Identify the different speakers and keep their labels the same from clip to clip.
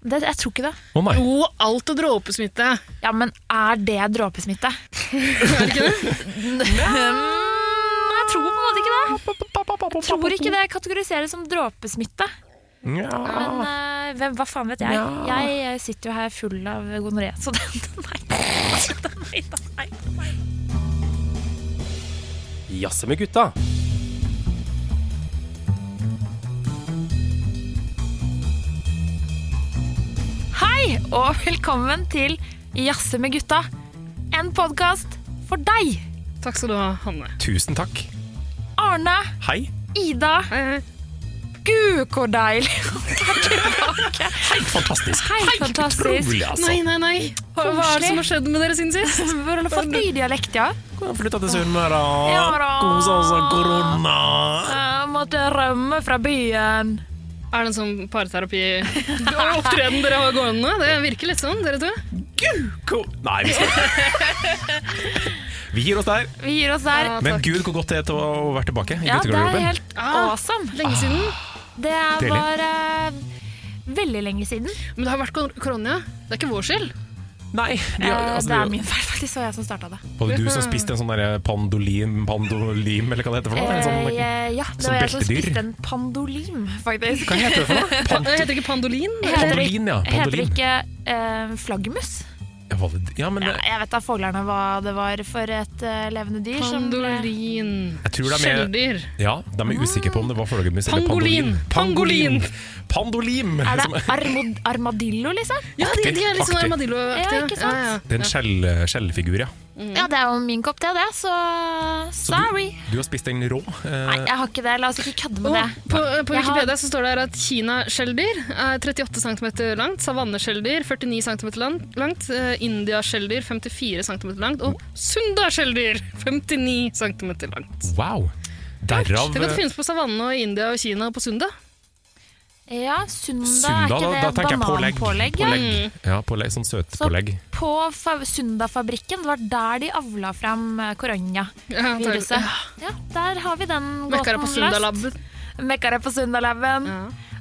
Speaker 1: Det, jeg tror ikke det.
Speaker 2: Å nei.
Speaker 3: Jo, alt er dråpesmitte.
Speaker 1: Ja, men er det dråpesmitte? er det ikke det? Mm, jeg tror på en måte ikke det. Jeg tror ikke det kategoriseres som dråpesmitte.
Speaker 2: Nja.
Speaker 1: Men
Speaker 3: Ah.
Speaker 1: eh, hvem, hva faen vet jeg? Jeg eh, sitter jo her full av gonoré, så det Nei. Nei, nei, nei.
Speaker 2: Jazze med gutta.
Speaker 1: Hei, og velkommen til Jazze med gutta. En podkast for deg,
Speaker 3: Takk skal du ha, Hanne.
Speaker 2: Tusen takk.
Speaker 1: Arne,
Speaker 2: Hei.
Speaker 1: Ida.
Speaker 3: Hei, hei.
Speaker 1: Gud, hvor deilig å være tilbake.
Speaker 2: Helt fantastisk.
Speaker 1: Helt fantastisk.
Speaker 2: Utrolig, altså.
Speaker 3: Nei, nei, nei. Hva er det som
Speaker 1: Koselig.
Speaker 3: har skjedd med dere siden sist?
Speaker 1: Hvordan har du fått ny dialekt, ja?
Speaker 2: Kan flytte til Sunnmøre.
Speaker 1: Ja da.
Speaker 2: Kose oss av altså. korona.
Speaker 1: Jeg måtte rømme fra byen.
Speaker 3: Er det en sånn parterapi-opptreden dere har gående? Det virker litt sånn, dere to.
Speaker 2: Ko- Nei, vi skal Vi gir oss der.
Speaker 1: Vi gir oss der.
Speaker 3: Ja,
Speaker 2: Men
Speaker 3: takk.
Speaker 2: gud, hvor godt det er til å være tilbake i
Speaker 1: Ja, det er
Speaker 2: guttegarderoben.
Speaker 1: helt
Speaker 3: Ah.
Speaker 1: awesome.
Speaker 3: Lenge siden.
Speaker 1: Det
Speaker 2: Deilig.
Speaker 1: var eh, veldig lenge siden.
Speaker 3: Men det har vært kor- korona. Det er ikke vår skyld.
Speaker 2: Nei, de,
Speaker 1: Eh,
Speaker 2: altså,
Speaker 1: det er min feil, faktisk. Det var jeg som starta det.
Speaker 2: Var det du som spiste en sånn der pandolim, pandolim, eller hva det heter for noe? En
Speaker 1: Eh,
Speaker 2: sånn,
Speaker 1: ja, det
Speaker 2: som
Speaker 1: var jeg som
Speaker 2: beltedyr.
Speaker 1: spiste en pandolim, faktisk.
Speaker 2: hva heter det for noe? Pan
Speaker 3: Det heter ikke pandolin.
Speaker 1: Heter det-
Speaker 2: Pandolin, ja.
Speaker 1: Heter det
Speaker 2: Pandolin.
Speaker 1: ikke eh, flaggermus?
Speaker 2: Ja, var det- ja, men
Speaker 1: Ja,
Speaker 2: jeg
Speaker 1: jeg vet da foglerne hva det var for et eh, levende
Speaker 3: sånn,
Speaker 1: dyr. som ble-
Speaker 3: Pandolin.
Speaker 2: tror de er,
Speaker 3: Skjelldyr.
Speaker 2: ja, de er usikre på om det var flaggermus eller
Speaker 3: Pangolin.
Speaker 2: pandolin. Pangolin! Pandolim!
Speaker 1: Er
Speaker 2: Som-
Speaker 1: det armod armadillo, liksom?
Speaker 3: Ja, de, de er litt sånn
Speaker 2: Aktig.
Speaker 3: armadillo-aktige.
Speaker 1: Ja, ikke sant?
Speaker 2: Det er en skjell, skjellfigur, ja.
Speaker 1: Ja, det er jo min kopp te, det, så
Speaker 2: Så
Speaker 1: sorry.
Speaker 2: Du, du har spist den rå. eh,
Speaker 1: Nei, jeg har ikke det. La oss ikke kødde med
Speaker 3: Og
Speaker 1: det.
Speaker 3: på, på
Speaker 1: Jeg har-
Speaker 3: Wikipedia så står det her at Kina-skjelldyr er 38 cm langt, savanneskjelldyr 49 cm langt, langt eh, India-skjelldyr 54 cm langt og Sunda-skjelldyr 59 cm langt.
Speaker 2: Wow. Derav eh,
Speaker 3: Tenk at det finnes på savannen og i India og Kina og på Sunda.
Speaker 1: Ja, Sunda,
Speaker 2: Sunda,
Speaker 1: er
Speaker 2: da,
Speaker 1: ikke
Speaker 2: da
Speaker 1: det
Speaker 2: tenker jeg pålegg.
Speaker 1: bananpålegg? Ja.
Speaker 2: Pålegg. Ja, pålegg, sånn
Speaker 1: Så
Speaker 2: søtpålegg.
Speaker 1: på fa- Sundafabrikken, det var der de avla fram eh, koronaviruset.
Speaker 3: Ja, antagelig.
Speaker 1: Ja, der har vi den
Speaker 3: Mekka det på Sundalab.
Speaker 1: Mekka det på Sundalabben.
Speaker 3: Ja.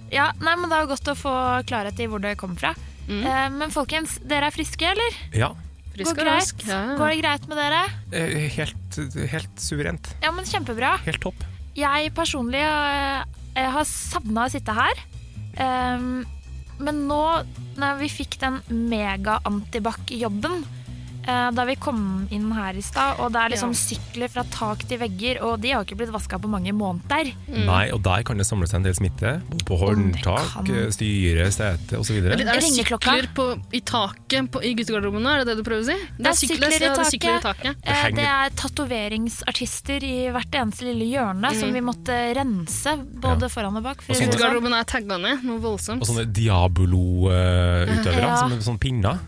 Speaker 1: Ja, nei, men det er jo godt å få klarhet i hvor det kommer fra.
Speaker 3: Mm.
Speaker 1: Eh, men folkens, dere er friske, eller?
Speaker 2: Ja.
Speaker 3: Frisk og
Speaker 1: Går greit?
Speaker 3: rask. Ja.
Speaker 1: Går det greit med dere?
Speaker 2: Eh, Helt, helt suverent.
Speaker 1: Ja, men kjempebra.
Speaker 2: Helt topp.
Speaker 1: Jeg personlig eh, jeg har savna å sitte her. Ehm, men nå, når vi fikk den mega-antibac-jobben eh, da vi kom inn her i stad, og det er liksom
Speaker 3: Ja.
Speaker 1: sykler fra tak til vegger, og de har ikke blitt vaska på mange måneder.
Speaker 2: Nei, og der kan det samle seg en del smitte. både På
Speaker 1: Mm. Om
Speaker 2: håndtak, eh,
Speaker 1: det kan.
Speaker 2: styre, sete osv.
Speaker 3: Er det, er det
Speaker 1: Ringeklokka.
Speaker 3: sykler på, i taket på, i guttegarderobene? Er det det du prøver å si? Det er sykler, ja, det er sykler i taket.
Speaker 1: Eh,
Speaker 2: henger-
Speaker 1: Det er tatoveringsartister i hvert eneste lille hjørne
Speaker 3: Mm.
Speaker 1: som vi måtte rense både
Speaker 2: Ja.
Speaker 1: foran og bak. for
Speaker 2: Og
Speaker 1: å si det sånn.
Speaker 3: Guttegarderobene er tagga ned noe voldsomt.
Speaker 2: Og sånne Diabolo-utøvere,
Speaker 1: Ja.
Speaker 2: som er sånne pinner.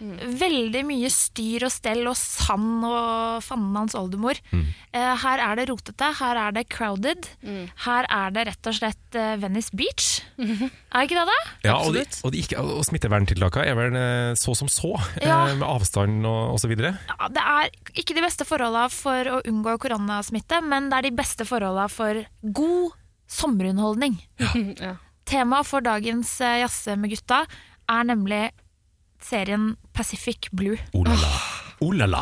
Speaker 1: Veldig mye styr og stell og sand og fanden hans oldemor. Eh, her er det rotete, her er det crowded.
Speaker 3: Mm.
Speaker 1: Her er det rett og slett eh, Venice Beach.
Speaker 3: Mm-hmm.
Speaker 1: Er ikke det det?
Speaker 2: Ja, og, de,
Speaker 3: Absolutt.
Speaker 2: og, de ikke, og smitteverntiltakene er vel eh, så som så,
Speaker 1: Ja.
Speaker 2: eh, med avstand og osv.
Speaker 1: Ja, det er ikke de beste forholda for å unngå koronasmitte, men det er de beste forholda for god sommerunderholdning.
Speaker 3: Ja.
Speaker 1: Temaet for dagens eh, Jazze med gutta er nemlig serien Pacific Blue.
Speaker 2: Oh-la-la. Oh-la-la.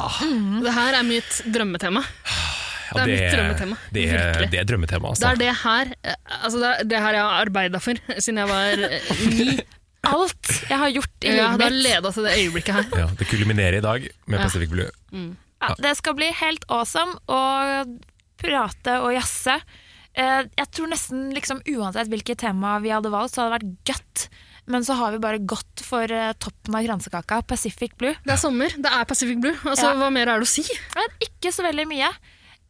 Speaker 3: Det her er mitt drømmetema.
Speaker 2: Ja,
Speaker 3: Mm. det er mitt drømmetema.
Speaker 2: Det er,
Speaker 3: Virkelig.
Speaker 2: det er drømmetema,
Speaker 3: Det
Speaker 2: altså.
Speaker 3: er det her eh, altså det, er det her jeg har arbeida for siden jeg var eh, ni.
Speaker 1: Alt jeg har gjort i
Speaker 3: Jeg
Speaker 1: livet
Speaker 3: har
Speaker 1: mitt.
Speaker 3: leda til det øyeblikket her.
Speaker 2: Ja, det kulminerer i dag med Pacific Blue.
Speaker 1: Ja, det skal bli helt awesome å prate og jazze. Eh, Jeg tror nesten liksom uansett hvilket tema vi hadde valgt, så hadde det vært gøtt. Men så har vi bare gått for eh, toppen av kransekaka, Pacific Blue.
Speaker 3: Det er sommer, det er Pacific Blue. Altså,
Speaker 1: Ja.
Speaker 3: Hva mer er det å si?
Speaker 1: Men ikke så veldig mye.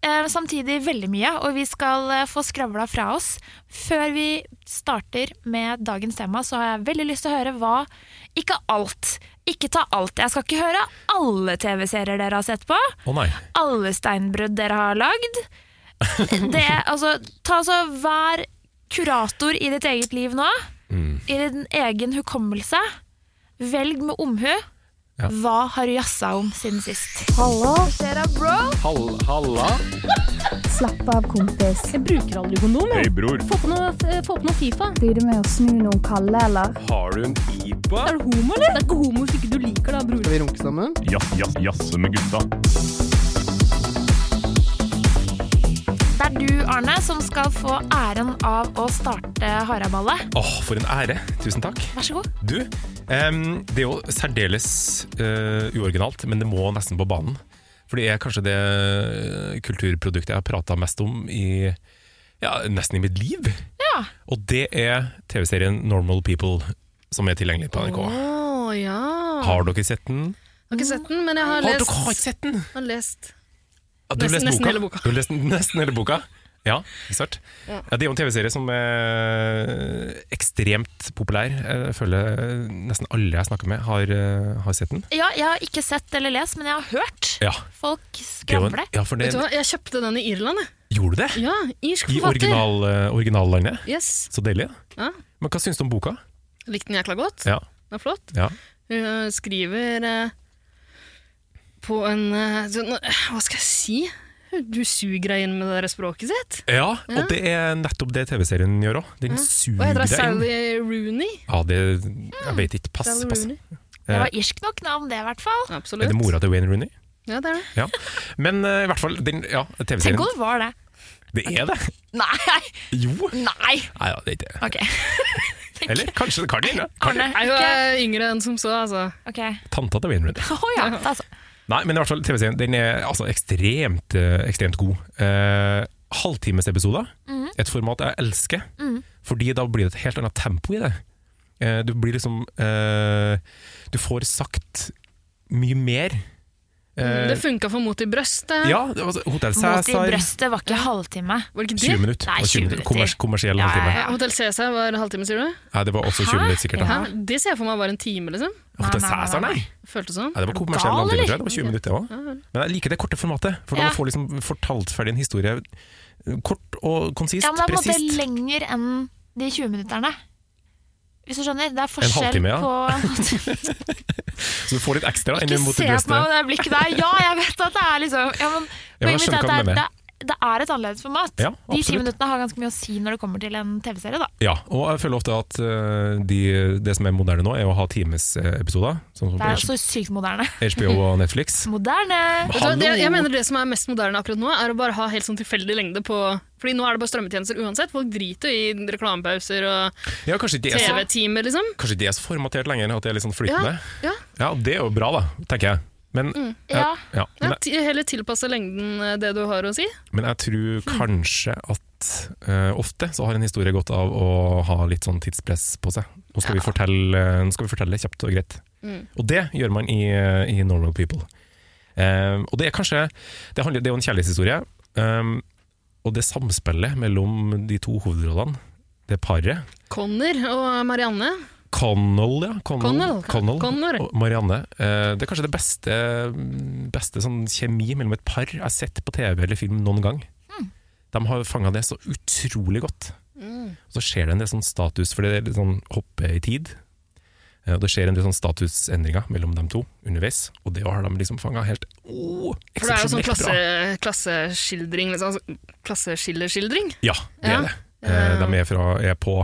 Speaker 1: Eh, Samtidig veldig mye, og vi skal eh, få skravla fra oss. Før vi starter med dagens tema, så har jeg veldig lyst til å høre hva Ikke alt. Ikke ta alt. Jeg skal ikke høre alle TV-serier dere har sett på.
Speaker 2: Å nei.
Speaker 1: Alle steinbrudd dere har lagd. Det, altså, ta altså Vær kurator i ditt eget liv nå.
Speaker 2: Mm.
Speaker 1: I din egen hukommelse. Velg med omhu.
Speaker 2: Ja.
Speaker 1: Hva har du jazza om siden sist?
Speaker 4: Hallo,
Speaker 2: Hall, halla.
Speaker 4: slapp av kompis.
Speaker 5: Jeg bruker aldri kondom. jeg.
Speaker 2: Hei, bror.
Speaker 5: Få på noe, eh, få på noe Fifa.
Speaker 4: Blir du med å snu noen kalde, eller?
Speaker 2: Har du en IPA?
Speaker 5: Er du homo, eller? Det er ikke homo hvis ikke du liker det, bror.
Speaker 6: Skal vi runke sammen?
Speaker 2: Jazz, jazz, jazze med gutta.
Speaker 1: Det er du, Arne, som skal få æren av å starte Haraballet.
Speaker 2: Åh, for en ære. Tusen takk.
Speaker 1: Vær så god.
Speaker 2: Du, em, det er jo særdeles eh, uoriginalt, men det må nesten på banen. For det er kanskje det eh, kulturproduktet jeg har prata mest om i ja, nesten i mitt liv.
Speaker 1: Ja.
Speaker 2: Og det er TV-serien Normal People som er tilgjengelig på NRK.
Speaker 3: Å, ja. Har
Speaker 2: Har dere sett den?
Speaker 3: ikke sett den, men jeg har
Speaker 2: Har
Speaker 3: lest.
Speaker 2: dere ikke sett den?
Speaker 3: Har lest.
Speaker 2: Ja, du har lest
Speaker 3: Nesten- nesten
Speaker 2: boka?
Speaker 3: hele boka.
Speaker 2: Du har lest nesten hele boka? Ja, ikke sant? Ja. det er jo en TV-serie som er ekstremt populær. Jeg føler nesten alle jeg snakker med, har, eh, har sett den.
Speaker 1: Ja, jeg har ikke sett eller lest, men jeg har hørt
Speaker 2: Ja,
Speaker 1: folk
Speaker 2: det er jo en-
Speaker 1: skravle.
Speaker 2: ja for det,
Speaker 3: Vet du hva, jeg kjøpte den i Irland, jeg.
Speaker 2: gjorde du det?
Speaker 3: Ja, irsk
Speaker 2: I
Speaker 3: forfatter.
Speaker 2: original, eh, originallandet.
Speaker 3: Yes.
Speaker 2: Så deilig.
Speaker 3: Ja.
Speaker 2: Men hva syns du om boka?
Speaker 3: Likte den jækla godt.
Speaker 2: Ja,
Speaker 3: Den er flott.
Speaker 2: ja.
Speaker 3: Hun eh, skriver eh, på en eh, sånn, eh, Hva skal jeg si? Du suger deg inn med det der språket sitt.
Speaker 2: ja og det er nettopp det TV-serien gjør òg. Den
Speaker 3: Hva
Speaker 2: suger
Speaker 3: heter hun?
Speaker 2: deg inn.
Speaker 3: Sally Rooney?
Speaker 2: Ja, det, jeg vet ikke. Pass,
Speaker 3: Sally
Speaker 2: pass.
Speaker 3: Rooney.
Speaker 1: Det var irsk nok navn, det i hvert fall.
Speaker 2: Er
Speaker 3: Absolutt.
Speaker 2: det mora til Wayne Rooney?
Speaker 3: Ja, det er det.
Speaker 2: Ja. Men eh, i hvert fall, den, ja,
Speaker 1: Tenk
Speaker 2: TV-serien.
Speaker 1: om det var det.
Speaker 2: Det er det!
Speaker 1: Nei,
Speaker 2: Jo!
Speaker 1: nei!
Speaker 2: Nei, ja, det er ikke det.
Speaker 1: Ok. Tenk-
Speaker 2: Eller kanskje det kan det. ja. Kan
Speaker 1: Arne,
Speaker 2: det.
Speaker 3: Nei, hun
Speaker 1: ikke
Speaker 3: er yngre enn som så, altså.
Speaker 1: Ok.
Speaker 2: Tanta til Wayne Rooney.
Speaker 1: Å ja, det er altså.
Speaker 2: Nei, men i hvert fall TV-serien Den er altså ekstremt, eh, ekstremt god. Eh, halvtimesepisoder.
Speaker 1: Mhm.
Speaker 2: Et format jeg elsker. Fordi da blir det et helt annet tempo i det. Eh, du blir liksom eh, Du får sagt mye mer.
Speaker 1: Mhm.
Speaker 2: Eh,
Speaker 3: Det funka for Mot i brøstet.
Speaker 2: ja, det var altså Hotell
Speaker 1: Mot i
Speaker 2: Cæsar.
Speaker 1: brøstet var ikke halvtime.
Speaker 3: Var det ikke
Speaker 2: 20
Speaker 3: det?
Speaker 2: minutter.
Speaker 1: Nei,
Speaker 2: Det var
Speaker 1: 20 minutter.
Speaker 2: Kommers, kommersiell
Speaker 1: Ja, ja,
Speaker 2: halvtime.
Speaker 1: ja.
Speaker 3: Hotell Cæsar var en halvtime, sier du?
Speaker 2: Nei, det var også 20
Speaker 1: Hæ?
Speaker 2: minutter sikkert. da.
Speaker 3: Hæ? Det ser jeg for meg var en time, liksom.
Speaker 2: Hotell
Speaker 1: Nei, nei, nei,
Speaker 2: Cæsar,
Speaker 1: nei.
Speaker 2: nei!
Speaker 3: Føltes sånn.
Speaker 2: Ja, det var kommersiell
Speaker 1: gal,
Speaker 2: halvtime,
Speaker 1: eller?
Speaker 2: tror jeg. Det var 20 minutter, det også. Men jeg liker det korte formatet, for da
Speaker 1: Ja.
Speaker 2: man får liksom fortalt ferdig en historie kort og konsist,
Speaker 1: Ja, men det er på en måte
Speaker 2: presist.
Speaker 1: lenger enn de 20 minutterne. Hvis du skjønner, det er forskjell
Speaker 2: halvtime, ja.
Speaker 1: på
Speaker 2: Så du får litt ekstra enn
Speaker 1: Ikke
Speaker 2: mot
Speaker 1: se
Speaker 2: det
Speaker 1: på meg
Speaker 2: brøstet.
Speaker 1: med det blikket der. Ja, jeg vet at det er liksom ja, men,
Speaker 2: Ja, men jeg
Speaker 1: poenget mitt er
Speaker 2: skjønner hva
Speaker 1: at
Speaker 2: du
Speaker 1: det,
Speaker 2: mener.
Speaker 1: er- det, det er et annerledes format.
Speaker 2: Ja,
Speaker 1: de ti
Speaker 2: absolutt.
Speaker 1: minuttene har ganske mye å si når det kommer til en TV-serie, da.
Speaker 2: Ja, og jeg føler ofte at eh, de, det som er moderne nå, er å ha timesepisoder, sånn som
Speaker 1: Det er så
Speaker 2: på
Speaker 1: sykt moderne.
Speaker 2: HBO og Netflix.
Speaker 1: Moderne!
Speaker 3: Vet du hva, det,
Speaker 2: Hallo!
Speaker 3: jeg mener det som er mest moderne akkurat nå, er å bare ha helt sånn tilfeldig lengde på Fordi nå er det bare strømmetjenester uansett. Folk driter jo i reklamepauser og
Speaker 2: Ja, kanskje ikke det er så,
Speaker 3: TV-timer, liksom.
Speaker 2: kanskje ikke det er så formatert lenger, at det er litt sånn
Speaker 3: Ja,
Speaker 2: flytende.
Speaker 3: ja.
Speaker 2: Ja, og det er jo bra, da, tenker jeg. Men, jeg-
Speaker 1: Mm. Ja.
Speaker 2: ja,
Speaker 3: ja
Speaker 2: men, jeg-
Speaker 3: ti- Heller tilpasse lengden eh, det du har å si.
Speaker 2: men jeg tror kanskje at eh, ofte så har en historie godt av å ha litt sånn tidspress på seg. Nå skal, vi, fortelle, nå skal vi fortelle kjapt og greit. Og det gjør man i, i Normal People. Eh, og det er kanskje Det, handler, det er jo en kjærlighetshistorie. eh, og det samspillet mellom de to hovedrollene, det paret
Speaker 3: Connor og Marianne.
Speaker 2: Connell, ja. Connell,
Speaker 3: Connell. Connor.
Speaker 2: og Marianne. eh, det er kanskje det beste, beste sånn kjemi mellom et par jeg har sett på TV eller film noen gang.
Speaker 3: Hmm.
Speaker 2: De har fanga det så utrolig godt.
Speaker 3: Hmm.
Speaker 2: Og så skjer det en del sånn status, for det er litt sånn hoppe i tid. Eh, Og det skjer en del sånn statusendringer mellom dem to underveis, og det har de liksom fanga helt oh,
Speaker 3: For det er jo sånn
Speaker 2: eksepsjonelt
Speaker 3: klasse,
Speaker 2: bra.
Speaker 3: klasseskildring. Liksom, altså, klasseskilleskildring.
Speaker 2: Ja, det er
Speaker 3: Ja.
Speaker 2: det. Eh, De er, fra, er på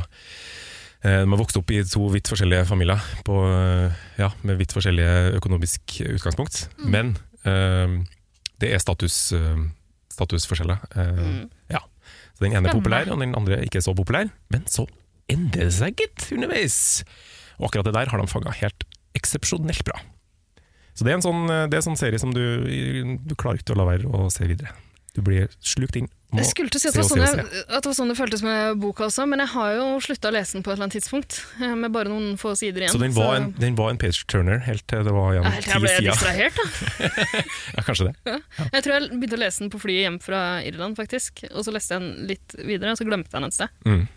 Speaker 2: eh, De har vokst opp i to vidt forskjellige familier på, eh, ja, med vidt forskjellige økonomisk utgangspunkt.
Speaker 3: Mm.
Speaker 2: Men eh, det er status, eh, statusforskjeller. Eh,
Speaker 3: Mm.
Speaker 2: Ja. Så den ene er populær, og den andre er ikke så populær. Men så endrer det seg, gitt, underveis! Og akkurat det der har de fanga helt eksepsjonelt bra. Så det er en sånn, det er en sånn serie som du, du klarer ikke å la være å se videre. Du blir slukt inn. må
Speaker 3: Jeg skulle til å si at det,
Speaker 2: se og
Speaker 3: var
Speaker 2: se
Speaker 3: sånn
Speaker 2: og se.
Speaker 3: jeg, at det var sånn det føltes med boka også, men jeg har jo slutta å lese den på et eller annet tidspunkt. eh, Med bare noen få sider igjen.
Speaker 2: Så den var, en, den var en page turner helt til det var igjen
Speaker 3: Ja, helt
Speaker 2: ti
Speaker 3: til jeg ble
Speaker 2: sider.
Speaker 3: distrahert, da.
Speaker 2: Ja, kanskje det.
Speaker 3: Jeg tror jeg begynte å lese den på flyet hjem fra Irland, faktisk. Og så leste jeg den litt videre, og så glemte jeg den et sted.
Speaker 2: Mm.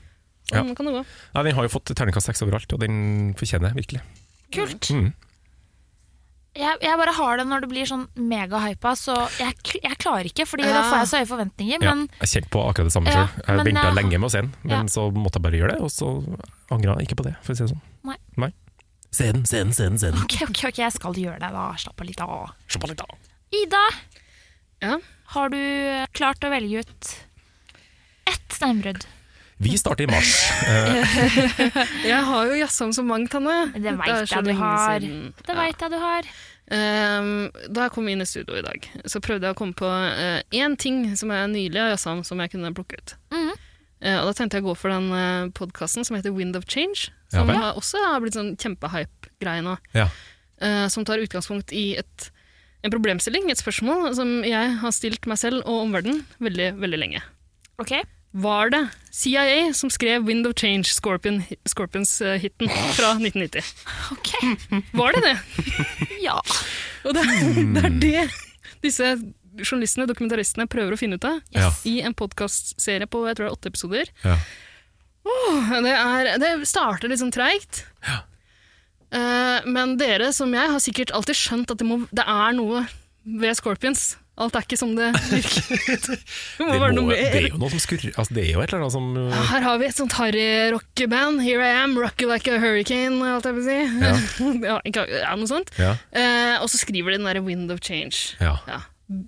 Speaker 2: Ja.
Speaker 3: Sånn kan det gå.
Speaker 2: Nei, den har jo fått terningkast seks overalt, og den fortjener det virkelig.
Speaker 1: Kult.
Speaker 2: Mm.
Speaker 1: jeg, jeg bare har det når det blir sånn megahypa, så jeg, kl- jeg klarer ikke, Fordi da
Speaker 3: Ja.
Speaker 1: får jeg så høye forventninger.
Speaker 2: Ah. Ja,
Speaker 1: Men
Speaker 2: jeg kjente på akkurat det samme
Speaker 1: Ja,
Speaker 2: sjøl. Jeg
Speaker 1: men
Speaker 2: venta
Speaker 3: eh,
Speaker 1: jeg-
Speaker 2: lenge med å se den, men
Speaker 1: Ja.
Speaker 2: så måtte jeg bare gjøre det. Og så angra jeg ikke på det, for å si det sånn.
Speaker 1: Nei.
Speaker 2: Se den, se den, se den. se den.
Speaker 1: ok, ok, ok, jeg skal gjøre det, da. Slapp av litt av.
Speaker 2: Se på litt da.
Speaker 1: Ida,
Speaker 3: Ja.
Speaker 1: har du eh, klart å velge ut ett steinbrudd?
Speaker 2: Vi starter i mars. Eh,
Speaker 3: Jeg har jo jazza om så mangt, Hanne.
Speaker 1: Det vet
Speaker 3: er så
Speaker 1: jeg du
Speaker 3: lenge
Speaker 1: har.
Speaker 3: siden.
Speaker 1: Det
Speaker 3: Ja.
Speaker 1: veit jeg du har.
Speaker 3: Ehm, da jeg kom inn i studio i dag, så prøvde jeg å komme på eh, én ting som jeg nylig har jazza om, som jeg kunne plukke ut.
Speaker 1: Mhm.
Speaker 3: Eh, og da tenkte jeg å gå for den uh, podkasten som heter Wind of Change,
Speaker 2: Ja
Speaker 3: som
Speaker 2: vel.
Speaker 3: har- også har blitt sånn kjempehype-greie nå.
Speaker 2: Ja.
Speaker 3: Eh, som tar utgangspunkt i et, en problemstilling, et spørsmål, som jeg har stilt meg selv og omverdenen veldig, veldig lenge.
Speaker 1: Ok?
Speaker 3: Var det CIA som skrev Wind of Change, Scorpion, Scorpions-hiten fra 1990?
Speaker 1: Ok,
Speaker 3: Var det det?
Speaker 1: ja.
Speaker 3: Og det er, det er det disse journalistene, dokumentaristene, prøver å finne ut av
Speaker 2: ja,
Speaker 3: i en podkastserie på jeg tror det er åtte episoder.
Speaker 2: ja.
Speaker 3: Det, er, det starter litt sånn treigt. Eh, men dere som jeg har sikkert alltid skjønt at det, må, det er noe ved Scorpions. Alt er ikke som det virker. Det
Speaker 2: Det,
Speaker 3: må være
Speaker 2: må,
Speaker 3: noe
Speaker 2: det er
Speaker 3: mer.
Speaker 2: jo noe som skurrer. Altså, det er jo et eller annet som
Speaker 3: Ja,
Speaker 2: eh,
Speaker 3: Her har vi et sånt harry-rockeband. Here I am, rock you like a hurricane, holdt jeg på å si. Ja. ikke, ja, noe sånt.
Speaker 2: Ja.
Speaker 3: Eh, og så skriver de den derre Wind of Change.
Speaker 2: ja.
Speaker 3: Ja. B-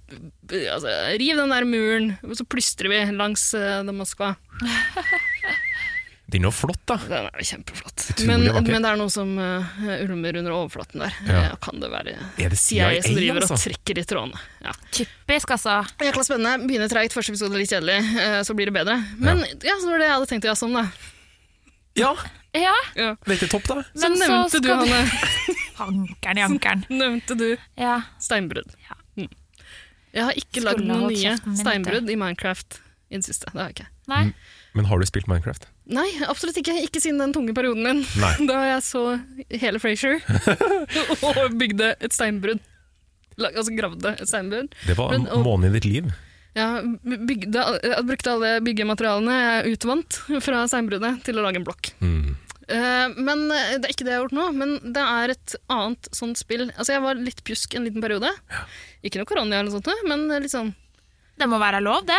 Speaker 3: Altså, riv den der muren, og så plystrer vi langs eh, The Moskva.
Speaker 2: Det er noe flott, da.
Speaker 3: Den er jo kjempeflott.
Speaker 2: Utrolig
Speaker 3: Men,
Speaker 2: vakker.
Speaker 3: men det er noe som eh, ulmer under overflaten der.
Speaker 2: Ja.
Speaker 3: Eh, kan det være
Speaker 2: Er det
Speaker 3: CIA
Speaker 2: CIA,
Speaker 3: som driver og
Speaker 2: altså?
Speaker 3: trekker i trådene? Ja.
Speaker 1: Typisk, altså.
Speaker 3: Jækla spennende. Begynner treigt, første episode litt kjedelig, eh, så blir det bedre. Men ja. så var det jeg hadde tenkt å jazze om, da.
Speaker 2: Ja,
Speaker 1: Ja,
Speaker 3: Ja.
Speaker 2: det er ikke topp, da.
Speaker 3: Så
Speaker 1: Men så
Speaker 3: nevnte
Speaker 1: skal
Speaker 3: du,
Speaker 1: du-
Speaker 3: Hanne,
Speaker 1: Ankeren i ankeren.
Speaker 3: nevnte du
Speaker 1: Ja.
Speaker 3: steinbrudd.
Speaker 1: Ja.
Speaker 3: Mm. Jeg har ikke
Speaker 1: Skulle
Speaker 3: lagd
Speaker 1: ha
Speaker 3: noen
Speaker 1: holdt
Speaker 3: nye
Speaker 1: kjeften min, vet du.
Speaker 3: steinbrudd i Minecraft i det siste. Det har jeg ikke.
Speaker 1: Nei.
Speaker 2: Men har du spilt Minecraft?
Speaker 3: Nei, absolutt ikke. Ikke siden den tunge perioden min.
Speaker 2: Nei.
Speaker 3: Da jeg så hele Frasier og bygde et steinbrudd. Lag- Altså gravde et steinbrudd.
Speaker 2: Det var
Speaker 3: Men, og-
Speaker 2: måneden i ditt liv.
Speaker 3: Jeg, bygde, jeg brukte alle byggematerialene jeg utvant fra steinbruddet til å lage en blokk.
Speaker 2: Mm.
Speaker 3: Eh, Men det er ikke det jeg har gjort nå, men det er et annet sånt spill. Altså Jeg var litt pjusk en liten periode. Ikke noe korona, eller noe sånt, men litt sånn
Speaker 1: Det må være lov, det.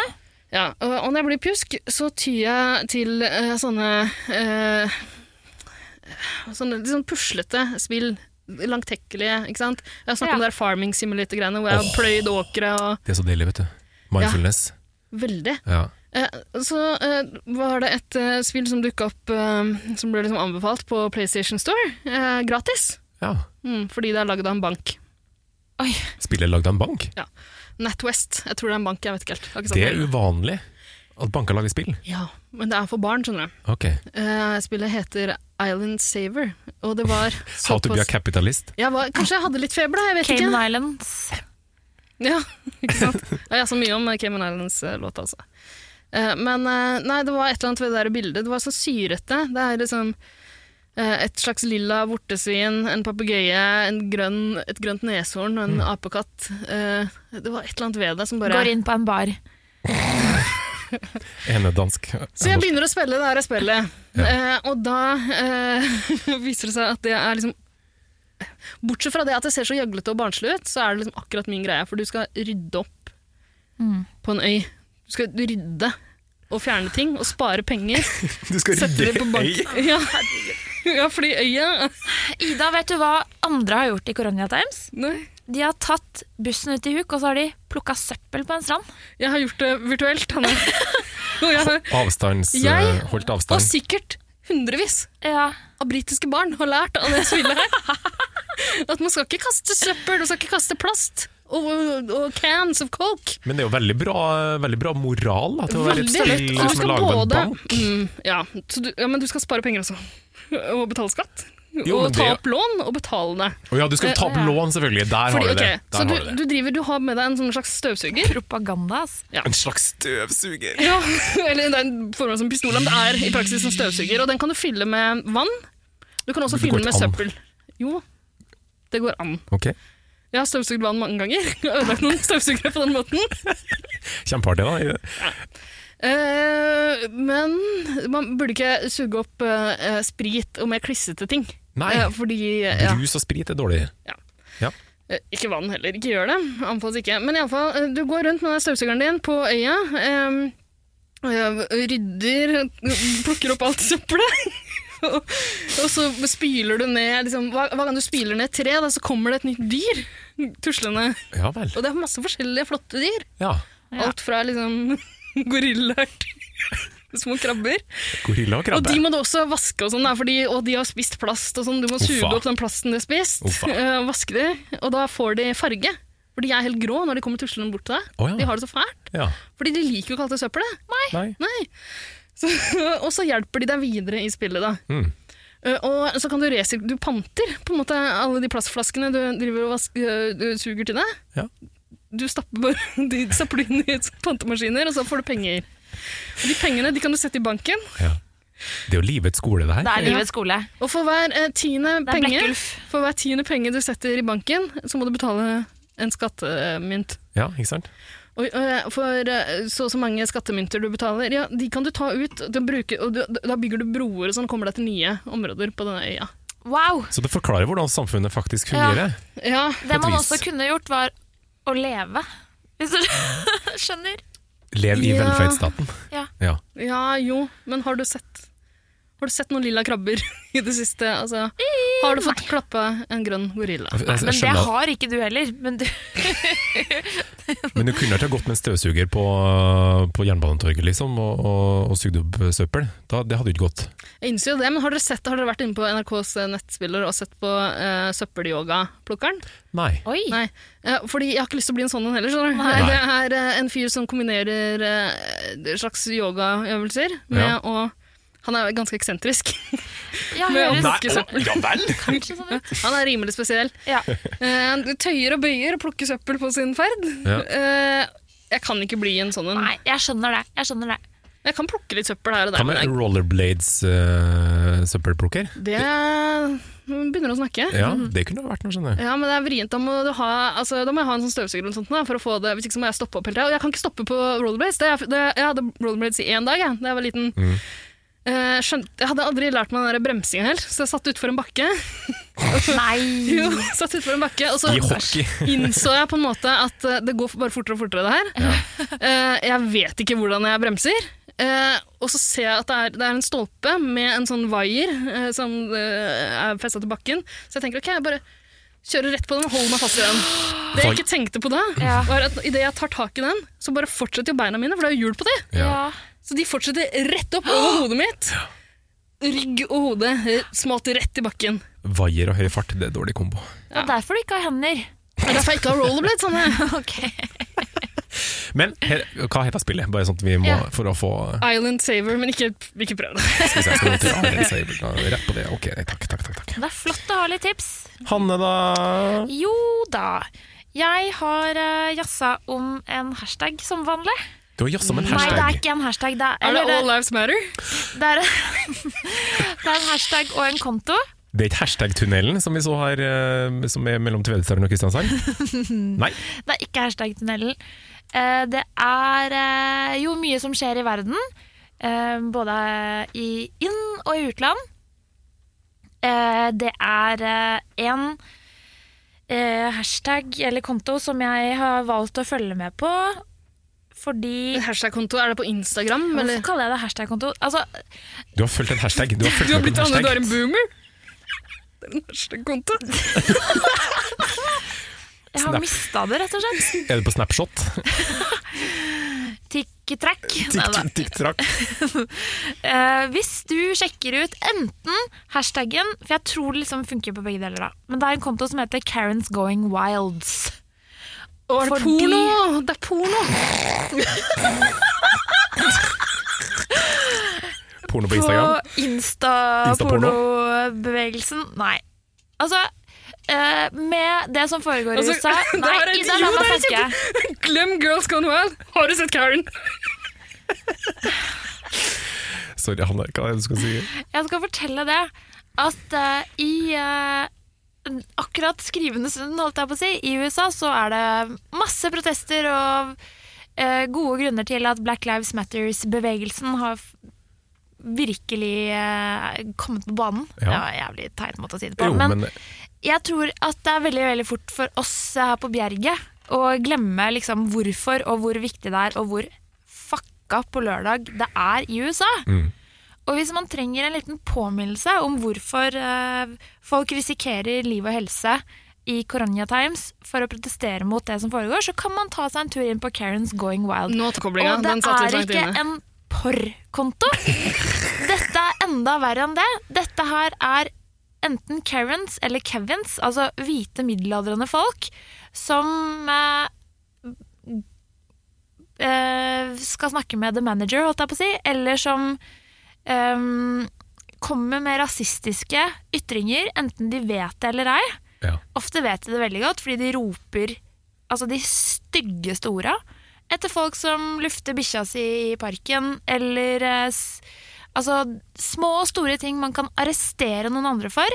Speaker 3: Ja, og og når jeg blir pjusk, så tyr jeg til eh, sånne eh, Sånne litt sånn puslete spill. Langtekkelige, ikke sant. Jeg har snakket om
Speaker 1: Ja.
Speaker 3: det der farming simulator-greiene hvor jeg har
Speaker 2: Åh.
Speaker 3: pløyd åkre og
Speaker 2: Det er så deilig, vet du. Mindfulness.
Speaker 3: Veldig.
Speaker 2: Ja.
Speaker 3: Eh, så eh, var det et eh, spill som dukka opp eh, som ble liksom anbefalt på PlayStation Store. Eh, gratis.
Speaker 2: ja.
Speaker 3: Mm, fordi det er lagd av en bank.
Speaker 2: Spillet lagd av en bank?
Speaker 3: NatWest. Jeg tror det er en bank, jeg vet ikke helt. Jeg har ikke
Speaker 2: Det
Speaker 3: sagt
Speaker 2: er uvanlig at banker lager spill.
Speaker 3: Ja, men det er for barn, skjønner du.
Speaker 2: Ok.
Speaker 3: Eh, spillet heter Island Saver, og det var
Speaker 2: How to be a
Speaker 3: såpass-
Speaker 2: capitalist.
Speaker 3: Jeg var, kanskje jeg hadde litt feber, da. Jeg vet
Speaker 1: Cayman
Speaker 3: ikke.
Speaker 1: Islands.
Speaker 3: Ja, ikke sant? Ja, Jeg så mye om eh, Cayman Islands-låta, altså. Eh, Men eh, nei, det var et eller annet ved det der bildet. Det var så syrete. Det er liksom eh, et slags lilla vortesvin, en papegøye, en grønn- et grønt neshorn og en apekatt. Eh, Det var et eller annet ved det som bare
Speaker 1: Går inn på en bar.
Speaker 2: Enedansk.
Speaker 3: Så jeg begynner å spille det her spillet,
Speaker 2: Ja.
Speaker 3: Eh, og da eh, viser det seg at det er liksom Bortsett fra det at det ser så gjøglete og barnslig ut, så er det liksom akkurat min greie, for du skal rydde opp
Speaker 1: Mm.
Speaker 3: på en øy. Du skal rydde og fjerne ting og spare penger.
Speaker 2: Du skal
Speaker 3: Sette det på bank. Ja. ja, fordi øya
Speaker 1: Ida, vet du hva andre har gjort i Coronia Times?
Speaker 3: Nei.
Speaker 1: De har tatt bussen ut i huk, og så har de plukka søppel på en strand.
Speaker 3: Jeg har gjort det virtuelt, Hanne. Og, jeg har,
Speaker 2: Avstands...
Speaker 3: Jeg-
Speaker 2: eh, Holdt
Speaker 3: og
Speaker 2: avstand.
Speaker 3: sikkert hundrevis
Speaker 1: Ja.
Speaker 3: av britiske barn har lært av det spillet her. At man skal ikke kaste søppel, man skal ikke kaste plast. Og, og, og cans of coke.
Speaker 2: Men det er jo veldig bra, eh, veldig bra moral da, til å være et
Speaker 3: Veldig.
Speaker 2: spill
Speaker 3: Og du
Speaker 2: som er
Speaker 3: skal
Speaker 2: laget av en
Speaker 3: både
Speaker 2: bank.
Speaker 3: mm, ja, så du, ja, men du skal spare penger også. Og betale skatt.
Speaker 2: Jo, men
Speaker 3: og ta
Speaker 2: det-
Speaker 3: opp lån, og betale det.
Speaker 2: Å ja, du skal ta opp
Speaker 1: Ja.
Speaker 2: lån, selvfølgelig. Der
Speaker 3: Fordi,
Speaker 2: har du det.
Speaker 3: ok,
Speaker 2: Der
Speaker 3: så
Speaker 2: har
Speaker 3: du,
Speaker 2: du det.
Speaker 3: du driver, du har med deg en sånn slags støvsuger.
Speaker 1: Propaganda, ass.
Speaker 2: En slags støvsuger.
Speaker 3: Ja, eller det er en form som pistol, men det er i praksis en støvsuger. Og den kan du fylle med vann. Du kan også
Speaker 2: Det går
Speaker 3: fylle den med
Speaker 2: ikke an.
Speaker 3: søppel. Jo, det går an.
Speaker 2: Ok,
Speaker 3: Jeg har støvsugd vann mange ganger. Jeg har ødelagt noen støvsugere på den måten.
Speaker 2: Kjempeartig, da.
Speaker 3: Eh, men man burde ikke suge opp eh, sprit og mer klissete ting.
Speaker 2: Nei.
Speaker 3: Eh, fordi eh, ja.
Speaker 2: Brus og sprit er dårlig.
Speaker 3: Eh, Ikke vann heller. Ikke gjør det. Anbefales ikke. Men iallfall, eh, du går rundt med den støvsugeren din på øya. em, eh, rydder, plukker opp alt søppelet. og, og så spyler du ned liksom, hva, hva kan du spyle ned? Tre, da, så kommer det et nytt dyr tuslende.
Speaker 2: Ja vel.
Speaker 3: Og det er masse forskjellige flotte dyr.
Speaker 2: Ja.
Speaker 1: Ja.
Speaker 3: Alt fra liksom gorillaer til små krabber.
Speaker 2: Gorilla og
Speaker 3: Og
Speaker 2: krabbe.
Speaker 3: de må du også vaske, og sånn da, fordi, og de har spist plast. og sånn, Du må suge
Speaker 2: Uffa.
Speaker 3: opp den plasten de har spist,
Speaker 2: Uffa.
Speaker 3: eh, vaske de, og da får de farge. For de er helt grå når de kommer tuslende bort til deg.
Speaker 2: Å, ja.
Speaker 3: De har det så fælt.
Speaker 2: Ja.
Speaker 3: Fordi de liker jo ikke alt det søppelet.
Speaker 2: Nei.
Speaker 3: Nei. Så, og så hjelper de deg videre i spillet, da.
Speaker 2: Mm.
Speaker 3: Eh, Og så kan du resir... Du panter på en måte alle de plastflaskene du driver og vask- eh, du suger til deg.
Speaker 2: Ja.
Speaker 3: Du stapper bare de stapper du inn i pantemaskiner, og så får du penger. Og de pengene de kan du sette i banken,
Speaker 2: Ja. Det er jo livets skole, det her.
Speaker 1: Det er livets skole.
Speaker 3: og for hver eh, tiende
Speaker 1: Det er
Speaker 3: penge
Speaker 1: Blekkulf.
Speaker 3: For hver tiende penge du setter i banken, så må du betale en skattemynt.
Speaker 2: Ja, ikke sant?
Speaker 3: Og øh, for øh, så og så mange skattemynter du betaler, ja, de kan du ta ut, du bruker, og du, da bygger du broer og sånn, kommer deg til nye områder på denne øya.
Speaker 1: Wow!
Speaker 2: Så det forklarer hvordan samfunnet faktisk fungerer.
Speaker 3: Ja,
Speaker 1: Det man
Speaker 2: vis.
Speaker 1: også kunne gjort, var å leve. Hvis du skjønner?
Speaker 2: Lev i
Speaker 3: Ja.
Speaker 2: velferdsstaten.
Speaker 1: Ja.
Speaker 2: ja.
Speaker 3: ja jo, men har du sett, har du sett noen lilla krabber i det siste? Altså, har du fått klappa en grønn gorilla?
Speaker 2: Jeg, jeg, jeg
Speaker 1: Men det
Speaker 2: skjønner,
Speaker 1: har ikke du heller. Men du,
Speaker 2: at- men du kunne ikke ha gått med en støvsuger på, på Jernbanetorget liksom, og, og, og sugd opp søppel. Da, det hadde jo ikke gått.
Speaker 3: Jeg innser jo det, men har dere, sett, har dere vært inne på NRKs eh, nettspiller og sett på uh, søppelyoga-plukkeren?
Speaker 2: Nei.
Speaker 1: oi!
Speaker 3: Nei, eh, fordi jeg har ikke lyst til å bli en sånn en heller. skjønner du?
Speaker 2: Nei.
Speaker 3: Det er eh, en fyr som kombinerer eh, det slags yogaøvelser
Speaker 2: Ja.
Speaker 3: med å Han er ganske eksentrisk.
Speaker 1: Ja,
Speaker 3: Men-
Speaker 1: høres
Speaker 3: Nei. å,
Speaker 2: ja vel!
Speaker 1: kanskje sånn ut.
Speaker 3: Han er rimelig spesiell.
Speaker 1: Ja.
Speaker 3: Eh, Han tøyer og bøyer og plukker søppel på sin ferd.
Speaker 2: Ja.
Speaker 3: Eh, Jeg kan ikke bli en sånn en.
Speaker 1: Nei, jeg skjønner det. Jeg skjønner det.
Speaker 3: Jeg kan plukke litt søppel her og der.
Speaker 2: Hva med eh,
Speaker 3: men
Speaker 2: rollerblades-søppelplukker?
Speaker 3: jeg- Det begynner å snakke.
Speaker 2: ja, det kunne det vært noe, skjønner jeg.
Speaker 3: Ja, men det er vrient. Da må, du ha, altså, da må jeg ha en sånn støvsuger eller noe sånt, da, for å få det. Hvis ikke så må jeg stoppe opp hele tida. Og jeg kan ikke stoppe på rollerblades. Det, er- det, jeg hadde rollerblades i én dag jeg, da jeg var liten.
Speaker 2: Mm.
Speaker 3: Eh, skjønt, jeg hadde aldri lært meg den der bremsinga helt, så jeg satt utfor en bakke.
Speaker 1: Nei!
Speaker 3: Jo, satt utfor en bakke, Og så
Speaker 2: I hockey.
Speaker 3: innså jeg på en måte at eh, det går bare fortere og fortere, det her. Eh, jeg vet ikke hvordan jeg bremser. Eh, og så ser jeg at det er, det er en stolpe med en sånn vaier eh, som eh, er festa til bakken. Så jeg tenker ok, jeg bare kjører rett på den og holder meg fast i den. Det jeg ikke tenkte på da,
Speaker 1: Ja.
Speaker 3: var at idet jeg tar tak i den, så bare fortsetter jo beina mine, for det er jo hjul på de.
Speaker 2: Ja.
Speaker 1: Ja.
Speaker 3: Så de fortsetter rett opp over hodet mitt. Rygg og hode eh, smalt rett i bakken.
Speaker 2: Vaier og høy fart, det er dårlig kombo.
Speaker 1: Det er derfor du ikke har hender.
Speaker 3: Det er derfor jeg ikke har rollerblades. Sånn
Speaker 1: Ok.
Speaker 2: Men he, hva heter spillet? Bare sånn at vi må,
Speaker 3: Ja.
Speaker 2: for å få
Speaker 3: Island saver, men ikke, ikke prøv det.
Speaker 2: Skal vi se, jeg skal gå til Arne Seibel, da. Rett på det. Ok, nei, takk, takk, takk, takk.
Speaker 1: Det er flott å ha litt tips.
Speaker 2: Hanne, da?
Speaker 1: Jo da. Jeg har eh, jazza om en hashtag som vanlig.
Speaker 2: Du har jazza med en
Speaker 1: Nei, det er
Speaker 2: hashtag.
Speaker 1: ikke en hashtag. Det er,
Speaker 3: Er det
Speaker 1: eller
Speaker 3: All Lives Matter?
Speaker 1: det, er, det er en hashtag og en konto.
Speaker 2: Det er ikke hashtag-tunnelen som vi så her, eh, som er mellom Tvedestrand og Kristiansand? Nei.
Speaker 1: Det er ikke hashtag-tunnelen. Eh, Det er eh, jo mye som skjer i verden, eh, både i inn- og i utland. Eh, Det er eh, en eh, hashtag eller konto som jeg har valgt å følge med på, fordi
Speaker 3: Hashtag-konto, er det på Instagram?
Speaker 1: Hvorfor
Speaker 3: Eller?
Speaker 1: kaller jeg det hashtag-konto? Altså,
Speaker 2: Du har fulgt en hashtag. Du har, fulgt
Speaker 3: Du har
Speaker 2: med
Speaker 3: blitt
Speaker 2: på en
Speaker 3: Anne, du er
Speaker 2: hashtag.
Speaker 3: en boomer! Det er en hashtag-konto.
Speaker 1: jeg har
Speaker 2: Snap.
Speaker 1: mista det, rett og slett.
Speaker 2: Er du på Snapshot?
Speaker 1: Tikk-trakk. Neida.
Speaker 2: Tikk, tikk, trakk.
Speaker 1: Eh, hvis du sjekker ut enten hashtaggen For jeg tror det liksom funker på begge deler, da. Men det er en konto som heter Karens Going Wilds.
Speaker 3: Og er det
Speaker 1: Fordi-
Speaker 3: porno? Det er porno!
Speaker 2: Porno på Instagram.
Speaker 1: På Insta-pornobevegelsen. Nei. Altså eh, Med det som foregår i
Speaker 3: Altså,
Speaker 1: USA
Speaker 3: det
Speaker 1: Nei,
Speaker 3: er et-
Speaker 1: Ida, la
Speaker 3: jo,
Speaker 1: meg
Speaker 3: det er
Speaker 1: snakke.
Speaker 3: Glem Girls Gone Wild! Har du sett Karen?
Speaker 2: Sorry, Hanne. Hva er det du skal si?
Speaker 1: Jeg skal fortelle det at eh, i eh, akkurat skrivende stund, holdt jeg på å si, i USA så er det masse protester og eh, gode grunner til at Black Lives Matters-bevegelsen har f- virkelig eh, kommet på banen.
Speaker 2: Ja.
Speaker 1: Det var en jævlig teit måte å si det på.
Speaker 2: Jo,
Speaker 1: men,
Speaker 2: men
Speaker 1: jeg tror at det er veldig, veldig fort for oss her på Bjerget å glemme liksom hvorfor og hvor viktig det er, og hvor fucka på lørdag det er i USA.
Speaker 2: Mm.
Speaker 1: Og hvis man trenger en liten påminnelse om hvorfor eh, folk risikerer liv og helse i Coronia Times for å protestere mot det som foregår, så kan man ta seg en tur inn på Karens Going Wild.
Speaker 3: Nå tilkoblinga.
Speaker 1: Og
Speaker 3: Den
Speaker 1: det
Speaker 3: satt
Speaker 1: er
Speaker 3: litt langt
Speaker 1: ikke
Speaker 3: inne.
Speaker 1: en porrkonto. Dette er enda verre enn det. Dette her er enten Karens eller Kevins, altså hvite middelaldrende folk, som eh, eh, skal snakke med the manager, holdt jeg på å si, eller som eh, kommer med rasistiske ytringer, enten de vet det eller ei.
Speaker 2: ja.
Speaker 1: Ofte vet de det veldig godt, fordi de roper altså de styggeste orda etter folk som lufter bikkja si i parken, eller eh, s- altså, små og store ting man kan arrestere noen andre for.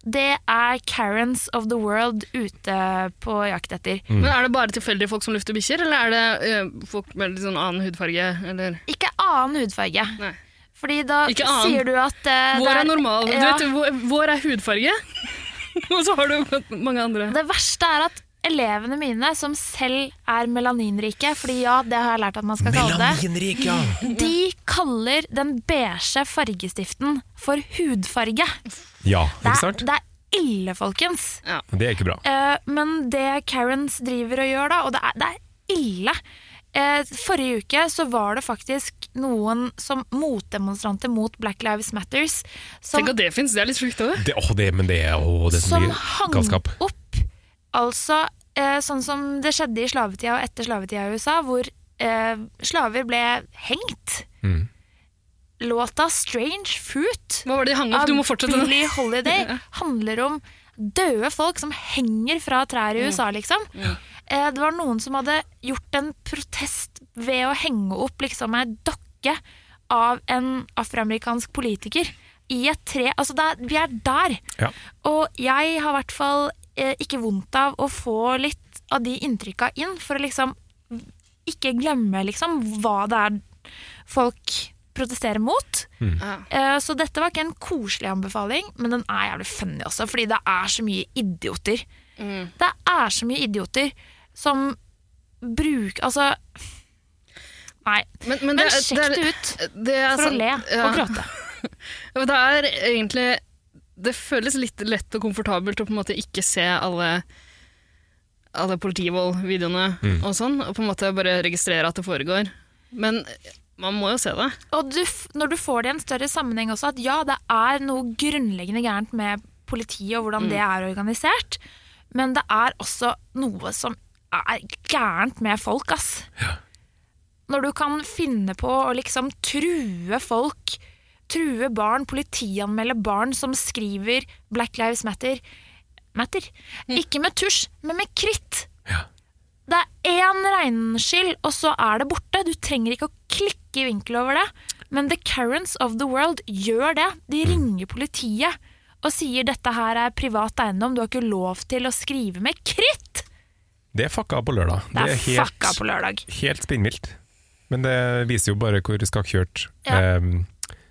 Speaker 1: Det er Karens of the world ute på jakt etter.
Speaker 3: Men Er det bare tilfeldige folk som lufter bikkjer, eller er det eh, folk med litt sånn annen hudfarge? Eller?
Speaker 1: Ikke annen hudfarge.
Speaker 3: Nei.
Speaker 1: Fordi da
Speaker 3: Ikke annen.
Speaker 1: sier du at eh, det
Speaker 3: Vår er normal. Du
Speaker 1: ja.
Speaker 3: vet, vår, vår er hudfarge, og så har du mange andre.
Speaker 1: Det verste er at elevene mine, som selv er melaninrike, fordi ja, det har jeg lært at man skal kalle det.
Speaker 2: Melaninrik, ja!
Speaker 1: De kaller den beige fargestiften for hudfarge.
Speaker 2: Ja,
Speaker 1: Det
Speaker 2: ikke
Speaker 1: er,
Speaker 2: sant?
Speaker 1: det er ille, folkens.
Speaker 2: Det er ikke bra.
Speaker 1: Eh, men det Karens driver og gjør da, og det er, det er ille. Eh, forrige uke så var det faktisk noen som motdemonstranter mot Black Lives Matters som,
Speaker 3: Tenk at det fins, det er litt sjukt òg.
Speaker 2: Det, åh, det, men det er åh, det som
Speaker 1: som
Speaker 2: blir
Speaker 1: hang
Speaker 2: galskap.
Speaker 1: opp Altså eh, sånn som det skjedde i slavetida og etter slavetida i USA, hvor eh, slaver ble hengt.
Speaker 2: Mm.
Speaker 1: Låta 'Strange Fruit'
Speaker 3: Hva var det de hang opp? Du må fortsette.
Speaker 1: av
Speaker 3: nå.
Speaker 1: Billie Holiday handler om døde folk som henger fra trær
Speaker 3: Mm.
Speaker 1: i USA, liksom. Eh, Det var noen som hadde gjort en protest ved å henge opp liksom ei dokke av en afroamerikansk politiker i et tre. Altså, det er, vi er der.
Speaker 2: Ja.
Speaker 1: Og jeg har i hvert fall eh, ikke vondt av å få litt av de inntrykka inn, for å liksom ikke glemme liksom hva det er folk protesterer mot.
Speaker 3: Ja.
Speaker 1: Eh, Så dette var ikke en koselig anbefaling, men den er jævlig funny også, fordi det er så mye idioter.
Speaker 3: Mm.
Speaker 1: Det er så mye idioter som bruker Altså, nei.
Speaker 3: Men, men
Speaker 1: Men
Speaker 3: det, er-
Speaker 1: sjekk
Speaker 3: det,
Speaker 1: det
Speaker 3: er-
Speaker 1: ut
Speaker 3: det er
Speaker 1: for å
Speaker 3: sant.
Speaker 1: le
Speaker 3: Ja.
Speaker 1: og gråte.
Speaker 3: Og Det er egentlig Det føles litt lett og komfortabelt å på en måte ikke se alle alle politivold-videoene
Speaker 2: Mm.
Speaker 3: og sånn, og på en måte bare registrere at det foregår. Men man må jo se det.
Speaker 1: Og du, f- når du får det i en større sammenheng også, at ja, det er noe grunnleggende gærent med politiet og hvordan det er organisert, men det er også noe som er gærent med folk, ass. Når du kan finne på å liksom true folk, true barn, politianmelde barn som skriver Black Lives Matter, matter. ikke med tusj, men med kritt. Det er én regnskyll, og så er det borte. Du trenger ikke å klikke i vinkel over det. Men the Karens of the world gjør det. De
Speaker 2: Mm.
Speaker 1: ringer politiet og sier dette her er privat eiendom, du har ikke lov til å skrive med kritt!
Speaker 2: Det er fucka på lørdag.
Speaker 1: Det er,
Speaker 2: helt,
Speaker 1: fucka på lørdag.
Speaker 2: helt spinnvilt. Men det viser jo bare hvor skakkjørt
Speaker 1: Ja.
Speaker 2: ehm,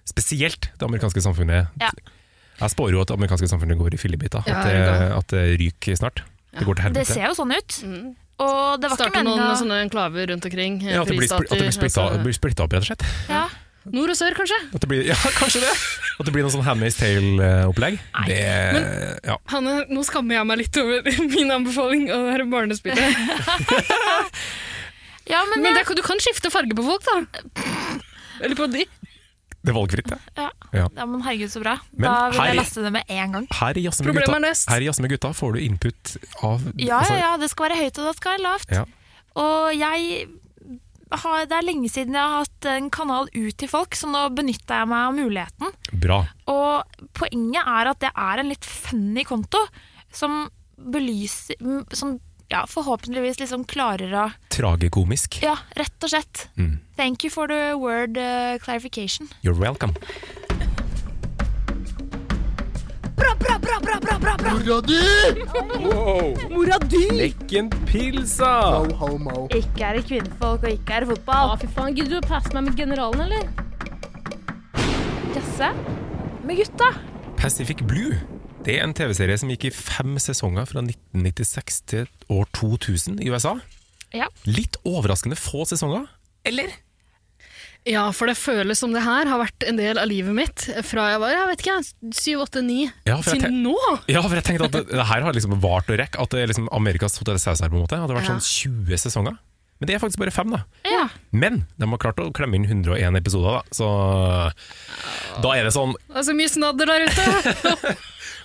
Speaker 2: spesielt det amerikanske samfunnet er.
Speaker 1: Ja.
Speaker 2: Jeg spår jo at det amerikanske samfunnet går i fillebiter.
Speaker 3: Ja,
Speaker 2: at, det,
Speaker 3: det
Speaker 2: at det ryker snart. Det går til
Speaker 1: Det
Speaker 2: helvete.
Speaker 1: ser jo sånn ut. Og det var
Speaker 3: Starte
Speaker 1: ikke
Speaker 3: Mm. noen
Speaker 1: meninga
Speaker 3: sånne enklaver rundt omkring. eh,
Speaker 2: Ja, at det blir, spl- at det blir splitta,
Speaker 3: fristater,
Speaker 2: blir splitta opp, rett og slett.
Speaker 1: ja.
Speaker 3: altså, Nord og sør, kanskje?
Speaker 2: At det blir, ja, kanskje det! At det blir noe sånn Handmaid's Tale-opplegg. Det ja.
Speaker 3: Hanne, nå skammer jeg meg litt over min anbefaling av det her barnespillet.
Speaker 1: ja, men,
Speaker 3: Men
Speaker 1: jeg-
Speaker 3: det, er- du kan skifte farge på folk, da. Eller på de.
Speaker 2: Det er valgfritt, det.
Speaker 1: ja.
Speaker 2: Ja.
Speaker 1: Ja, men herregud, så bra.
Speaker 2: Men
Speaker 1: da vil
Speaker 2: her-
Speaker 1: jeg laste det med en gang.
Speaker 2: Her i Jazz med
Speaker 3: Problemet er
Speaker 2: gutta,
Speaker 3: løst.
Speaker 2: her i Jazz med gutta får du input av
Speaker 1: Ja,
Speaker 2: altså,
Speaker 1: ja, ja. Det skal være høyt, og det skal være lavt.
Speaker 2: Ja.
Speaker 1: Og jeg har, Det er lenge siden jeg har hatt en kanal ut til folk, så nå benytter jeg meg av muligheten.
Speaker 2: altså, Bra.
Speaker 1: Og poenget er at det er en litt funny konto som belyser m- Som ja, forhåpentligvis liksom klarer å
Speaker 2: Tragekomisk.
Speaker 1: Ja, rett og slett.
Speaker 2: Mm.
Speaker 1: Thank you for the word eh, clarification.
Speaker 2: You're welcome.
Speaker 5: Mora di!
Speaker 2: Lekken pilsa!
Speaker 7: Ikke er det kvinnfolk, og ikke er det fotball.
Speaker 5: Ja, fy faen. Gidder du å passe meg med generalen, eller?
Speaker 1: Pause med gutta.
Speaker 2: Pacific Blue det er en TV-serie som gikk i fem sesonger fra 1996 til år 2000 i USA.
Speaker 1: Ja.
Speaker 2: Litt overraskende få sesonger. Eller?
Speaker 3: Ja, for det føles som det her har vært en del av livet mitt fra jeg var jeg vet ikke, 7-8-9
Speaker 2: Ja, for jeg
Speaker 3: til
Speaker 2: tenk-
Speaker 3: nå.
Speaker 2: Ja, for jeg tenkte at det, det her har liksom vart å rekke. At det er liksom Amerikas Hotell Saus her, på en måte. Hadde vært
Speaker 3: Ja.
Speaker 2: sånn 20 sesonger. Men det er faktisk bare fem, da.
Speaker 1: Ja.
Speaker 2: Men de har klart å klemme inn 101 episoder, da. Så da er det sånn
Speaker 3: Det er så mye snadder der ute.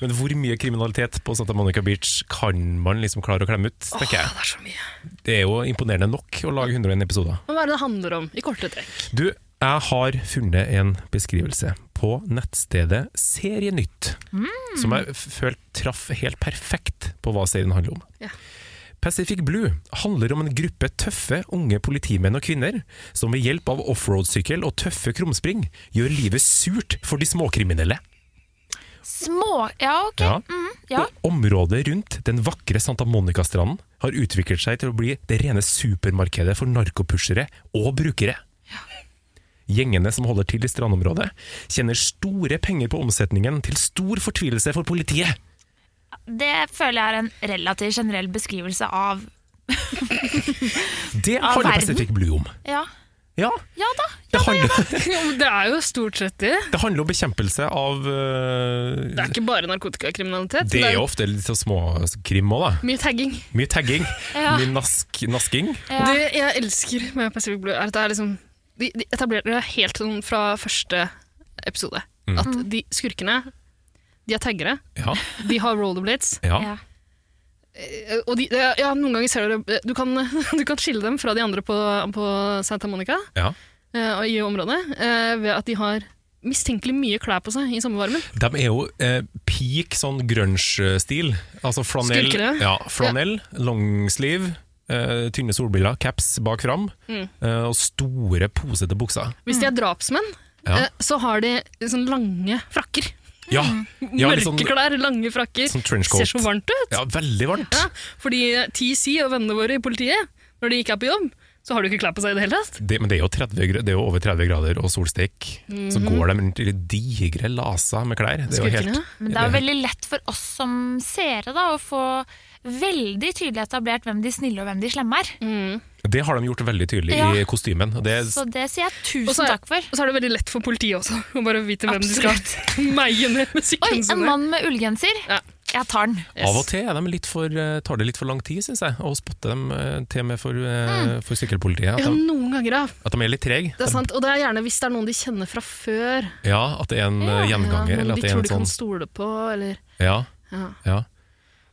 Speaker 2: Men hvor mye kriminalitet på Santa Monica Beach kan man liksom klare å klemme ut, tenker jeg.
Speaker 3: det er så mye.
Speaker 2: Det er jo imponerende nok å lage 101 episoder.
Speaker 3: Men hva er det det handler om, i korte trekk?
Speaker 2: Du, jeg har funnet en beskrivelse på nettstedet Serienytt, som jeg f- følte traff helt perfekt på hva serien handler om.
Speaker 3: Ja.
Speaker 2: Pacific Blue handler om en gruppe tøffe unge politimenn og kvinner som ved hjelp av offroad-sykkel og tøffe krumspring gjør livet surt for de småkriminelle.
Speaker 1: Små Ja, ok.
Speaker 2: Ja.
Speaker 1: Mm, ja.
Speaker 2: Og området rundt den vakre Santa Monica-stranden har utviklet seg til å bli det rene supermarkedet for narkopushere og brukere. Gjengene som holder til i strandområdet, tjener store penger på omsetningen til stor fortvilelse for politiet.
Speaker 1: Det føler jeg er en relativt generell beskrivelse av
Speaker 2: Det
Speaker 1: Av
Speaker 2: handler
Speaker 1: verden?
Speaker 2: Pacific Blue om.
Speaker 1: Ja,
Speaker 2: Ja,
Speaker 1: ja da.
Speaker 2: det handler,
Speaker 3: Jo, men Det er jo stort sett det.
Speaker 2: det handler om bekjempelse av
Speaker 3: Det
Speaker 2: øh,
Speaker 3: er ikke bare narkotikakriminalitet.
Speaker 2: Det er
Speaker 3: jo
Speaker 2: jo ofte litt sånn småkrim òg, da.
Speaker 3: mye tagging.
Speaker 2: Mye tagging,
Speaker 1: Ja.
Speaker 2: mye nask, nasking.
Speaker 1: Ja.
Speaker 3: Det jeg elsker med Pacific Blue, er at det er liksom De, de etablerer det helt sånn fra første episode.
Speaker 2: Mm.
Speaker 3: At de skurkene De er taggere,
Speaker 2: Ja,
Speaker 3: de har rollerblades.
Speaker 2: ja.
Speaker 1: Ja.
Speaker 3: eh, Og de, eh, ja, noen ganger ser du Du kan, du kan skille dem fra de andre på, på Santa Monica
Speaker 2: ja.
Speaker 3: eh, og i området eh, ved at de har mistenkelig mye klær på seg i sommervarmen.
Speaker 2: De er jo eh, peak sånn grunge-stil. Altså flanell,
Speaker 3: Skurkene.
Speaker 2: ja, flanell longsleeve, eh, tynne solbriller, caps bak fram,
Speaker 3: Mm.
Speaker 2: eh, og store, posete bukser.
Speaker 3: Hvis de er drapsmenn,
Speaker 2: Mm. Ja.
Speaker 3: eh, så har de sånn lange frakker.
Speaker 2: Ja, ja
Speaker 3: Mørke
Speaker 2: litt sånn,
Speaker 3: klær, lange frakker.
Speaker 2: sånn trenchcoat.
Speaker 3: Ser så varmt ut.
Speaker 2: Ja, veldig varmt.
Speaker 3: Ja, fordi TC og vennene våre i politiet, når de ikke er på jobb, så har du ikke klær på seg i det hele tatt.
Speaker 2: Det, men det er, jo 30, gra- det er jo over 30 grader og solstek. Så går de rundt i digre laser med klær. Det er jo helt,
Speaker 3: Skurkene.
Speaker 1: Men det er jo veldig lett for oss som seere da, å få veldig tydelig etablert hvem de snille og hvem de slemme er.
Speaker 3: Mm.
Speaker 2: det har de gjort veldig tydelig
Speaker 1: Ja.
Speaker 2: i kostymen. Og det,
Speaker 1: Så det sier jeg
Speaker 3: Og så
Speaker 1: tusen
Speaker 3: er-
Speaker 1: takk for.
Speaker 3: Og så er det veldig lett for politiet også, å bare vite hvem de skal meie ned med
Speaker 1: Oi,
Speaker 3: sykkelen
Speaker 1: en
Speaker 3: sin.
Speaker 1: mann med ullgenser.
Speaker 3: Ja.
Speaker 1: Jeg tar den.
Speaker 2: Av og til er de litt for, eh, tar det litt for lang tid, syns jeg, å spotte dem eh, til og med for, eh, for sykkelpolitiet. At
Speaker 3: Ja,
Speaker 2: de,
Speaker 3: noen ganger, ja.
Speaker 2: at de er litt trege.
Speaker 3: Det er sant, og det er gjerne hvis det er noen de kjenner fra før.
Speaker 2: Ja, at det er en eh, gjenganger.
Speaker 3: ja,
Speaker 2: eller
Speaker 3: noen
Speaker 2: at
Speaker 3: de
Speaker 2: det er en
Speaker 3: tror de kan
Speaker 2: sånn
Speaker 3: stole på, eller...
Speaker 2: Ja,
Speaker 3: Ja.
Speaker 2: ja.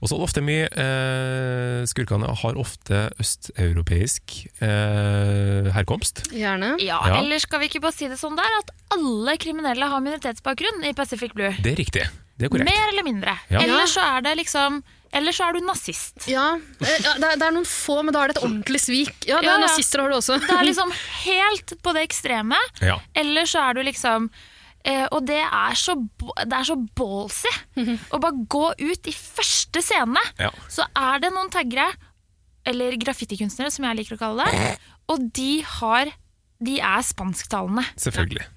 Speaker 2: Og så er det ofte mye eh, Skurkene har ofte østeuropeisk eh, herkomst.
Speaker 3: Gjerne.
Speaker 1: Ja,
Speaker 2: Ja.
Speaker 1: Eller skal vi ikke bare si det sånn der at alle kriminelle har minoritetsbakgrunn i Pacific Blue?
Speaker 2: Det er riktig. Det er korrekt.
Speaker 1: Mer eller mindre.
Speaker 2: Ja.
Speaker 1: Eller så er det liksom Eller så er du nazist.
Speaker 3: Ja, eh, ja det, er, det er noen få, men da er det et ordentlig svik. Ja, det
Speaker 1: Ja,
Speaker 3: er
Speaker 1: ja.
Speaker 3: nazister har du også.
Speaker 1: Det er liksom helt på det ekstreme.
Speaker 2: Ja.
Speaker 1: Eller så er du liksom eh, Og det er så, bo- det er så ballsy å bare gå ut i første scene.
Speaker 2: Ja.
Speaker 1: Så er det noen taggere, eller graffitikunstnere som jeg liker å kalle det, og de har De er spansktalende.
Speaker 2: Selvfølgelig.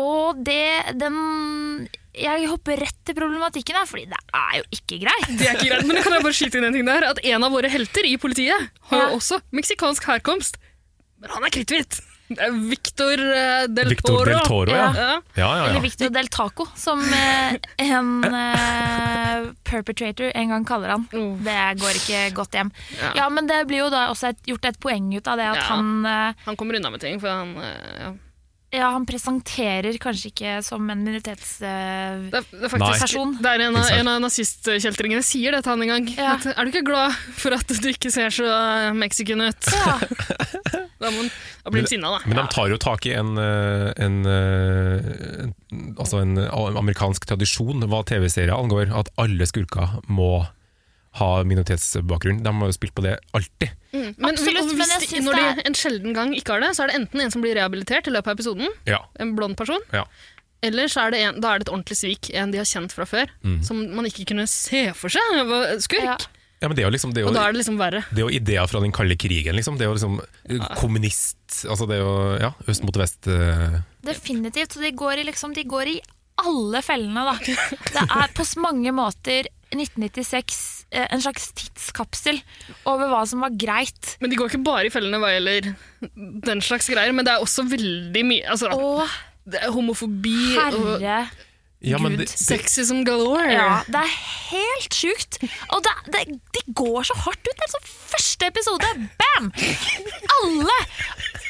Speaker 1: Og det Den Jeg hopper rett til problematikken her, fordi det er jo ikke greit.
Speaker 3: Det er ikke greit, men kan jeg bare skyte inn en ting der? At en av våre helter i politiet har
Speaker 1: Ja.
Speaker 3: jo også meksikansk herkomst, men han er kritthvit. Det er Victor eh, Del
Speaker 2: Victor
Speaker 3: Toro.
Speaker 2: del Toro, ja.
Speaker 3: Ja.
Speaker 2: Ja, ja,
Speaker 1: Eller
Speaker 2: ja.
Speaker 1: Victor del Taco, som eh, en eh, perpetrator en gang kaller han.
Speaker 3: Uff.
Speaker 1: Det går ikke godt hjem.
Speaker 3: Ja.
Speaker 1: Ja, men det blir jo da også et, gjort et poeng ut av det at
Speaker 3: Ja.
Speaker 1: han eh,
Speaker 3: Han kommer unna med ting, for han eh, ja.
Speaker 1: Ja, han presenterer kanskje ikke som en minoritets... eh,
Speaker 3: det, er, det er
Speaker 2: Nei.
Speaker 3: faktisk
Speaker 1: Person.
Speaker 3: Det er en av,
Speaker 2: Ikke sant.
Speaker 3: en av nazistkjeltringene sier det til han en gang.
Speaker 1: Ja.
Speaker 3: At, er du ikke glad for at du ikke ser så eh, mexican ut?
Speaker 1: ja.
Speaker 3: Da, må, han- da blir han sinna, da.
Speaker 2: Men de tar jo tak i en, eh, en, eh, en Altså en a- amerikansk tradisjon hva TV-serier angår, at alle skurker må ha minoritetsbakgrunn. De har jo spilt på det alltid.
Speaker 3: Mm. Men,
Speaker 1: Absolutt,
Speaker 3: og
Speaker 1: men
Speaker 3: hvis
Speaker 1: jeg
Speaker 3: de,
Speaker 1: synes
Speaker 3: når
Speaker 1: det
Speaker 3: de en sjelden gang ikke har det, så er det enten en som blir rehabilitert i løpet av episoden,
Speaker 2: Ja.
Speaker 3: en blond person,
Speaker 2: ja.
Speaker 3: Eller så er det, en, da er det et ordentlig svik, en de har kjent fra før,
Speaker 2: Mm.
Speaker 3: som man ikke kunne se for seg var skurk.
Speaker 1: Ja.
Speaker 2: ja men det er jo liksom det er jo,
Speaker 3: Og da er det liksom verre.
Speaker 2: Det er jo ideer fra den kalde krigen, liksom. Det er jo liksom eh,
Speaker 1: Ah.
Speaker 2: kommunist Altså det er jo ja, øst mot vest. eh,
Speaker 1: Definitivt. Så de går i liksom De går i alle fellene, da. Det er på så mange måter 1996 eh, en slags tidskapsel over hva som var greit.
Speaker 3: Men de går ikke bare i fellene hva gjelder den slags greier, men det er også veldig mye altså,
Speaker 1: Å,
Speaker 3: det er Homofobi og
Speaker 1: herre
Speaker 2: Ja, men det, det,
Speaker 3: sexism galore.
Speaker 1: Ja, det er helt sjukt. Og det, det, de går så hardt ut. Altså, første episode, bam! Alle,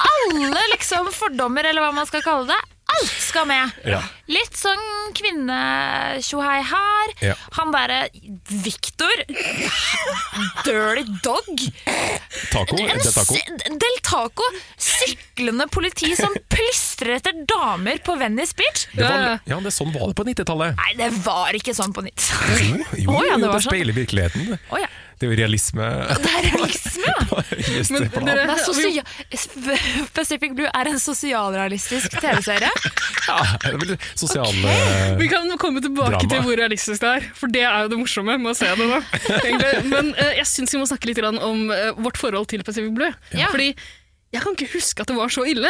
Speaker 1: alle liksom fordommer, eller hva man skal kalle det. Alt skal med.
Speaker 2: Ja.
Speaker 1: Litt sånn kvinnetjohei her.
Speaker 2: Ja.
Speaker 1: Han derre Victor. Dirty dog.
Speaker 2: taco,
Speaker 1: En
Speaker 2: det er taco.
Speaker 1: sy- Del Taco. Syklende politi som plystrer etter damer på Venice Beach.
Speaker 2: Det
Speaker 3: Ja, ja.
Speaker 2: var, ja, det, sånn var det på 90-tallet.
Speaker 1: Nei, det var ikke sånn på nytt. Å,
Speaker 2: Jo, jo,
Speaker 1: ja, det
Speaker 2: det,
Speaker 1: var sånn.
Speaker 2: speiler virkeligheten.
Speaker 1: Å ja.
Speaker 2: Det er jo realisme
Speaker 1: Det er realisme, ja.
Speaker 2: på høyeste
Speaker 3: Men
Speaker 2: plan.
Speaker 3: dere-
Speaker 1: Det er sosia Sp- Pacific Blue er en sosialrealistisk TV-serie.
Speaker 2: Ja, det er vel sosiale
Speaker 3: Vi kan komme tilbake
Speaker 2: Drama.
Speaker 3: til hvor realistisk det er, for det er jo det morsomme med å se det nå. egentlig. Men eh, jeg syns vi må snakke litt grann om eh, vårt forhold til Pacific Blue.
Speaker 1: Ja.
Speaker 3: Fordi jeg kan ikke huske at det var så ille.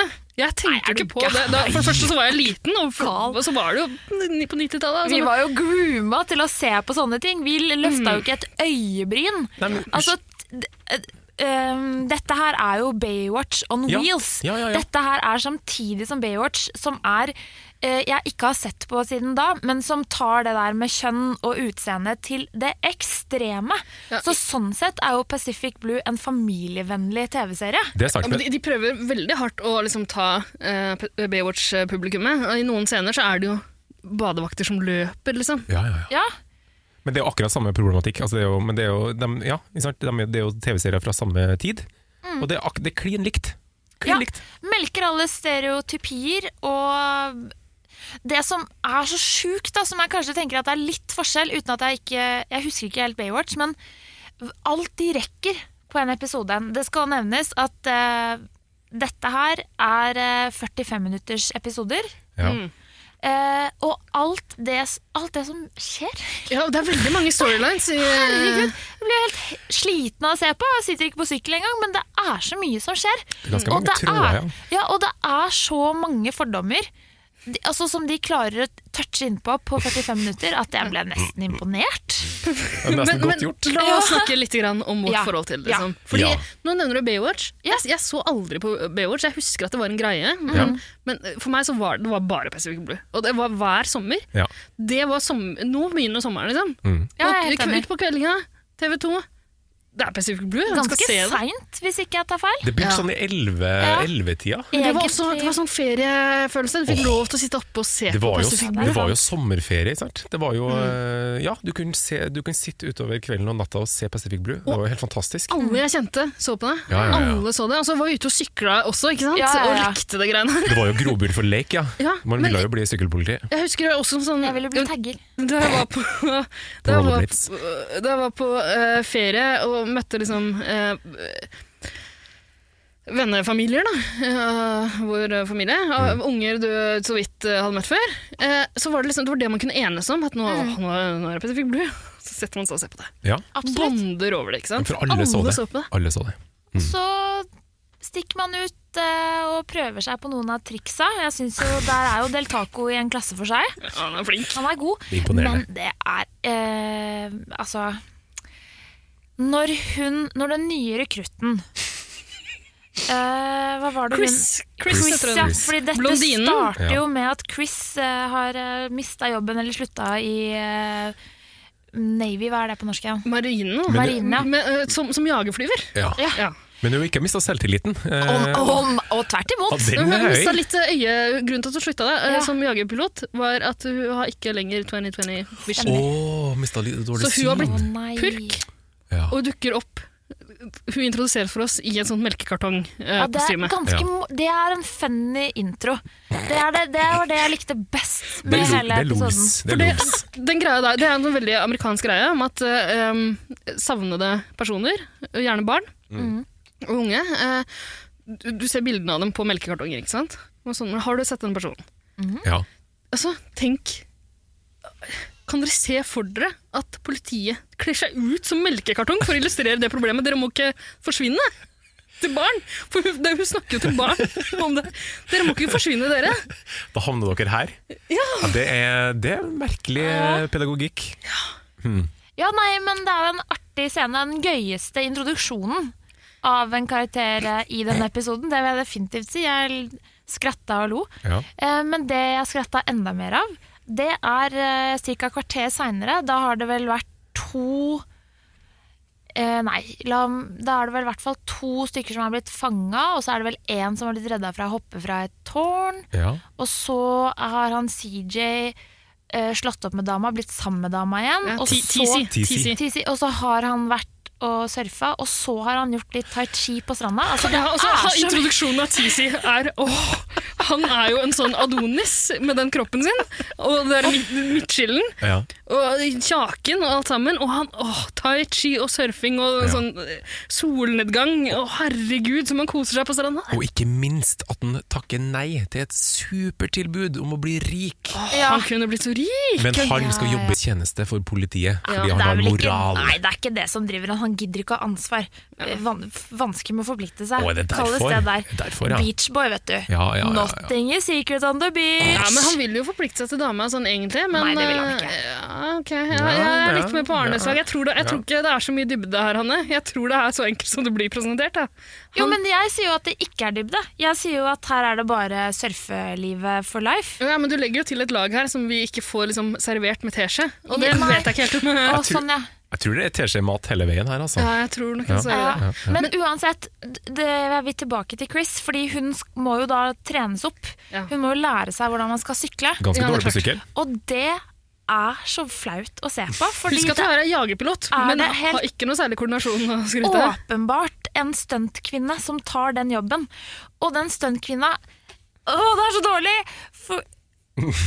Speaker 1: Nei,
Speaker 3: Jeg
Speaker 1: er
Speaker 3: tenker
Speaker 1: du
Speaker 3: ikke på det. Da, for det første så var jeg liten,
Speaker 1: Gal.
Speaker 3: og for, og så var det jo ni- på 90-tallet.
Speaker 1: Vi
Speaker 3: Altså,
Speaker 1: var jo grooma til å se på sånne ting. Vi løfta
Speaker 2: Mm.
Speaker 1: jo ikke et øyebryn. Altså, t- d- eh, um, dette her er jo Baywatch on
Speaker 2: Ja.
Speaker 1: wheels.
Speaker 2: Ja, ja, ja.
Speaker 1: Dette her er samtidig som Baywatch, som er eh, jeg ikke har sett på siden da, men som tar det der med kjønn og utseende til det ekstreme. Så sånn sett er jo Pacific Blue en familievennlig TV-serie.
Speaker 2: Det er
Speaker 3: Ja,
Speaker 2: sterkt,
Speaker 3: men
Speaker 2: men
Speaker 3: de, de prøver veldig hardt å liksom ta eh, P- Baywatch-publikummet. Og I noen scener så er det jo badevakter som løper, liksom.
Speaker 2: ja, ja, ja.
Speaker 1: Ja,
Speaker 2: Men det er jo akkurat samme problematikk. Altså det er jo, men det er jo, dem- ja, ikke sant? Dem er- det er jo TV-serier fra samme tid, og det er, ak- det er klin likt. Klin
Speaker 1: Mm. Ja.
Speaker 2: likt.
Speaker 1: melker alle stereotypier og det som er så sjukt, da, som jeg kanskje tenker at det er litt forskjell, uten at jeg ikke Jeg husker ikke helt Baywatch, men alt de rekker på en episode. Det skal nevnes at eh, dette her er eh, 45 minutters episoder.
Speaker 2: Ja.
Speaker 1: Mm. eh, og alt det, alt det som skjer
Speaker 3: Ja, det er veldig mange storylines. I,
Speaker 1: Herregud, jeg blir helt sliten av å se på. Jeg sitter ikke på sykkel engang, men det er så mye som skjer.
Speaker 2: Det er ganske
Speaker 1: Og
Speaker 2: mange
Speaker 1: det,
Speaker 2: tråder,
Speaker 1: er,
Speaker 2: ja.
Speaker 1: ja, og det er så mange fordommer de, altså, som de klarer å touche innpå på 45 minutter, at jeg ble nesten imponert.
Speaker 2: Det er nesten
Speaker 3: Men-
Speaker 2: godt
Speaker 3: men
Speaker 2: gjort.
Speaker 3: La oss snakke litt grann om vårt
Speaker 1: Ja.
Speaker 3: forhold til det.
Speaker 1: Ja.
Speaker 3: Liksom. Fordi,
Speaker 2: Ja.
Speaker 3: Nå nevner du Baywatch.
Speaker 1: Ja.
Speaker 3: Jeg, jeg så aldri på Baywatch. Jeg husker at det var en greie.
Speaker 2: Ja.
Speaker 3: Men, men, eh, for meg så var det, det var bare Pacific Blue. Og det var hver sommer.
Speaker 2: Ja.
Speaker 3: Det var som- nå begynner sommeren, liksom.
Speaker 2: Mm.
Speaker 1: Ja,
Speaker 3: og
Speaker 1: jeg er helt
Speaker 3: k-
Speaker 1: enig.
Speaker 3: ut på kveldinga, TV 2. Det er Pacific Blue. man skal
Speaker 1: Ganske
Speaker 3: se det.
Speaker 1: seint, hvis ikke jeg tar feil.
Speaker 2: Det begynte sånn i 11 11-tida.
Speaker 3: Men det var også
Speaker 1: Egentlig-
Speaker 3: det var sånn feriefølelse. Du fikk
Speaker 2: Åh.
Speaker 3: lov til å sitte oppe og se
Speaker 2: Det
Speaker 3: på
Speaker 2: var, jo,
Speaker 3: Pacific Blue.
Speaker 2: det var jo sommerferie, ikke sant? Det var jo, eh, ja, du kunne, se, du kunne sitte utover kvelden og natta og se Pacific Blue. Det var jo helt fantastisk.
Speaker 3: Alle jeg kjente, så på det.
Speaker 2: Ja, ja, ja.
Speaker 3: Alle så det. Og så var vi ute og sykla også, ikke sant?
Speaker 1: Ja, ja, ja.
Speaker 3: og likte det greiene.
Speaker 2: Det var jo grobunn for lek, ja.
Speaker 3: Ja,
Speaker 2: Man
Speaker 3: men-
Speaker 2: ville jo bli sykkelpoliti.
Speaker 3: Jeg husker også sånn
Speaker 1: Jeg ville bli tagger.
Speaker 3: Da jeg var på, da jeg var,
Speaker 2: rollerblades.
Speaker 3: da jeg var på eh, ferie og møtte liksom eh, Vennefamilier, da. eh, vår familie. av Unger du så vidt eh, hadde møtt før. Eh, så var det liksom, det var det man kunne enes om. At nå, mm. nå, nå er det Pacific Blue. Så setter man seg og ser på det.
Speaker 2: Ja,
Speaker 1: Absolutt.
Speaker 3: Bonder over det, ikke sant.
Speaker 2: for alle så det.
Speaker 3: på det.
Speaker 2: Alle så det.
Speaker 1: Så stikker man ut eh, og prøver seg på noen av triksa. Jeg synes jo, Der er jo Del Taco i en klasse for seg.
Speaker 3: Ja, han er flink.
Speaker 1: Han er god,
Speaker 2: Det er
Speaker 1: men
Speaker 2: imponerende.
Speaker 1: det er eh, Altså Når hun Når den nye rekrutten eh, Hva var det
Speaker 3: Chris,
Speaker 1: hun
Speaker 3: Chris,
Speaker 1: Chris,
Speaker 3: heter
Speaker 1: ja,
Speaker 3: hun.
Speaker 1: fordi dette
Speaker 3: Blondinen.
Speaker 1: starter
Speaker 2: Ja.
Speaker 1: jo med at Chris eh, har uh, mista jobben eller slutta i eh, Navy, hva er det på norsk? Ja?
Speaker 3: Marinen. da.
Speaker 1: Marinen, ja.
Speaker 3: Men, eh, som, som jagerflyver.
Speaker 2: Ja.
Speaker 1: Ja.
Speaker 3: Ja.
Speaker 2: Men du har ikke mista selvtilliten. Eh,
Speaker 1: Og, og, og tvert
Speaker 2: ja,
Speaker 1: imot!
Speaker 2: den
Speaker 3: Hun
Speaker 2: er
Speaker 3: mista
Speaker 2: høy.
Speaker 3: litt øye Grunnen til at hun slutta det, eh,
Speaker 1: Ja.
Speaker 3: som jagerpilot, var at hun har ikke lenger 2020 vision.
Speaker 2: Å, mista litt dårlig
Speaker 3: Så hun har blitt-
Speaker 1: Å
Speaker 2: syn.
Speaker 1: nei.
Speaker 3: Purk.
Speaker 2: Ja.
Speaker 3: Og dukker opp Hun introduserer for oss i en sånn
Speaker 1: Ja, det, er
Speaker 3: melkekartongkostyme.
Speaker 1: ganske,
Speaker 2: Ja.
Speaker 1: mo- det er en funny intro. Det, er det, det var det jeg likte best med
Speaker 2: Det er lo-
Speaker 1: hele
Speaker 2: det er
Speaker 1: episoden.
Speaker 2: lols. Det er lols.
Speaker 3: den greia der, det er en sånn veldig amerikansk greie om at eh, em, savnede personer, gjerne barn
Speaker 2: Mm.
Speaker 1: Mm.
Speaker 3: og unge eh, du, du ser bildene av dem på melkekartonger, ikke sant? Og sånn, har du sett den personen?
Speaker 2: Ja.
Speaker 3: Altså, tenk Kan dere se for dere at politiet kler seg ut som melkekartong for å illustrere det problemet? Dere må ikke forsvinne! til barn! For hun, det, hun snakker jo til barn om det. Dere må ikke forsvinne, dere.
Speaker 2: Da havner dere her. Ja, det, er, det er merkelig eh, pedagogikk.
Speaker 1: Ja, nei, men det er jo en artig scene. Den gøyeste introduksjonen av en karakter eh, i denne episoden. Det vil jeg definitivt si. Jeg l- skratta og lo.
Speaker 2: Ja.
Speaker 1: Eh, Men det jeg skratta enda mer av, det er ca. et kvarter seinere. Da har det vel vært to eh, Nei, la, da er det vel i hvert fall to stykker som har blitt fanga, og så er det vel én som har blitt redda fra å hoppe fra et tårn.
Speaker 2: Ja.
Speaker 1: Og så har han CJ eh, slått opp med dama, blitt sammen med dama igjen.
Speaker 3: Ja,
Speaker 1: og,
Speaker 3: ti-
Speaker 1: så,
Speaker 3: TC.
Speaker 2: TC.
Speaker 1: TC, og så har han vært og surfa, og så har han gjort litt tai chi på stranda. Altså, det
Speaker 3: Ja, altså,
Speaker 1: er så mye-
Speaker 3: introduksjonen av TC er åh, Han er jo en sånn Adonis med den kroppen sin, og det er mid- midtskillen.
Speaker 2: Ja.
Speaker 3: Og kjaken og alt sammen. Og han, åh, tai chi og surfing og
Speaker 2: Ja.
Speaker 3: sånn eh, solnedgang. Å, herregud, som han koser seg på stranda.
Speaker 2: Og ikke minst at han takker nei til et supertilbud om å bli rik.
Speaker 1: ja.
Speaker 3: Han kunne blitt så rik!
Speaker 2: Men han skal
Speaker 1: Ja, ja.
Speaker 2: jobbe i tjeneste for politiet,
Speaker 1: Ja,
Speaker 2: fordi
Speaker 1: det
Speaker 2: han
Speaker 1: er
Speaker 2: har
Speaker 1: vel ikke,
Speaker 2: moral.
Speaker 1: nei, det er ikke det som driver han. Han gidder ikke å ha ansvar. Eh, Van, vanskelig med å forplikte seg.
Speaker 2: Å, er det
Speaker 1: Kalles
Speaker 2: derfor?
Speaker 1: det der.
Speaker 2: Derfor, ja.
Speaker 1: Beachboy, vet du.
Speaker 2: Ja, ja, ja, ja.
Speaker 1: Nothing is secret on the beach.
Speaker 3: Ja, men Han vil jo forplikte seg til dama sånn egentlig, men
Speaker 1: Nei, det vil han ikke.
Speaker 3: eh, Ja, ok. ja,
Speaker 2: Ja,
Speaker 3: jeg er
Speaker 2: ja,
Speaker 3: litt med på Arnes
Speaker 2: ja.
Speaker 3: lag. Jeg, tror det- jeg tror ikke det er så mye dybde her, Hanne. Jeg tror det er så enkelt som det blir presentert. Da.
Speaker 1: Jo, men jeg sier jo at det ikke er dybde. Jeg sier jo at her er det bare surfelivet for life.
Speaker 3: Ja, men du legger jo til et lag her som vi ikke får liksom, servert med teskje. Og det
Speaker 1: Ja, nei.
Speaker 3: vet jeg ikke helt om
Speaker 1: Å,
Speaker 3: jeg-
Speaker 1: sånn, ja.
Speaker 2: Jeg tror det er teskjemat hele veien her, altså.
Speaker 3: Ja, jeg tror nok
Speaker 2: Ja.
Speaker 3: jeg sa det.
Speaker 1: Ja. Men uansett, d- det er vi tilbake til Chris, fordi hun sk- må jo da trenes opp.
Speaker 3: Ja.
Speaker 1: Hun må jo lære seg hvordan man skal sykle.
Speaker 2: Ganske
Speaker 3: Ja, det er
Speaker 2: dårlig på
Speaker 3: klart.
Speaker 2: sykkel.
Speaker 1: Og det er så flaut å se på. Fordi
Speaker 3: Husk at
Speaker 1: det
Speaker 3: jeg er jagerpilot,
Speaker 1: Er
Speaker 3: men
Speaker 1: det
Speaker 3: har
Speaker 1: helt-
Speaker 3: ikke noe særlig koordinasjon å
Speaker 1: er
Speaker 3: skryte av.
Speaker 1: åpenbart en stuntkvinne som tar den jobben. Og den stuntkvinna Å, det er så dårlig! For,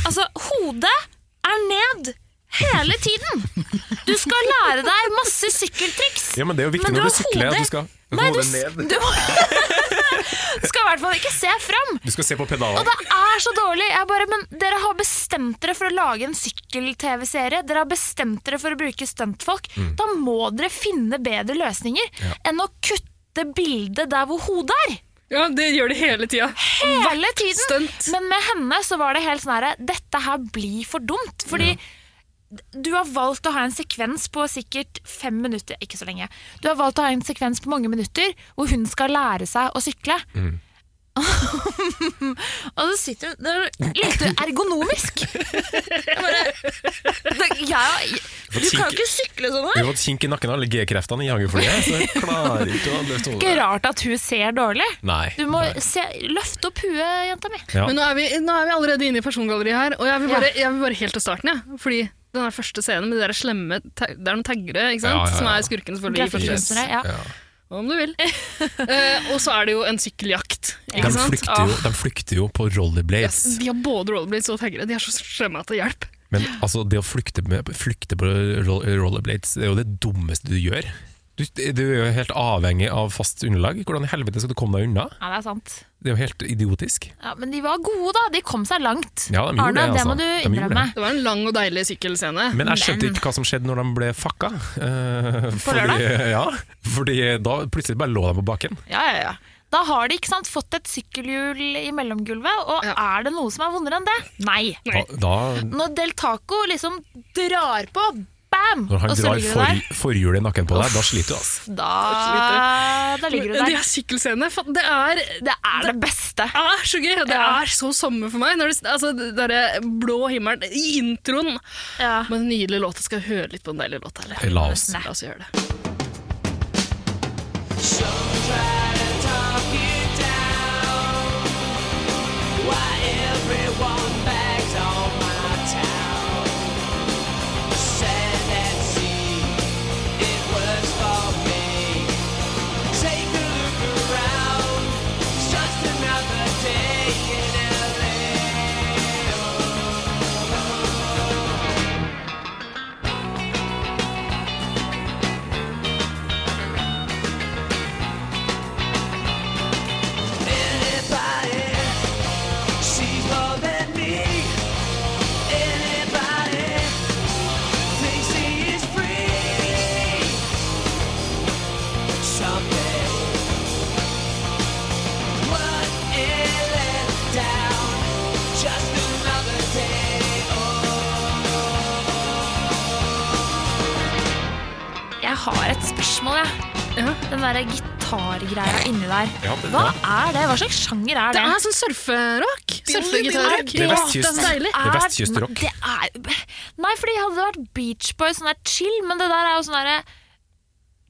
Speaker 1: altså, hodet er ned hele tiden! Du skal lære deg masse sykkeltriks.
Speaker 2: Ja, men det er jo viktig
Speaker 1: Men du
Speaker 2: når du
Speaker 1: har
Speaker 2: sykler at
Speaker 1: hodet-
Speaker 2: du skal
Speaker 1: Nei, du,
Speaker 2: hodet
Speaker 1: s-
Speaker 2: ned.
Speaker 1: du skal i hvert fall ikke se fram.
Speaker 2: Du skal se på
Speaker 1: Og
Speaker 2: pedalene.
Speaker 1: det er så dårlig. Jeg bare, men dere har bestemt dere for å lage en sykkel-TV-serie. Dere har bestemt dere for å bruke stuntfolk. Da må dere finne bedre løsninger enn å kutte bildet der hvor hodet er.
Speaker 3: Ja, det gjør de hele tida.
Speaker 1: Hele tiden.
Speaker 3: stunt.
Speaker 1: Men med henne så var det helt sånn herre Dette her blir for dumt. Fordi du har valgt å ha en sekvens på sikkert fem minutter Ikke så lenge. Du har valgt å ha en sekvens på mange minutter hvor hun skal lære seg å sykle. og så sitter hun Det er lite ergonomisk. Jeg bare, det, jeg, du kan jo ikke sykle sånn
Speaker 2: Du
Speaker 1: her.
Speaker 2: har fått kink i nakken av alle G-kreftene i jagerflyet, så jeg klarer ikke å løfte
Speaker 1: Det er
Speaker 2: hodet.
Speaker 1: ikke rart at hun ser dårlig.
Speaker 2: Nei.
Speaker 1: Du må
Speaker 2: nei.
Speaker 1: se, løfte opp huet, jenta mi.
Speaker 2: Ja.
Speaker 3: Men nå er, vi, nå er vi allerede inne i persongalleriet her, og jeg vil bare, jeg vil bare helt til starten, jeg. Fordi den her første scenen med de der slemme ta- Det er noen taggere, ikke
Speaker 2: Ja,
Speaker 3: sant?
Speaker 2: ja, ja.
Speaker 3: Som er skurken, selvfølgelig. i første
Speaker 2: Yes.
Speaker 1: Grafikkkunstnere, ja.
Speaker 2: Ja.
Speaker 3: Om du vil. Eh, og så er det jo en sykkeljakt. Ikke
Speaker 2: De
Speaker 3: sant?
Speaker 2: flykter, jo, de flykter jo på rollerblades.
Speaker 3: Ah, de har både rollerblades og taggere. De er så slemme at det hjelper.
Speaker 2: Men altså, det å flykte, med, flykte på roll- rollerblades Det er jo det dummeste du gjør. Du, du er jo helt avhengig av fast underlag. Hvordan i helvete skal du komme deg unna?
Speaker 1: ja, det er sant.
Speaker 2: Det er jo helt idiotisk.
Speaker 1: Ja, Men de var gode, da. De kom seg langt.
Speaker 2: Ja, de gjorde
Speaker 1: Arne,
Speaker 2: det, altså.
Speaker 1: må du
Speaker 2: De gjorde
Speaker 1: innrømme.
Speaker 3: Det var en lang og deilig sykkelscene.
Speaker 2: Men jeg skjønte ikke hva som skjedde når de ble fakka. eh, fordi,
Speaker 1: lørdag?
Speaker 2: ja, fordi da plutselig bare lå de på bakken.
Speaker 1: Ja, ja, ja. Da har de ikke sant, fått et sykkelhjul i mellomgulvet, og er det noe som er vondere enn det? Nei.
Speaker 2: Da, da,
Speaker 1: Når Del Taco liksom drar på, bam!
Speaker 2: når han
Speaker 1: og så
Speaker 2: drar
Speaker 1: ligger du der.
Speaker 2: for, forhjulet i nakken på deg, da sliter du. Altså.
Speaker 1: Da, da ligger du
Speaker 3: De
Speaker 1: der.
Speaker 3: er sykkelscene. fa- Det er
Speaker 1: Det er det beste.
Speaker 3: Det er så gøy, og det
Speaker 1: Ja.
Speaker 3: er så sommer for meg. Når det, altså, det derre blå himmelen i introen.
Speaker 1: Ja.
Speaker 3: Med den nydelige låta. Skal vi høre litt på den deilige låta, eller?
Speaker 2: La oss.
Speaker 3: La oss gjøre det.
Speaker 6: Take
Speaker 1: har et spørsmål, jeg.
Speaker 3: Ja.
Speaker 1: Den derre gitargreia inni der.
Speaker 2: Ja,
Speaker 1: Hva er det? Hva slags sjanger er
Speaker 3: Det
Speaker 1: det?
Speaker 3: er sånn surferock.
Speaker 1: det-
Speaker 3: Surfegitarock.
Speaker 1: det er
Speaker 3: Det er
Speaker 2: vestkyst.
Speaker 3: så deilig.
Speaker 2: Det er vestkystrock.
Speaker 1: Nei, det er- Nei, fordi hadde det vært Beach Boys, sånn der chill, men det der er jo sånn derre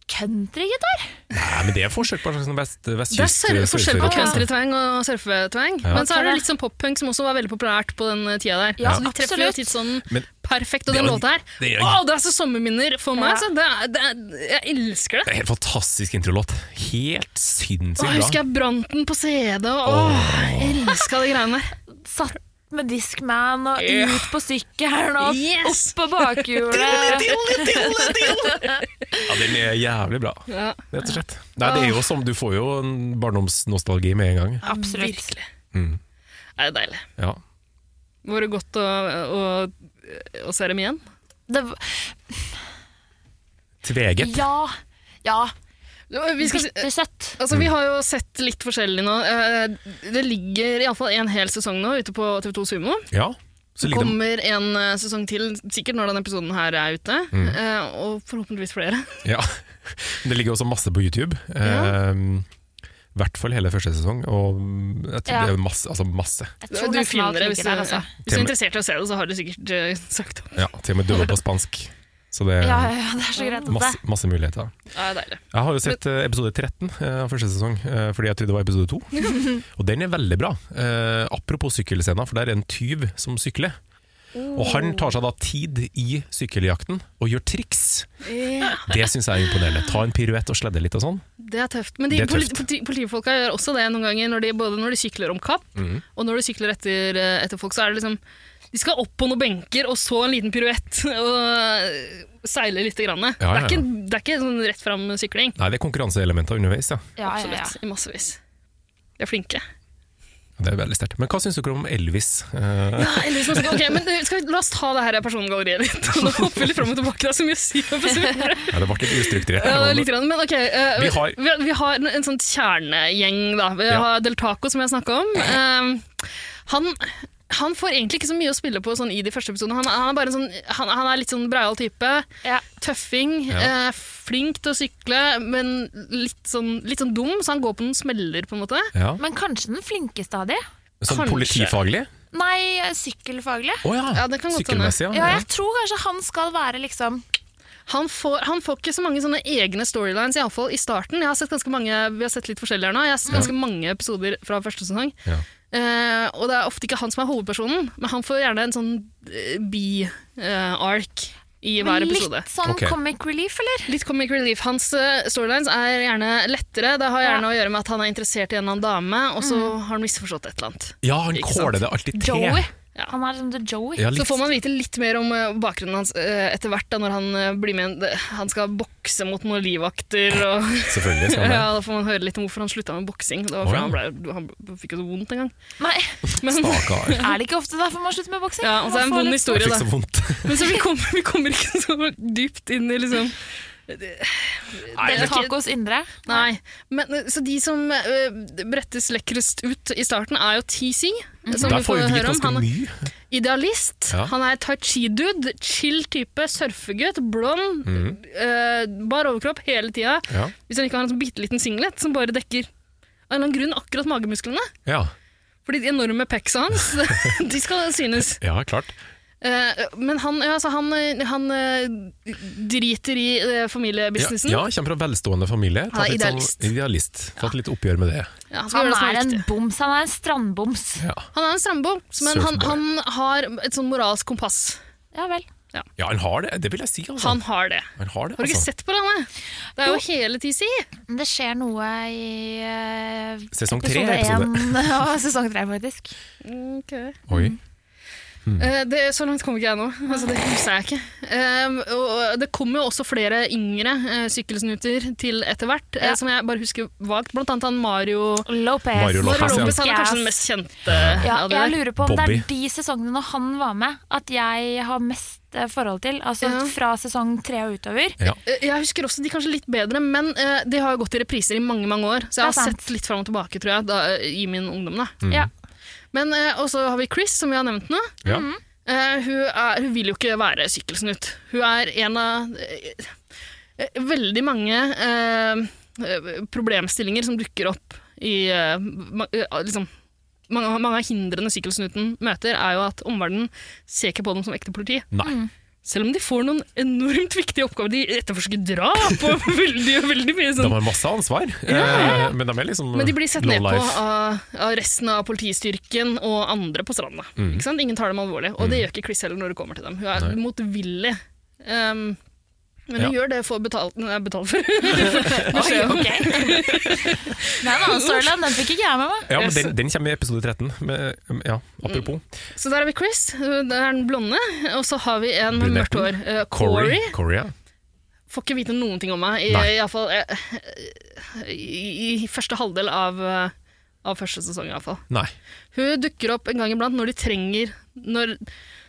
Speaker 1: countrygitar.
Speaker 2: Nei, men det er forskjell på en slags sånn vest, vestkyst.
Speaker 3: Det er surf- forskjell på
Speaker 2: surferock, altså.
Speaker 3: countrytvang og surfetvang.
Speaker 2: eh, Ja.
Speaker 3: Men så er det litt sånn poppunk som også var veldig populært på den eh, tida der.
Speaker 1: Ja,
Speaker 3: så de treffer jo
Speaker 1: absolutt.
Speaker 3: tidsånden
Speaker 2: Men-
Speaker 3: perfekt. Og
Speaker 2: Det
Speaker 3: den
Speaker 2: er-
Speaker 3: låta her
Speaker 2: det er-
Speaker 3: Å, det er så sommerminner for meg!
Speaker 1: Ja.
Speaker 3: Så det er, det er, jeg elsker det.
Speaker 2: Det er helt fantastisk introlåt. Helt
Speaker 3: Å,
Speaker 2: sinnssykt
Speaker 3: jeg husker
Speaker 2: bra.
Speaker 3: jeg brant den på CD, og åh, jeg elska de greiene der.
Speaker 1: Satt med Discman og
Speaker 3: Ja.
Speaker 1: ut på sykkelen og
Speaker 3: Yes.
Speaker 1: opp på bakhjulet.
Speaker 2: Ja, den er jævlig bra,
Speaker 3: Ja,
Speaker 2: rett og slett. Nei, det er jo som, du får jo en barndomsnostalgi med en gang.
Speaker 1: Absolutt.
Speaker 3: virkelig.
Speaker 2: Mm.
Speaker 3: Det er deilig.
Speaker 2: Ja.
Speaker 3: Var det godt å, å, å se dem igjen?
Speaker 1: Det, v-
Speaker 2: Tveget.
Speaker 1: ja. Ja.
Speaker 3: Vi skal, si-
Speaker 1: Bittersøtt.
Speaker 3: Altså, Vi har jo sett litt forskjellig nå. Eh, Det ligger iallfall en hel sesong nå ute på TV2 Sumo.
Speaker 2: Ja. Så
Speaker 3: Det
Speaker 2: ligger det
Speaker 3: kommer en eh, sesong til, sikkert når denne episoden her er ute. eh, Og forhåpentligvis flere.
Speaker 2: Ja. Det ligger også masse på YouTube.
Speaker 3: Ja.
Speaker 2: Ehm, I hvert fall hele første sesong. Og jeg tror
Speaker 1: Ja.
Speaker 2: det er masse. Altså masse.
Speaker 1: Jeg tror nesten
Speaker 3: Du
Speaker 1: alt
Speaker 3: finner det hvis
Speaker 1: ligger
Speaker 3: du,
Speaker 1: der, altså.
Speaker 3: ja. hvis du er interessert i å se det, så har du sikkert eh, sagt opp.
Speaker 2: Ja, til og med dubba på spansk. Så det er
Speaker 1: Ja, ja, det er så greit at
Speaker 2: masse,
Speaker 1: det
Speaker 2: masse muligheter.
Speaker 3: Ja, det er deilig.
Speaker 2: Jeg har jo sett eh, episode 13 eh, av første sesong, eh, fordi jeg trodde det var episode 2. og den er veldig bra. Eh, apropos sykkelscena, for det er en tyv som sykler. Og han
Speaker 3: Oh.
Speaker 2: tar seg da tid i sykkeljakten og gjør triks. Det syns jeg er imponerende. Ta en piruett og sledde litt og sånn.
Speaker 3: Det er tøft. Men de
Speaker 2: Det er tøft.
Speaker 3: politi- politi- politifolka gjør også det noen ganger, når de, både når de sykler om kapp,
Speaker 2: Mhm.
Speaker 3: og når de sykler etter, eh, etter folk, så er det liksom De skal opp på noen benker, og så en liten piruett, og eh, seile lite grann.
Speaker 2: ja, ja.
Speaker 3: Det, er ikke, det er ikke sånn rett fram sykling.
Speaker 2: Nei, det er konkurranseelementer underveis, ja.
Speaker 1: Ja, ja, ja.
Speaker 3: Absolutt. I massevis. De er flinke.
Speaker 2: Det er veldig sterkt. Men hva syns dere om Elvis? Eh,
Speaker 3: Ja, Elvis Moskva. Ok, men eh, skal vi, La oss ta det her persongalleriet litt. Nå hopper vi litt fram og tilbake. Det er så mye å si om episoden.
Speaker 2: ja, det ble litt ustrukturert.
Speaker 3: Ja,
Speaker 2: her nå,
Speaker 3: litt, grann, men ok, eh,
Speaker 2: Vi har-
Speaker 3: vi, vi har en, en sånn kjernegjeng, da. Vi
Speaker 2: Ja.
Speaker 3: har Del Taco, som jeg snakka om. Eh, han, han får egentlig ikke så mye å spille på sånn, i de første episodene. Han, han, er bare en sånn, han, han er litt sånn breial type.
Speaker 1: Ja.
Speaker 3: Tøffing.
Speaker 2: Ja.
Speaker 3: eh, flink til å sykle, men litt sånn, litt sånn dum, så han går på noen smeller, på en måte.
Speaker 2: Ja.
Speaker 1: Men kanskje den flinkeste av de?
Speaker 2: Sånn
Speaker 3: kanskje.
Speaker 2: politifaglig?
Speaker 1: Nei, sykkelfaglig.
Speaker 2: Å
Speaker 3: Ja, det kan godt hende.
Speaker 2: Sykkelmessig,
Speaker 1: Ja, jeg tror kanskje han skal være liksom
Speaker 3: Han får, han får ikke så mange sånne egne storylines, iallfall i starten. Jeg har sett ganske mange, Vi har sett litt forskjellig her nå. Jeg har sett ganske mange episoder fra første sesong.
Speaker 2: Ja.
Speaker 3: Eh, og det er ofte ikke han som er hovedpersonen, men han får gjerne en sånn bi-ark eh, i hver episode.
Speaker 1: Litt sånn
Speaker 2: Ok.
Speaker 1: comic relief, eller?
Speaker 3: Litt comic relief. Hans eh, storylines er gjerne lettere. Det har gjerne å gjøre med at han er interessert i en eller annen dame, og så har han misforstått et eller annet.
Speaker 2: Ja, han
Speaker 3: Ikke sant?
Speaker 2: kåler det alltid til.
Speaker 1: Joey.
Speaker 3: Ja.
Speaker 1: Han er som The Joey.
Speaker 2: Ja,
Speaker 3: Så
Speaker 2: litt
Speaker 3: får man vite litt mer om eh, bakgrunnen hans eh, etter hvert, da, når han eh, blir med en- Han skal bokse mot noen livvakter og
Speaker 2: Selvfølgelig. Skal han det.
Speaker 3: Ja, Da får man høre litt om hvorfor han slutta med boksing. Det
Speaker 2: Å,
Speaker 3: var fordi
Speaker 2: ja.
Speaker 3: han, ble, han fikk jo så vondt en gang.
Speaker 1: Nei,
Speaker 3: Men,
Speaker 2: Stakkar.
Speaker 1: er det ikke ofte derfor man slutter med boksing?
Speaker 3: ja, altså, det er en
Speaker 1: Man får
Speaker 3: vond
Speaker 1: litt-
Speaker 2: Jeg
Speaker 3: historie,
Speaker 2: fikk
Speaker 3: da.
Speaker 2: så vondt.
Speaker 3: Men så vi kommer, vi kommer ikke så dypt inn i liksom
Speaker 1: Det er Tacos indre.
Speaker 3: Nei. Men, eh, så de som eh, brettes lekrest ut i starten, er jo TC. Som
Speaker 2: Der får
Speaker 3: vi får
Speaker 2: vi fikk
Speaker 3: høre om.
Speaker 2: ganske
Speaker 3: Han er
Speaker 2: mye.
Speaker 3: idealist.
Speaker 2: Ja.
Speaker 3: Han er tai chi-dude. Chill type. Surfegutt. Blond.
Speaker 2: Mhm.
Speaker 3: eh, bar overkropp hele tida.
Speaker 2: Ja.
Speaker 3: Hvis han ikke har en sånn bitte liten singlet som bare dekker av en eller annen grunn akkurat magemusklene.
Speaker 2: Ja.
Speaker 3: Fordi de enorme pecsa hans, de skal synes.
Speaker 2: ja, klart.
Speaker 3: Eh, Men han, ja, altså han, eh, han eh, driter i eh,
Speaker 2: Ja,
Speaker 3: familiebusinessen.
Speaker 2: ja, kommer fra velstående familie.
Speaker 3: Han
Speaker 2: Tatt
Speaker 3: er
Speaker 2: litt sånn,
Speaker 3: idealist.
Speaker 2: idealist. Tatt litt oppgjør med det.
Speaker 3: Ja, han, skal
Speaker 1: Han
Speaker 3: gjøre det som
Speaker 1: er en
Speaker 3: riktig.
Speaker 1: boms. Han er en strandboms.
Speaker 2: Ja,
Speaker 3: han er en strandbom, men han,
Speaker 2: Surfboy.
Speaker 3: han har et sånn moralsk kompass.
Speaker 1: Ja vel.
Speaker 2: ja han har det. Det vil jeg si, altså.
Speaker 3: Han har det.
Speaker 2: Han har det,
Speaker 3: Har du ikke
Speaker 2: altså.
Speaker 3: sett på det, Anne? Det er jo hele TC.
Speaker 1: Men det skjer noe i eh,
Speaker 2: Sesong tre,
Speaker 1: episode
Speaker 2: episode.
Speaker 1: én og sesong tre, faktisk.
Speaker 2: Oi. Mm.
Speaker 3: Eh, Det, så langt kom ikke jeg nå. Altså, det husker jeg ikke. Um, og det kom jo også flere yngre eh, sykkelsnuter til etter hvert, eh,
Speaker 1: Ja.
Speaker 3: som jeg bare husker vagt. Blant annet han Mario
Speaker 1: Lopez.
Speaker 2: Mario Lopez,
Speaker 3: Mario
Speaker 2: ja.
Speaker 3: Lopez han er kanskje den
Speaker 1: Yes.
Speaker 3: mest kjente
Speaker 1: Ja,
Speaker 3: av de
Speaker 1: jeg
Speaker 3: der.
Speaker 1: lurer på om
Speaker 2: Bobby.
Speaker 1: det er de sesongene når han var med, at jeg har mest eh, forhold til. Altså
Speaker 3: Ja.
Speaker 1: fra sesong tre og utover.
Speaker 3: Eh, Jeg husker også de kanskje litt bedre, men eh, de har jo gått i repriser i mange mange år. Så jeg
Speaker 1: Det er
Speaker 3: har
Speaker 1: sant.
Speaker 3: sett litt fram og tilbake, tror jeg, da, eh, i min ungdom. da.
Speaker 1: Ja.
Speaker 3: Men eh, også har vi Chris, som vi har nevnt nå.
Speaker 2: Ja.
Speaker 3: Mm. Eh, hun, er, hun vil jo ikke være sykkelsnutt. Hun er en av eh, eh, veldig mange eh, eh, problemstillinger som dukker opp i eh, ma- eh, liksom, mange, mange av hindrene sykkelsnuten møter, er jo at omverdenen ser ikke på dem som ekte politi.
Speaker 2: Nei.
Speaker 3: Selv om de får noen enormt viktige oppgaver. De etterforsker drap og veldig, veldig mye
Speaker 2: De
Speaker 3: sånn.
Speaker 2: har masse ansvar, eh, men de er liksom
Speaker 3: Men de blir sett
Speaker 2: low
Speaker 3: ned på
Speaker 2: life.
Speaker 3: av, av resten av politistyrken og andre på stranda. Ikke sant? Ingen tar dem alvorlig, og det gjør ikke Chris heller når det kommer til dem. Hun er
Speaker 2: Mm. Nei.
Speaker 3: motvillig. Um, men hun
Speaker 2: Ja.
Speaker 3: gjør det for betalt, nei, betalt for. Oi,
Speaker 1: ok. Det er en annen storyline, den fikk ikke jeg med meg.
Speaker 2: Ja, men den, den kommer i episode 13. Med, um, ja, apropos.
Speaker 3: Så der har vi Chris, hun er den blonde, og så har vi en
Speaker 2: Brunetten.
Speaker 3: med mørkt hår. eh,
Speaker 2: Corey.
Speaker 3: Corey.
Speaker 2: Corey, ja.
Speaker 3: Får ikke vite noen ting om meg, i,
Speaker 2: Nei.
Speaker 3: i, alle fall, eh, i, i første halvdel av, eh, av første sesong. I alle fall.
Speaker 2: Nei.
Speaker 3: Hun dukker opp en gang iblant når de trenger Når,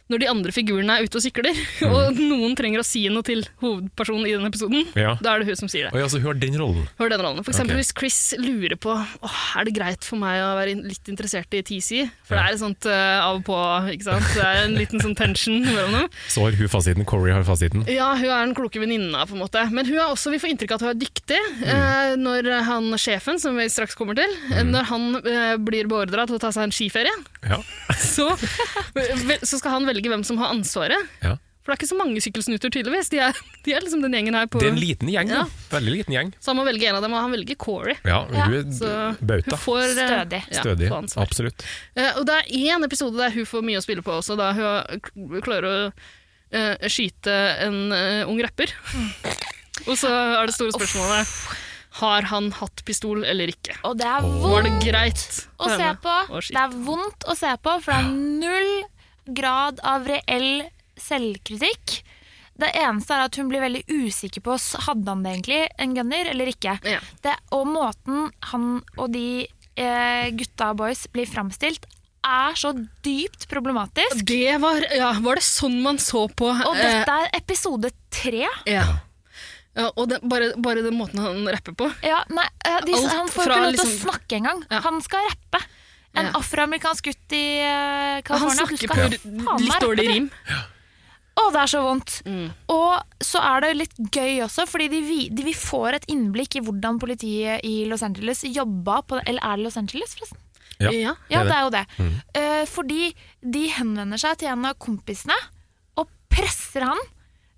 Speaker 3: når de andre figurene er ute og sykler, og noen trenger å si noe til hovedpersonen i den episoden.
Speaker 2: Mm. Ja.
Speaker 3: Da er det hun som sier det.
Speaker 2: Oi, altså, hun har den rollen.
Speaker 3: Hør den rollen. For eksempel
Speaker 2: Ok.
Speaker 3: hvis Chris lurer på Åh, er det greit for meg å være in- litt interessert i TC,
Speaker 2: Ja.
Speaker 3: for det er et sånt eh, av og på, ikke sant? Det er en liten sånn tension mellom dem.
Speaker 2: Så har hun fasiten. Corey har fasiten.
Speaker 3: Ja, hun er den kloke venninna, på en måte. Men hun er også, vi får inntrykk av at hun er dyktig.
Speaker 2: Mm.
Speaker 3: Eh, når han sjefen, som vi straks kommer til, eh,
Speaker 2: Mm.
Speaker 3: når han eh, blir beordra til å ta seg en skiferie,
Speaker 2: Ja.
Speaker 3: så, vel- så skal han velge hvem som har ansvaret.
Speaker 2: Ja.
Speaker 3: For det er ikke så mange sykkelsnuter, tydeligvis. De er, de er liksom den gjengen her på
Speaker 2: Det er en liten gjeng, da.
Speaker 3: Ja.
Speaker 2: Veldig liten gjeng.
Speaker 3: Så han må velge en av dem, og han velger Corey.
Speaker 2: Ja,
Speaker 1: Ja,
Speaker 2: hun er
Speaker 3: Så
Speaker 2: bauta.
Speaker 3: hun får, eh,
Speaker 1: Stødig.
Speaker 3: Ja,
Speaker 2: Stødig.
Speaker 3: får ansvar.
Speaker 2: Absolutt.
Speaker 3: Eh, og det er én episode der hun får mye å spille på også, da hun k- klarer å eh, skyte en eh, ung rapper.
Speaker 1: Mm.
Speaker 3: og så er det store spørsmålet har han hatt pistol eller ikke.
Speaker 1: Og det er
Speaker 3: Var det
Speaker 1: vondt
Speaker 3: greit
Speaker 1: å se på.
Speaker 3: Å, shit.
Speaker 1: Det er vondt å se på, for det er null grad av reell selvkritikk. Det eneste er at hun blir veldig usikker på s- hadde han det egentlig, en gunner, eller ikke.
Speaker 3: Ja.
Speaker 1: Det, og måten han og de eh, gutta og boys blir framstilt, er så dypt problematisk.
Speaker 3: Det var, ja, var det sånn man så på
Speaker 1: Og
Speaker 3: eh,
Speaker 1: dette er episode tre.
Speaker 3: Ja. Ja, og det, bare, bare den måten han rapper på.
Speaker 1: Ja, nei, eh, de,
Speaker 3: Alt
Speaker 1: han får
Speaker 3: fra
Speaker 1: ikke lov til å
Speaker 3: liksom-
Speaker 1: snakke engang.
Speaker 3: Ja.
Speaker 1: Han skal rappe. En
Speaker 3: Ja.
Speaker 1: afroamerikansk gutt i eh,
Speaker 3: Og han
Speaker 1: California.
Speaker 3: snakker
Speaker 1: skal
Speaker 3: på
Speaker 1: faen meg
Speaker 3: litt
Speaker 1: rappe
Speaker 3: dårlig
Speaker 1: det.
Speaker 3: rim.
Speaker 1: Å, det er så vondt.
Speaker 3: Mm.
Speaker 1: Og så er det litt gøy også, fordi de, vi- de, vi får et innblikk i hvordan politiet i Los Angeles jobba på Eller er det Los Angeles, forresten?
Speaker 2: Ja.
Speaker 3: Ja.
Speaker 1: Ja,
Speaker 2: Det
Speaker 1: det er jo det.
Speaker 2: Mm.
Speaker 1: Eh, fordi de henvender seg til en av kompisene og presser han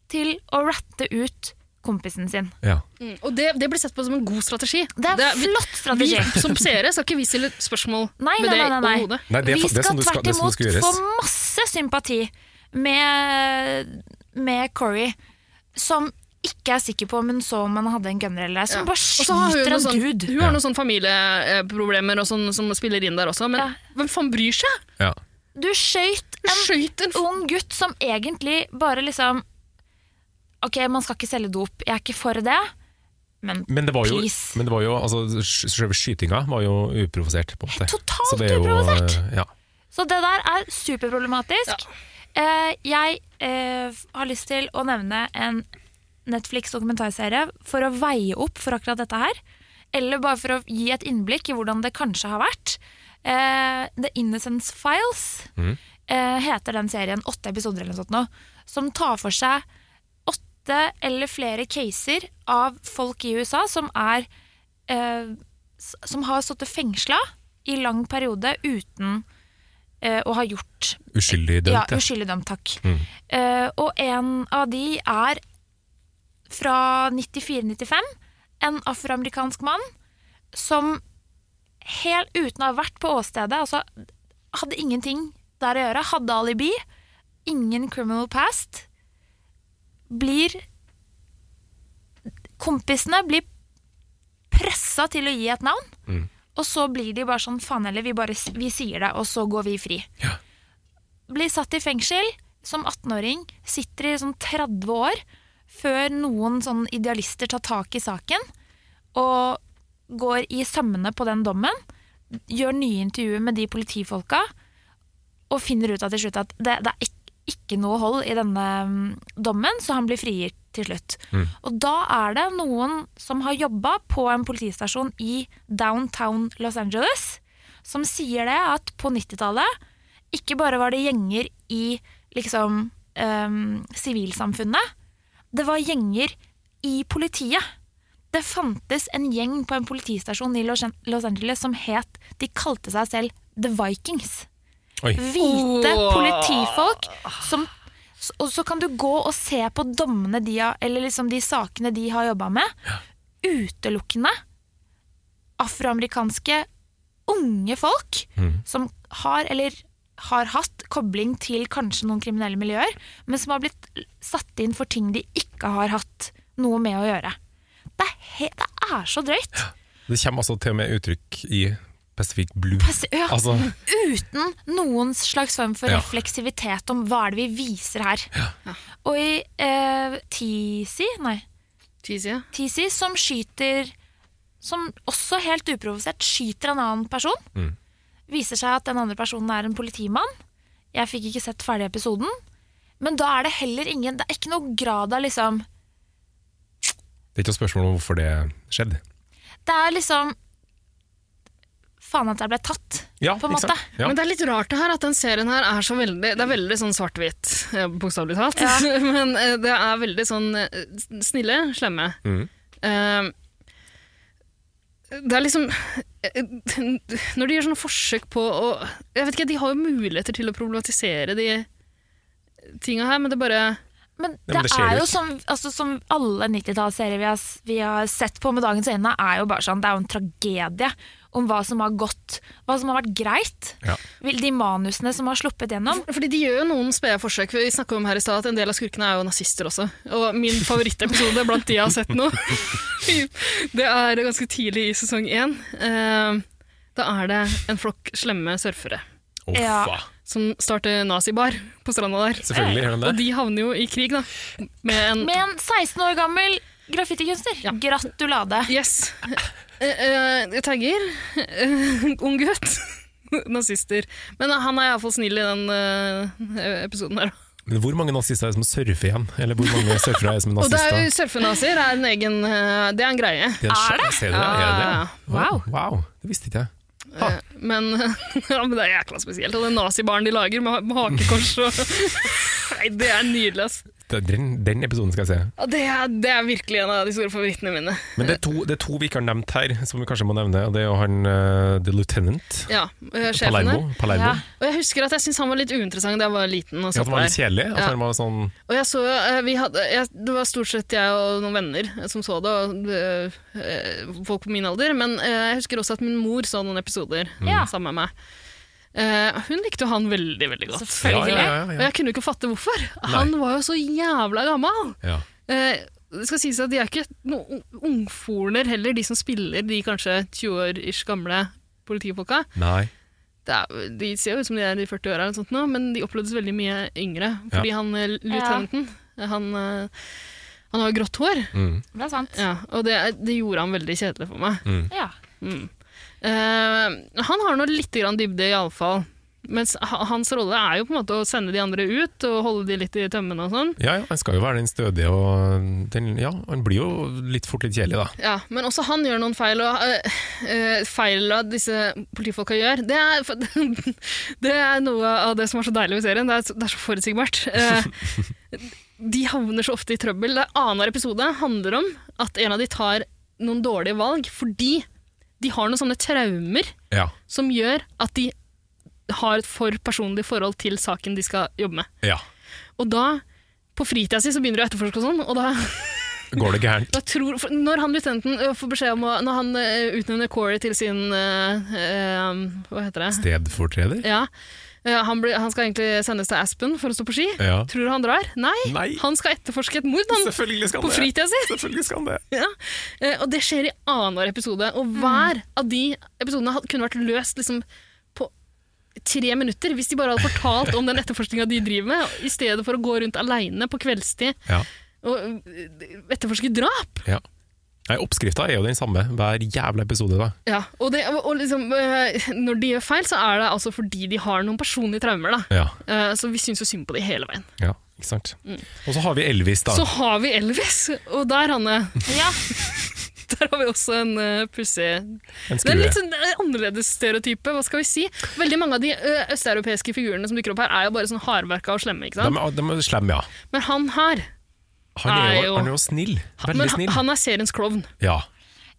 Speaker 1: til å ratte ut kompisen sin.
Speaker 2: Ja.
Speaker 3: Mm. Og det, det blir sett på som en god strategi.
Speaker 1: Det er en
Speaker 3: vi-
Speaker 1: flott
Speaker 3: Vi
Speaker 1: strategi.
Speaker 3: som seere skal ikke vi stille spørsmål
Speaker 1: Nei,
Speaker 3: med
Speaker 1: nei,
Speaker 3: det
Speaker 1: nei, nei, nei.
Speaker 3: overhodet.
Speaker 2: Nei, det er,
Speaker 1: vi
Speaker 2: fa- det
Speaker 1: skal
Speaker 2: er sånn du skal,
Speaker 1: tvert
Speaker 2: det er sånn det
Speaker 1: imot
Speaker 2: skal
Speaker 1: få
Speaker 2: gjøres.
Speaker 1: masse sympati med, med Corey, som ikke er sikker på om hun så om han hadde en gunner eller ei, som
Speaker 3: Ja.
Speaker 1: bare
Speaker 3: Og så har hun
Speaker 1: skyter
Speaker 3: noe
Speaker 1: en
Speaker 3: sånn-
Speaker 1: dude.
Speaker 3: Hun har
Speaker 2: Ja.
Speaker 3: noen sånne familieproblemer og sånn, som spiller inn der også, men
Speaker 1: Ja.
Speaker 3: hvem faen bryr seg?
Speaker 2: Ja.
Speaker 1: Du skøyt
Speaker 3: Hun
Speaker 1: en
Speaker 3: skjøt en f...
Speaker 1: ung gutt som egentlig bare liksom Ok, man skal ikke selge dop, jeg er ikke for det, men
Speaker 2: Men det var jo,
Speaker 1: Please.
Speaker 2: men det var jo altså, sj- selve skytinga var jo uprovosert, på en måte.
Speaker 1: Totalt
Speaker 2: Så det er jo, eh,
Speaker 1: uprovosert.
Speaker 2: Ja.
Speaker 1: Så det der er superproblematisk. Eh, jeg eh, f- har lyst til å nevne en Netflix-dokumentarserie for å veie opp for akkurat dette her. Eller bare for å gi et innblikk i hvordan det kanskje har vært. Eh, The Innocence Files
Speaker 2: Mhm.
Speaker 1: eh, heter den serien. Åtte episoder eller noe sånt nå. Som tar for seg åtte eller flere caser av folk i USA som er eh, s- Som har sittet fengsla i lang periode uten eh, å ha gjort
Speaker 2: Uskyldig
Speaker 1: ja,
Speaker 2: dømt, ja.
Speaker 1: uskyldig dømt, takk.
Speaker 2: Mm.
Speaker 1: Eh, og en av de er fra 94-95, en afroamerikansk mann som helt uten å ha vært på åstedet, altså hadde ingenting der å gjøre, hadde alibi, ingen criminal past, blir Kompisene blir pressa til å gi et navn,
Speaker 2: Mm.
Speaker 1: og så blir de bare sånn faen heller, vi, bare, s- vi sier det, og så går vi fri blir satt i fengsel som 18-åring, sitter i sånn 30 år, før noen sånn idealister tar tak i saken og går i sømmene på den dommen, gjør nye intervjuer med de politifolka og finner ut av til slutt at det, det er ikke, ikke noe hold i denne mm, dommen, så han blir frigitt til slutt.
Speaker 2: Mm.
Speaker 1: Og da er det noen som har jobba på en politistasjon i downtown Los Angeles, som sier det at på 90-tallet ikke bare var det gjenger i liksom ehm, sivilsamfunnet, det var gjenger i politiet. Det fantes en gjeng på en politistasjon i Los Los Angeles som het De kalte seg selv The Vikings.
Speaker 2: Oi.
Speaker 1: Hvite
Speaker 3: Åh.
Speaker 1: politifolk som Og så kan du gå og se på dommene de har, eller liksom de sakene de har jobba med. Utelukkende afroamerikanske unge folk
Speaker 2: Mhm.
Speaker 1: som har eller har hatt kobling til kanskje noen kriminelle miljøer, men som har blitt satt inn for ting de ikke har hatt noe med å gjøre. Det er, he det er så drøyt!
Speaker 2: Det kommer altså til og med uttrykk i Pacific Blue.
Speaker 1: Pass- ja,
Speaker 2: Altså,
Speaker 1: Uten noen slags form for
Speaker 2: Ja.
Speaker 1: refleksivitet om hva er det vi viser her. Og i eh, TC, nei,
Speaker 3: Cheesy, ja.
Speaker 1: TC som skyter Som også helt uprovosert skyter en annen person.
Speaker 2: Mm.
Speaker 1: Viser seg at den andre personen er en politimann. Jeg fikk ikke sett ferdig episoden. Men da er det heller ingen Det er ikke noe grad av liksom
Speaker 2: det er ikke noe spørsmål om hvorfor det skjedde.
Speaker 1: Det er liksom Faen at jeg ble tatt,
Speaker 2: Ja,
Speaker 1: på en
Speaker 2: ikke
Speaker 1: måte.
Speaker 2: sant? Ja.
Speaker 3: Men det er litt rart det her, at den serien her er så veldig Det er veldig sånn svart-hvitt, eh, bokstavelig talt. Men eh, det er veldig sånn eh, snille, slemme.
Speaker 2: Mhm.
Speaker 3: Eh, det er liksom eh, Når de gjør sånne forsøk på å Jeg vet ikke, de har jo muligheter til å problematisere de tinga her, men det bare
Speaker 1: Men
Speaker 2: Ja,
Speaker 1: det,
Speaker 2: men det skjer
Speaker 1: er
Speaker 2: jo
Speaker 1: jo
Speaker 2: ikke.
Speaker 1: som, altså, som alle 90-tallsserier vi, har s- vi har sett på med dagens øyne, er jo bare sånn, det er jo en tragedie om hva som har gått, hva som har vært greit.
Speaker 2: Ja.
Speaker 1: Vil- De manusene som har sluppet gjennom.
Speaker 3: Fordi de gjør jo noen spede forsøk. Vi snakket om her i stad at en del av skurkene er jo nazister også. Og min favorittepisode blant de jeg har sett nå, det er ganske tidlig i sesong én. Eh, Da er det en flokk slemme surfere
Speaker 2: Å,
Speaker 1: Ja.
Speaker 2: faen.
Speaker 3: som starter nazibar på stranda der.
Speaker 2: Selvfølgelig gjør den
Speaker 3: Og
Speaker 2: det.
Speaker 3: de havner jo i krig, da. Med en
Speaker 1: Med en 16 år gammel graffitikunstner.
Speaker 3: Ja.
Speaker 1: Gratulade.
Speaker 3: Yes. Eh, eh, tagger. Eh, ung gutt. Nazister. Men han er iallfall snill i den eh, episoden her.
Speaker 2: Men hvor mange nazister er det som surfer igjen? Eller hvor mange surfere er det som er
Speaker 3: Og det er jo
Speaker 2: nazister?
Speaker 3: surfenazier er en egen eh, Det er en greie.
Speaker 2: Det
Speaker 1: Er det?
Speaker 2: Ser du det? Er det?
Speaker 3: Ja.
Speaker 2: det? Wow. wow. Det visste ikke jeg.
Speaker 3: Eh, Men, ja, men det er jækla spesielt. Og det nazibaren de lager med ha- med hakekors og Nei, det er nydelig, ass.
Speaker 2: Den, den episoden skal jeg se.
Speaker 3: Ja, Det er, det er virkelig en av de store favorittene mine.
Speaker 2: Men det er, to, det er to vi ikke har nevnt her, som vi kanskje må nevne. Og det er jo han eh, The Lieutenant.
Speaker 3: Ja, eh, sjefen der.
Speaker 2: Palermo. Palermo.
Speaker 1: Ja.
Speaker 2: Ja.
Speaker 3: Og jeg husker at jeg syntes han var litt uinteressant da jeg var liten. Og,
Speaker 2: at
Speaker 3: satt
Speaker 2: han var litt
Speaker 3: der.
Speaker 2: kjedelig. At
Speaker 3: Ja.
Speaker 2: han var sånn
Speaker 3: og jeg så, eh, vi hadde, jeg, Det var stort sett jeg og noen venner eh, som så det, og eh, eh, folk på min alder. Men eh, jeg husker også at min mor så noen episoder
Speaker 1: Mm. Ja.
Speaker 3: sammen med meg. Eh, Hun likte jo han veldig, veldig godt.
Speaker 2: ja,
Speaker 1: Selvfølgelig.
Speaker 2: ja,
Speaker 3: Og
Speaker 2: ja, ja.
Speaker 3: jeg kunne jo ikke fatte hvorfor. Han var jo så jævla gammel.
Speaker 2: ja.
Speaker 3: Eh, det skal sies at de er ikke noen ungforner heller, de som spiller de kanskje 20 år ish gamle politifolka.
Speaker 2: Nei.
Speaker 3: Det er, de ser jo ut som de er i 40 åra, eller noe sånt nå, men de opplevdes veldig mye yngre. Fordi han eh, løytnanten, han, eh, han har jo grått hår,
Speaker 2: Mm.
Speaker 1: Det er sant.
Speaker 3: ja, og det, det gjorde han veldig kjedelig for meg.
Speaker 1: Ja.
Speaker 3: Mm. Eh, han har nå litt grann dybde, iallfall. Mens ha- hans rolle er jo på en måte å sende de andre ut og holde de litt i tømmene og sånn.
Speaker 2: Ja, ja, han skal jo være den stødige og den, Ja, han blir jo litt fort litt kjedelig, da.
Speaker 3: Ja, men også han gjør noen feil, og øh, øh, feilene disse politifolka gjør, det er, for- det er noe av det som er så deilig med serien. Det er, så- det er så forutsigbart. Eh, de havner så ofte i trøbbel. Det annenhver episode handler om at en av de tar noen dårlige valg fordi de har noen sånne traumer
Speaker 2: Ja.
Speaker 3: som gjør at de har et for personlig forhold til saken de skal jobbe med.
Speaker 2: ja.
Speaker 3: Og da, på fritida si, så begynner de å etterforske og sånn, og da
Speaker 2: Går det gærent?
Speaker 3: da tror, for når han løytnanten ø, får beskjed om å Når han ø, utnevner Corey til sin ø, ø, Hva heter det?
Speaker 2: Stedfortreder?
Speaker 3: Ja. Ø, han, blir, han skal egentlig sendes til Aspen for å stå på ski.
Speaker 2: Ja.
Speaker 3: Tror du han drar? Nei!
Speaker 2: Nei.
Speaker 3: Han skal etterforske et mord han,
Speaker 2: Selvfølgelig skal
Speaker 3: på
Speaker 2: han det!
Speaker 3: fritida si!
Speaker 2: Selvfølgelig skal han det!
Speaker 3: Ja. Eh, Og det skjer i annenhver episode. Og
Speaker 2: Mm.
Speaker 3: hver av de episodene had- kunne vært løst liksom, på tre minutter hvis de bare hadde fortalt om den etterforskninga de driver med, i stedet for å gå rundt aleine på kveldstid
Speaker 2: Ja.
Speaker 3: og ø, etterforske drap.
Speaker 2: Ja. Nei, Oppskrifta er jo den samme hver jævla episode, da.
Speaker 3: Ja, og, det, og og liksom, øh, når de gjør feil, så er det altså fordi de har noen personlige traumer. Da.
Speaker 2: Ja,
Speaker 3: Eh, Så vi syns jo synd på de hele veien.
Speaker 2: ja ikke sant. Og så har vi Elvis, da.
Speaker 3: Mm. Så har vi Elvis, og der, Hanne,
Speaker 1: ja.
Speaker 3: der har vi også en uh, pussig
Speaker 2: en
Speaker 3: Det er
Speaker 2: skrue.
Speaker 3: litt sånn eh, annerledes stereotype, hva skal vi si? Veldig mange av de eh, østeuropeiske figurene som dukker opp her, er jo bare sånn hardverka og slemme, ikke
Speaker 2: De
Speaker 3: sant?
Speaker 2: er, de er slemme, ja.
Speaker 3: Men han her,
Speaker 2: Han er
Speaker 3: Er
Speaker 2: jo,
Speaker 3: jo-
Speaker 2: han er jo snill.
Speaker 3: Men
Speaker 2: Veldig
Speaker 3: han,
Speaker 2: snill.
Speaker 3: han er seriens klovn.
Speaker 2: Ja.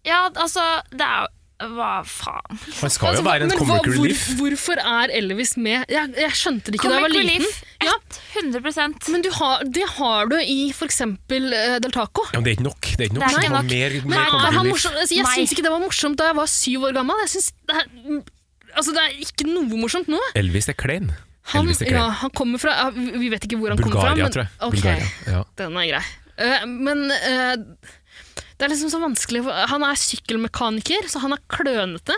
Speaker 1: Ja, altså, det er jo Hva faen?
Speaker 2: Han skal
Speaker 3: Altså,
Speaker 2: jo være en
Speaker 3: men hva-
Speaker 2: comic
Speaker 3: hvor-
Speaker 2: relief.
Speaker 3: Hvorfor er Elvis med? Jeg, jeg skjønte det ikke da
Speaker 1: Comic
Speaker 3: jeg var liten.
Speaker 1: relief.
Speaker 3: Ja,
Speaker 1: 100
Speaker 3: men du har, det har du i for eksempel eh, Del Taco.
Speaker 2: Ja, men det er ikke nok. Det er ikke
Speaker 1: Det
Speaker 2: nok.
Speaker 1: er ikke
Speaker 2: Du må
Speaker 1: nok.
Speaker 2: Mer,
Speaker 3: Men
Speaker 2: mer
Speaker 3: er
Speaker 2: comic
Speaker 3: han
Speaker 2: relief.
Speaker 3: morsom? Altså, jeg
Speaker 1: Nei.
Speaker 3: syns ikke det var morsomt da jeg var syv år gammel. Jeg synes det, er, altså, det er ikke noe morsomt nå.
Speaker 2: Elvis er klein.
Speaker 3: Han,
Speaker 2: Elvis er
Speaker 3: ja,
Speaker 2: klein.
Speaker 3: han kommer fra ja, Vi vi vet ikke hvor han kommer fra.
Speaker 2: Bulgaria,
Speaker 3: men-
Speaker 2: tror jeg.
Speaker 3: Ok,
Speaker 2: Bulgaria. Ja.
Speaker 3: Den er grei. Eh, men eh, det er liksom så vanskelig for- Han er sykkelmekaniker, så han er klønete.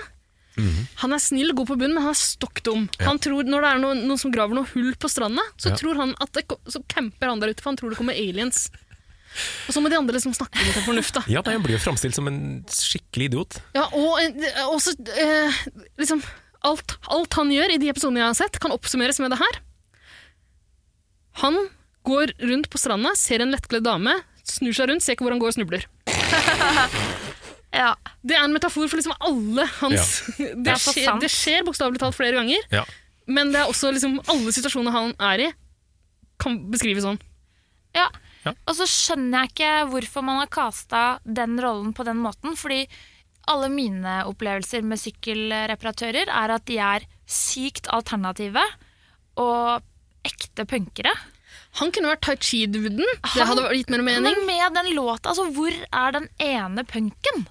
Speaker 3: Han er snill, god på bunnen, men han er stokk dum. Han tror, når det er noen, noen som graver noen hull på stranda, så
Speaker 2: Ja.
Speaker 3: tror han at det, ko- så camper han der ute, for han tror det kommer aliens. Og så må de andre liksom snakke litt om fornuft. da.
Speaker 2: ja, nei, han blir jo framstilt som en skikkelig idiot.
Speaker 3: Ja, og eh, også eh, liksom alt, alt han gjør i de episodene jeg har sett, kan oppsummeres med det her. Han går rundt på stranda, ser en lettkledd dame, snur seg rundt, ser ikke hvor han går og snubler.
Speaker 1: Ja.
Speaker 3: Det er en metafor for liksom alle hans det,
Speaker 1: er så
Speaker 3: skjer,
Speaker 1: sant.
Speaker 3: det skjer bokstavelig talt flere ganger,
Speaker 2: Ja.
Speaker 3: men det er også liksom alle situasjoner han er i, kan beskrives sånn.
Speaker 1: Ja.
Speaker 2: Ja.
Speaker 1: Og så skjønner jeg ikke hvorfor man har casta den rollen på den måten. Fordi alle mine opplevelser med sykkelreparatører er at de er sykt alternative og ekte punkere.
Speaker 3: Han kunne vært tai chi-duden. Det
Speaker 1: Han-
Speaker 3: hadde vært- gitt mer mening.
Speaker 1: Men med den låta, altså hvor er den ene punken?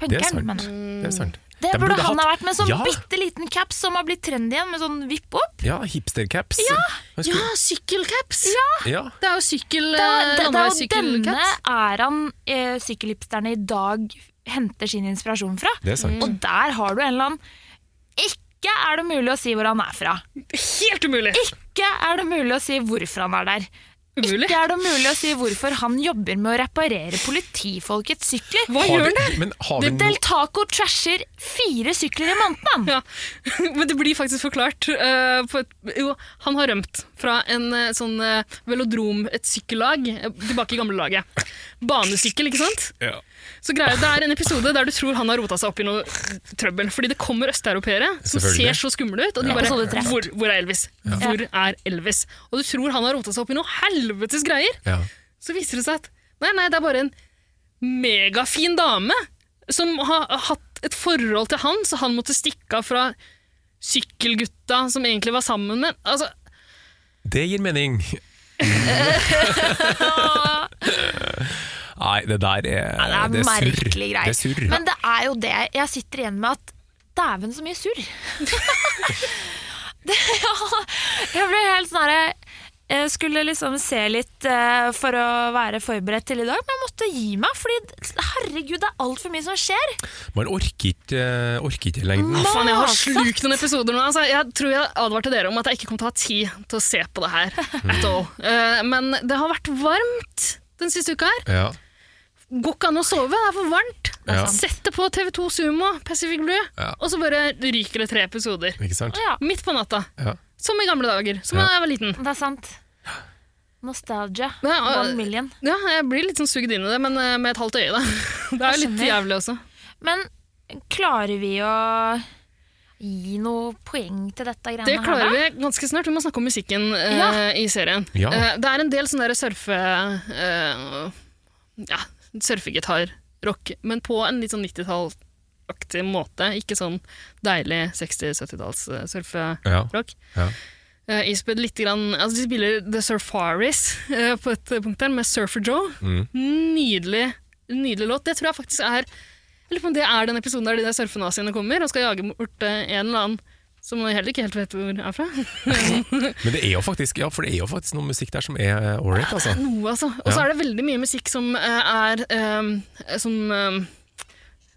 Speaker 2: Det er sant.
Speaker 1: Punkeren, mener jeg.
Speaker 2: Det er sant.
Speaker 1: Det
Speaker 2: De
Speaker 1: burde han ha
Speaker 2: hatt-
Speaker 1: vært med sånn
Speaker 2: Ja.
Speaker 1: bitte liten caps som har blitt trendy igjen, med sånn vipp-opp.
Speaker 2: Ja, hipstercaps. Ja.
Speaker 3: Ja, sykkelcaps!
Speaker 2: ja.
Speaker 3: Det er jo sykkel... eh,
Speaker 1: Det, er- det, det er jo denne
Speaker 3: landeveissykkelcaps.
Speaker 1: æraen eh, sykkelhipsterne i dag henter sin inspirasjon fra.
Speaker 2: Det er sant.
Speaker 1: Og der har du en eller annen Ikke er det mulig å si hvor han er fra.
Speaker 3: Helt umulig!
Speaker 1: Ikke er det mulig å si hvorfor han er der.
Speaker 3: Umulig.
Speaker 1: Ikke er det mulig å si hvorfor han jobber med å reparere politifolkets sykler.
Speaker 3: Hva
Speaker 2: Har
Speaker 3: gjør
Speaker 2: vi,
Speaker 3: det?
Speaker 2: men har vi
Speaker 1: Del
Speaker 2: no,
Speaker 1: Taco trasher fire sykler i måneden! han.
Speaker 3: Ja, men det blir faktisk forklart. eh, på et, jo, han har rømt fra en eh, sånn eh, velodrom, et sykkellag, eh, tilbake i gamle laget. Banesykkel, ikke sant?
Speaker 2: ja.
Speaker 3: Så greier, Det er en episode der du tror han har rota seg opp i noe trøbbel. Fordi det kommer østeuropeere som
Speaker 2: Selvfølgelig.
Speaker 3: ser så skumle ut, og de
Speaker 1: Ja.
Speaker 3: bare
Speaker 1: Episode tre.
Speaker 3: hvor, hvor er Elvis? Hvor er Elvis? Og du tror han har rota seg opp i noe helvetes greier.
Speaker 2: Ja.
Speaker 3: Så viser det seg at nei, nei, det er bare en megafin dame som har hatt et forhold til han, så han måtte stikke av fra sykkelgutta som egentlig var sammen med altså,
Speaker 2: Det gir mening. Nei, det der er
Speaker 1: Det er merkelige
Speaker 2: surr.
Speaker 1: greier.
Speaker 2: Det er surr.
Speaker 1: Men det er jo det jeg sitter igjen med at Dæven, så mye surr! Det- ja, jeg ble helt sånn herre Jeg skulle liksom se litt eh, for å være forberedt til i dag, men jeg måtte gi meg. Fordi herregud, det er altfor mye som skjer.
Speaker 2: Man orker ikke, eh, orker ikke i lengden.
Speaker 1: Mas-
Speaker 3: Faen, jeg har slukt noen episoder nå. Altså, jeg tror jeg advarte dere om at jeg ikke kom til å ha tid til å se på det her.
Speaker 2: Mm.
Speaker 3: At all. Eh, Men det har vært varmt den siste uka her.
Speaker 2: Ja.
Speaker 3: Går ikke an å sove, det er for varmt.
Speaker 2: Ja.
Speaker 3: Sett det på TV2 Sumo, Pacific Blue,
Speaker 2: Ja.
Speaker 3: og så bare ryker det tre episoder.
Speaker 2: Ikke sant?
Speaker 1: Ja,
Speaker 3: Midt på natta.
Speaker 2: Ja.
Speaker 3: Som i gamle dager. Som
Speaker 2: Ja.
Speaker 3: da jeg var liten.
Speaker 1: det er sant. Nostalgia.
Speaker 3: Ja, og-
Speaker 1: One million.
Speaker 3: Ja, jeg blir litt sånn sugd inn i det, men eh, med et halvt øye, da. Det er jo
Speaker 1: Jeg
Speaker 3: litt
Speaker 1: skjønner.
Speaker 3: jævlig også.
Speaker 1: Men klarer vi å gi noe poeng til dette greiene
Speaker 3: Det
Speaker 1: her?
Speaker 3: klarer vi ganske snart. Vi må snakke om musikken eh,
Speaker 1: Ja.
Speaker 3: i serien.
Speaker 2: Ja.
Speaker 3: Eh, det er en del sånne der surfe... eh, ja, surfegitar-rock, men på en litt sånn 90-tall-aktig måte. Ikke sånn deilig eh, 60-70-talls-surfe-rock.
Speaker 2: Ja. Ja.
Speaker 3: Eh, Isbjørn litt grann, altså De spiller The Surfaris eh, på et punkt der, med Surfer Joe.
Speaker 2: Mm.
Speaker 3: Nydelig, nydelig låt. Det tror jeg faktisk er Jeg lurer på om det er den episoden der de der surfenaziene kommer og skal jage bort eh, en eller annen som man heller ikke helt vet hvor er fra.
Speaker 2: Men det er jo faktisk Ja, for det er jo faktisk noe musikk der som er ålreit, altså.
Speaker 3: Noe, altså. Og så
Speaker 2: Ja.
Speaker 3: er det veldig mye musikk som eh, er eh, som, eh,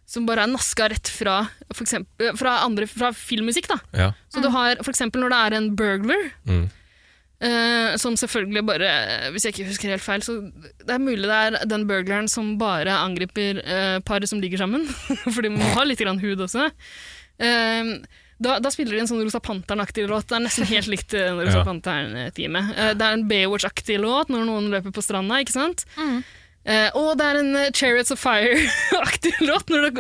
Speaker 3: som bare er naska rett fra, for eksempel, eh, fra, andre, fra filmmusikk. da.
Speaker 2: Ja.
Speaker 3: Så du har for eksempel når det er en burglar,
Speaker 2: Mm.
Speaker 3: eh, som selvfølgelig bare, hvis jeg ikke husker helt feil, så det er mulig det er den burglaren som bare angriper eh, par som ligger sammen, fordi man må ha litt grann hud også. Eh, da, da spiller de en sånn Rosa Panteren-aktig låt. Det er nesten helt likt eh, Rosa
Speaker 2: Ja.
Speaker 3: Panteren-teamet. Eh, det er en Baywatch-aktig låt når noen løper på stranda, ikke sant?
Speaker 1: Mm.
Speaker 3: Eh, og det er en eh, Chariots of Fire-aktig låt når, det,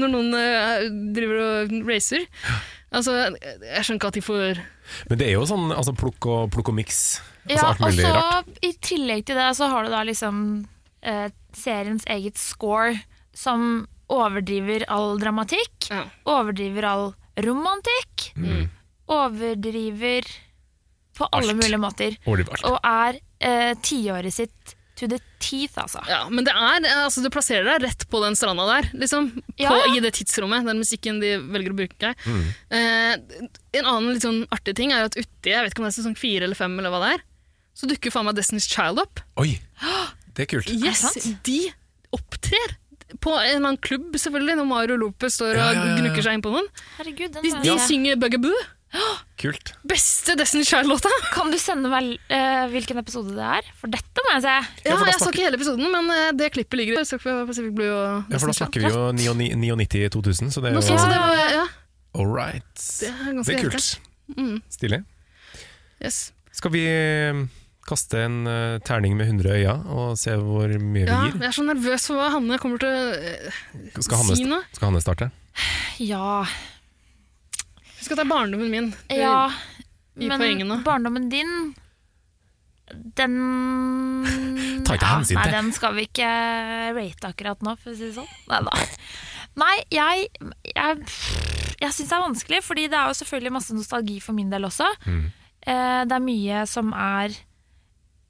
Speaker 3: når noen eh, driver og eh, racer. Altså, jeg skjønner ikke at de får
Speaker 2: Men det er jo sånn altså, plukk og, plukk og miks.
Speaker 1: Ja,
Speaker 2: altså, alt mulig rart.
Speaker 1: og så I tillegg til det så har du da liksom eh, seriens eget score som overdriver all dramatikk,
Speaker 3: ja.
Speaker 1: overdriver all romantikk,
Speaker 2: Mm.
Speaker 1: overdriver på alle
Speaker 2: Alt.
Speaker 1: mulige måter.
Speaker 2: Overdriver alt.
Speaker 1: Og er eh, tiåret sitt to the teeth, altså.
Speaker 3: ja, men det er Altså, du plasserer deg rett på den stranda der, liksom. På,
Speaker 1: Ja.
Speaker 3: I det tidsrommet, den musikken de velger å bruke.
Speaker 2: Mm.
Speaker 3: Eh, en annen litt sånn artig ting er at uti jeg vet ikke om det er sesong fire eller fem, eller hva det er, så dukker faen meg Destiny's Child opp.
Speaker 2: Oi, det er kult.
Speaker 3: Yes,
Speaker 1: Er det sant?
Speaker 3: De opptrer! På en eller annen klubb, selvfølgelig, når Mario Lopez står og
Speaker 2: Ja, ja, ja, ja.
Speaker 3: gnukker seg inn på noen.
Speaker 1: Herregud, den
Speaker 3: De,
Speaker 1: har
Speaker 3: de
Speaker 1: jeg-
Speaker 3: synger Bugaboo.
Speaker 2: Kult.
Speaker 3: Beste Destiny's Child-låta!
Speaker 1: Kan du sende meg eh, hvilken episode det er? For dette må jeg se.
Speaker 3: Ja,
Speaker 2: for da
Speaker 3: jeg så
Speaker 2: snakker-
Speaker 3: ikke hele episoden, men eh, det klippet ligger i Søk på Pacific Blue. Og
Speaker 2: Ja, for da snakker vi jo 99 2000, så det er
Speaker 3: Noe
Speaker 2: jo
Speaker 3: sånt, så det var, ja,
Speaker 2: All right.
Speaker 3: det er ganske
Speaker 2: Det er
Speaker 3: jævlig.
Speaker 2: kult.
Speaker 3: Mm.
Speaker 2: Stilig.
Speaker 3: Yes.
Speaker 2: Skal vi eh, kaste en eh, terning med 100 øyne og se hvor mye
Speaker 3: Ja,
Speaker 2: vi gir?
Speaker 3: jeg er så nervøs for hva Hanne kommer til å eh,
Speaker 2: Skal Hanne,
Speaker 3: si
Speaker 2: sta-
Speaker 3: noe.
Speaker 2: skal Hanne starte?
Speaker 1: Ja.
Speaker 3: Husk at det er barndommen min.
Speaker 1: ja.
Speaker 3: I
Speaker 1: Men
Speaker 3: poengene.
Speaker 1: barndommen din Den
Speaker 2: Ta ikke
Speaker 1: Ja,
Speaker 2: hensyn til.
Speaker 1: Nei, den skal vi ikke rate akkurat nå, for å si det sånn. Nei da. Nei, jeg, jeg, jeg syns det er vanskelig, fordi det er jo selvfølgelig masse nostalgi for min del også.
Speaker 2: Mm.
Speaker 1: Eh, Det er mye som er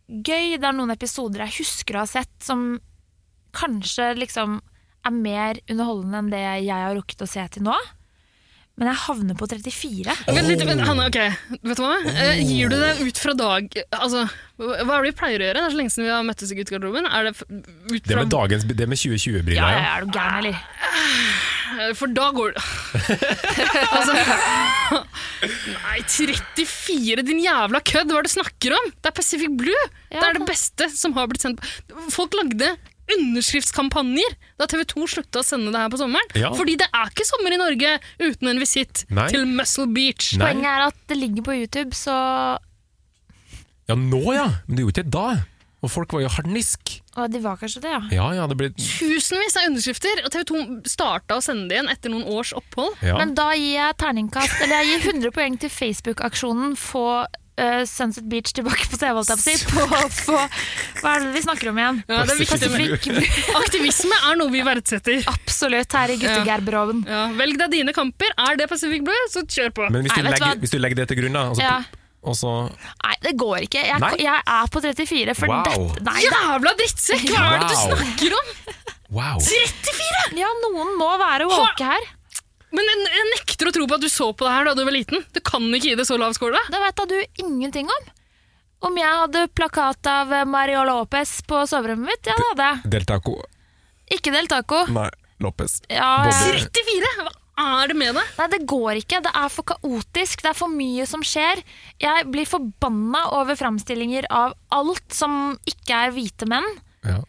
Speaker 1: gøy. Det er noen episoder jeg husker å ha sett, som kanskje liksom er mer underholdende enn det jeg har rukket å se til nå. Men jeg havner på 34.
Speaker 3: Vent litt, vent, Hanne, ok, vet du hva? Eh, gir du det ut fra dag Altså, hva hva er det vi pleier å gjøre? Det er så lenge siden vi har møttes i guttegarderoben. Er det f- ut
Speaker 2: Det
Speaker 3: fra
Speaker 2: med, dagens- det
Speaker 1: Ja,
Speaker 2: med 2020-briller,
Speaker 1: ja, er du gæren, eller?
Speaker 3: Eh, For da går det altså, Nei, 34, din jævla kødd! Hva er det du snakker om? Det er Pacific Blue!
Speaker 1: Ja,
Speaker 3: det er
Speaker 1: det-
Speaker 3: det beste som har blitt sendt Folk lagde underskriftskampanjer da TV 2 slutta å sende det her på sommeren.
Speaker 2: Ja.
Speaker 3: Fordi det er ikke sommer i Norge uten en visitt
Speaker 2: Nei.
Speaker 3: til Muscle Beach.
Speaker 2: Nei.
Speaker 1: Poenget er at det ligger på YouTube, så
Speaker 2: ja. Ja, nå ja! Men det gjorde ikke det da. Og folk var jo harnisk.
Speaker 1: Og de var kanskje det, ja.
Speaker 2: Ja, ja, det ble
Speaker 3: Tusenvis av underskrifter, og TV 2 starta å sende det igjen etter noen års opphold.
Speaker 2: ja.
Speaker 1: Men da gir jeg terningkast Eller jeg gir 100 poeng til Facebook-aksjonen Få eh, Sunset Beach tilbake på TV, holdt jeg på å si. På, på, hva er det vi snakker om igjen?
Speaker 3: Ja, det er viktig med
Speaker 1: Fikk,
Speaker 3: Aktivisme er noe vi verdsetter.
Speaker 1: absolutt her i guttegarderoben.
Speaker 3: Ja, velg deg dine kamper. Er det Pacific Blue, så kjør på.
Speaker 2: Men hvis du,
Speaker 1: Nei, vet du
Speaker 2: legger,
Speaker 1: hva?
Speaker 2: hvis du legger det til grunn, da, og så,
Speaker 1: Ja.
Speaker 2: og så
Speaker 1: Nei, det går ikke. Jeg,
Speaker 2: Nei?
Speaker 1: jeg er på 34, for
Speaker 2: Wow.
Speaker 1: dette Nei, da.
Speaker 3: Jævla drittsekk! Hva er det du
Speaker 2: Wow.
Speaker 3: snakker om?
Speaker 2: Wow!
Speaker 1: Ja, noen må være våke her.
Speaker 3: Men jeg, jeg nekter å tro på at du så på det her da du var liten. Du kan ikke gi det så lav score, da.
Speaker 1: Det vet da du ingenting om. Om jeg hadde plakat av Mario Lopez på soverommet mitt, ja, det hadde jeg.
Speaker 2: Del Taco.
Speaker 1: Ikke Del Taco.
Speaker 2: Nei, Lopez.
Speaker 1: Ja, ja.
Speaker 2: Bobby.
Speaker 3: 34! Hva er det med det?
Speaker 1: Nei, det går ikke. Det er for kaotisk. Det er for mye som skjer. Jeg blir forbanna over framstillinger av alt som ikke er hvite menn.
Speaker 2: Ja.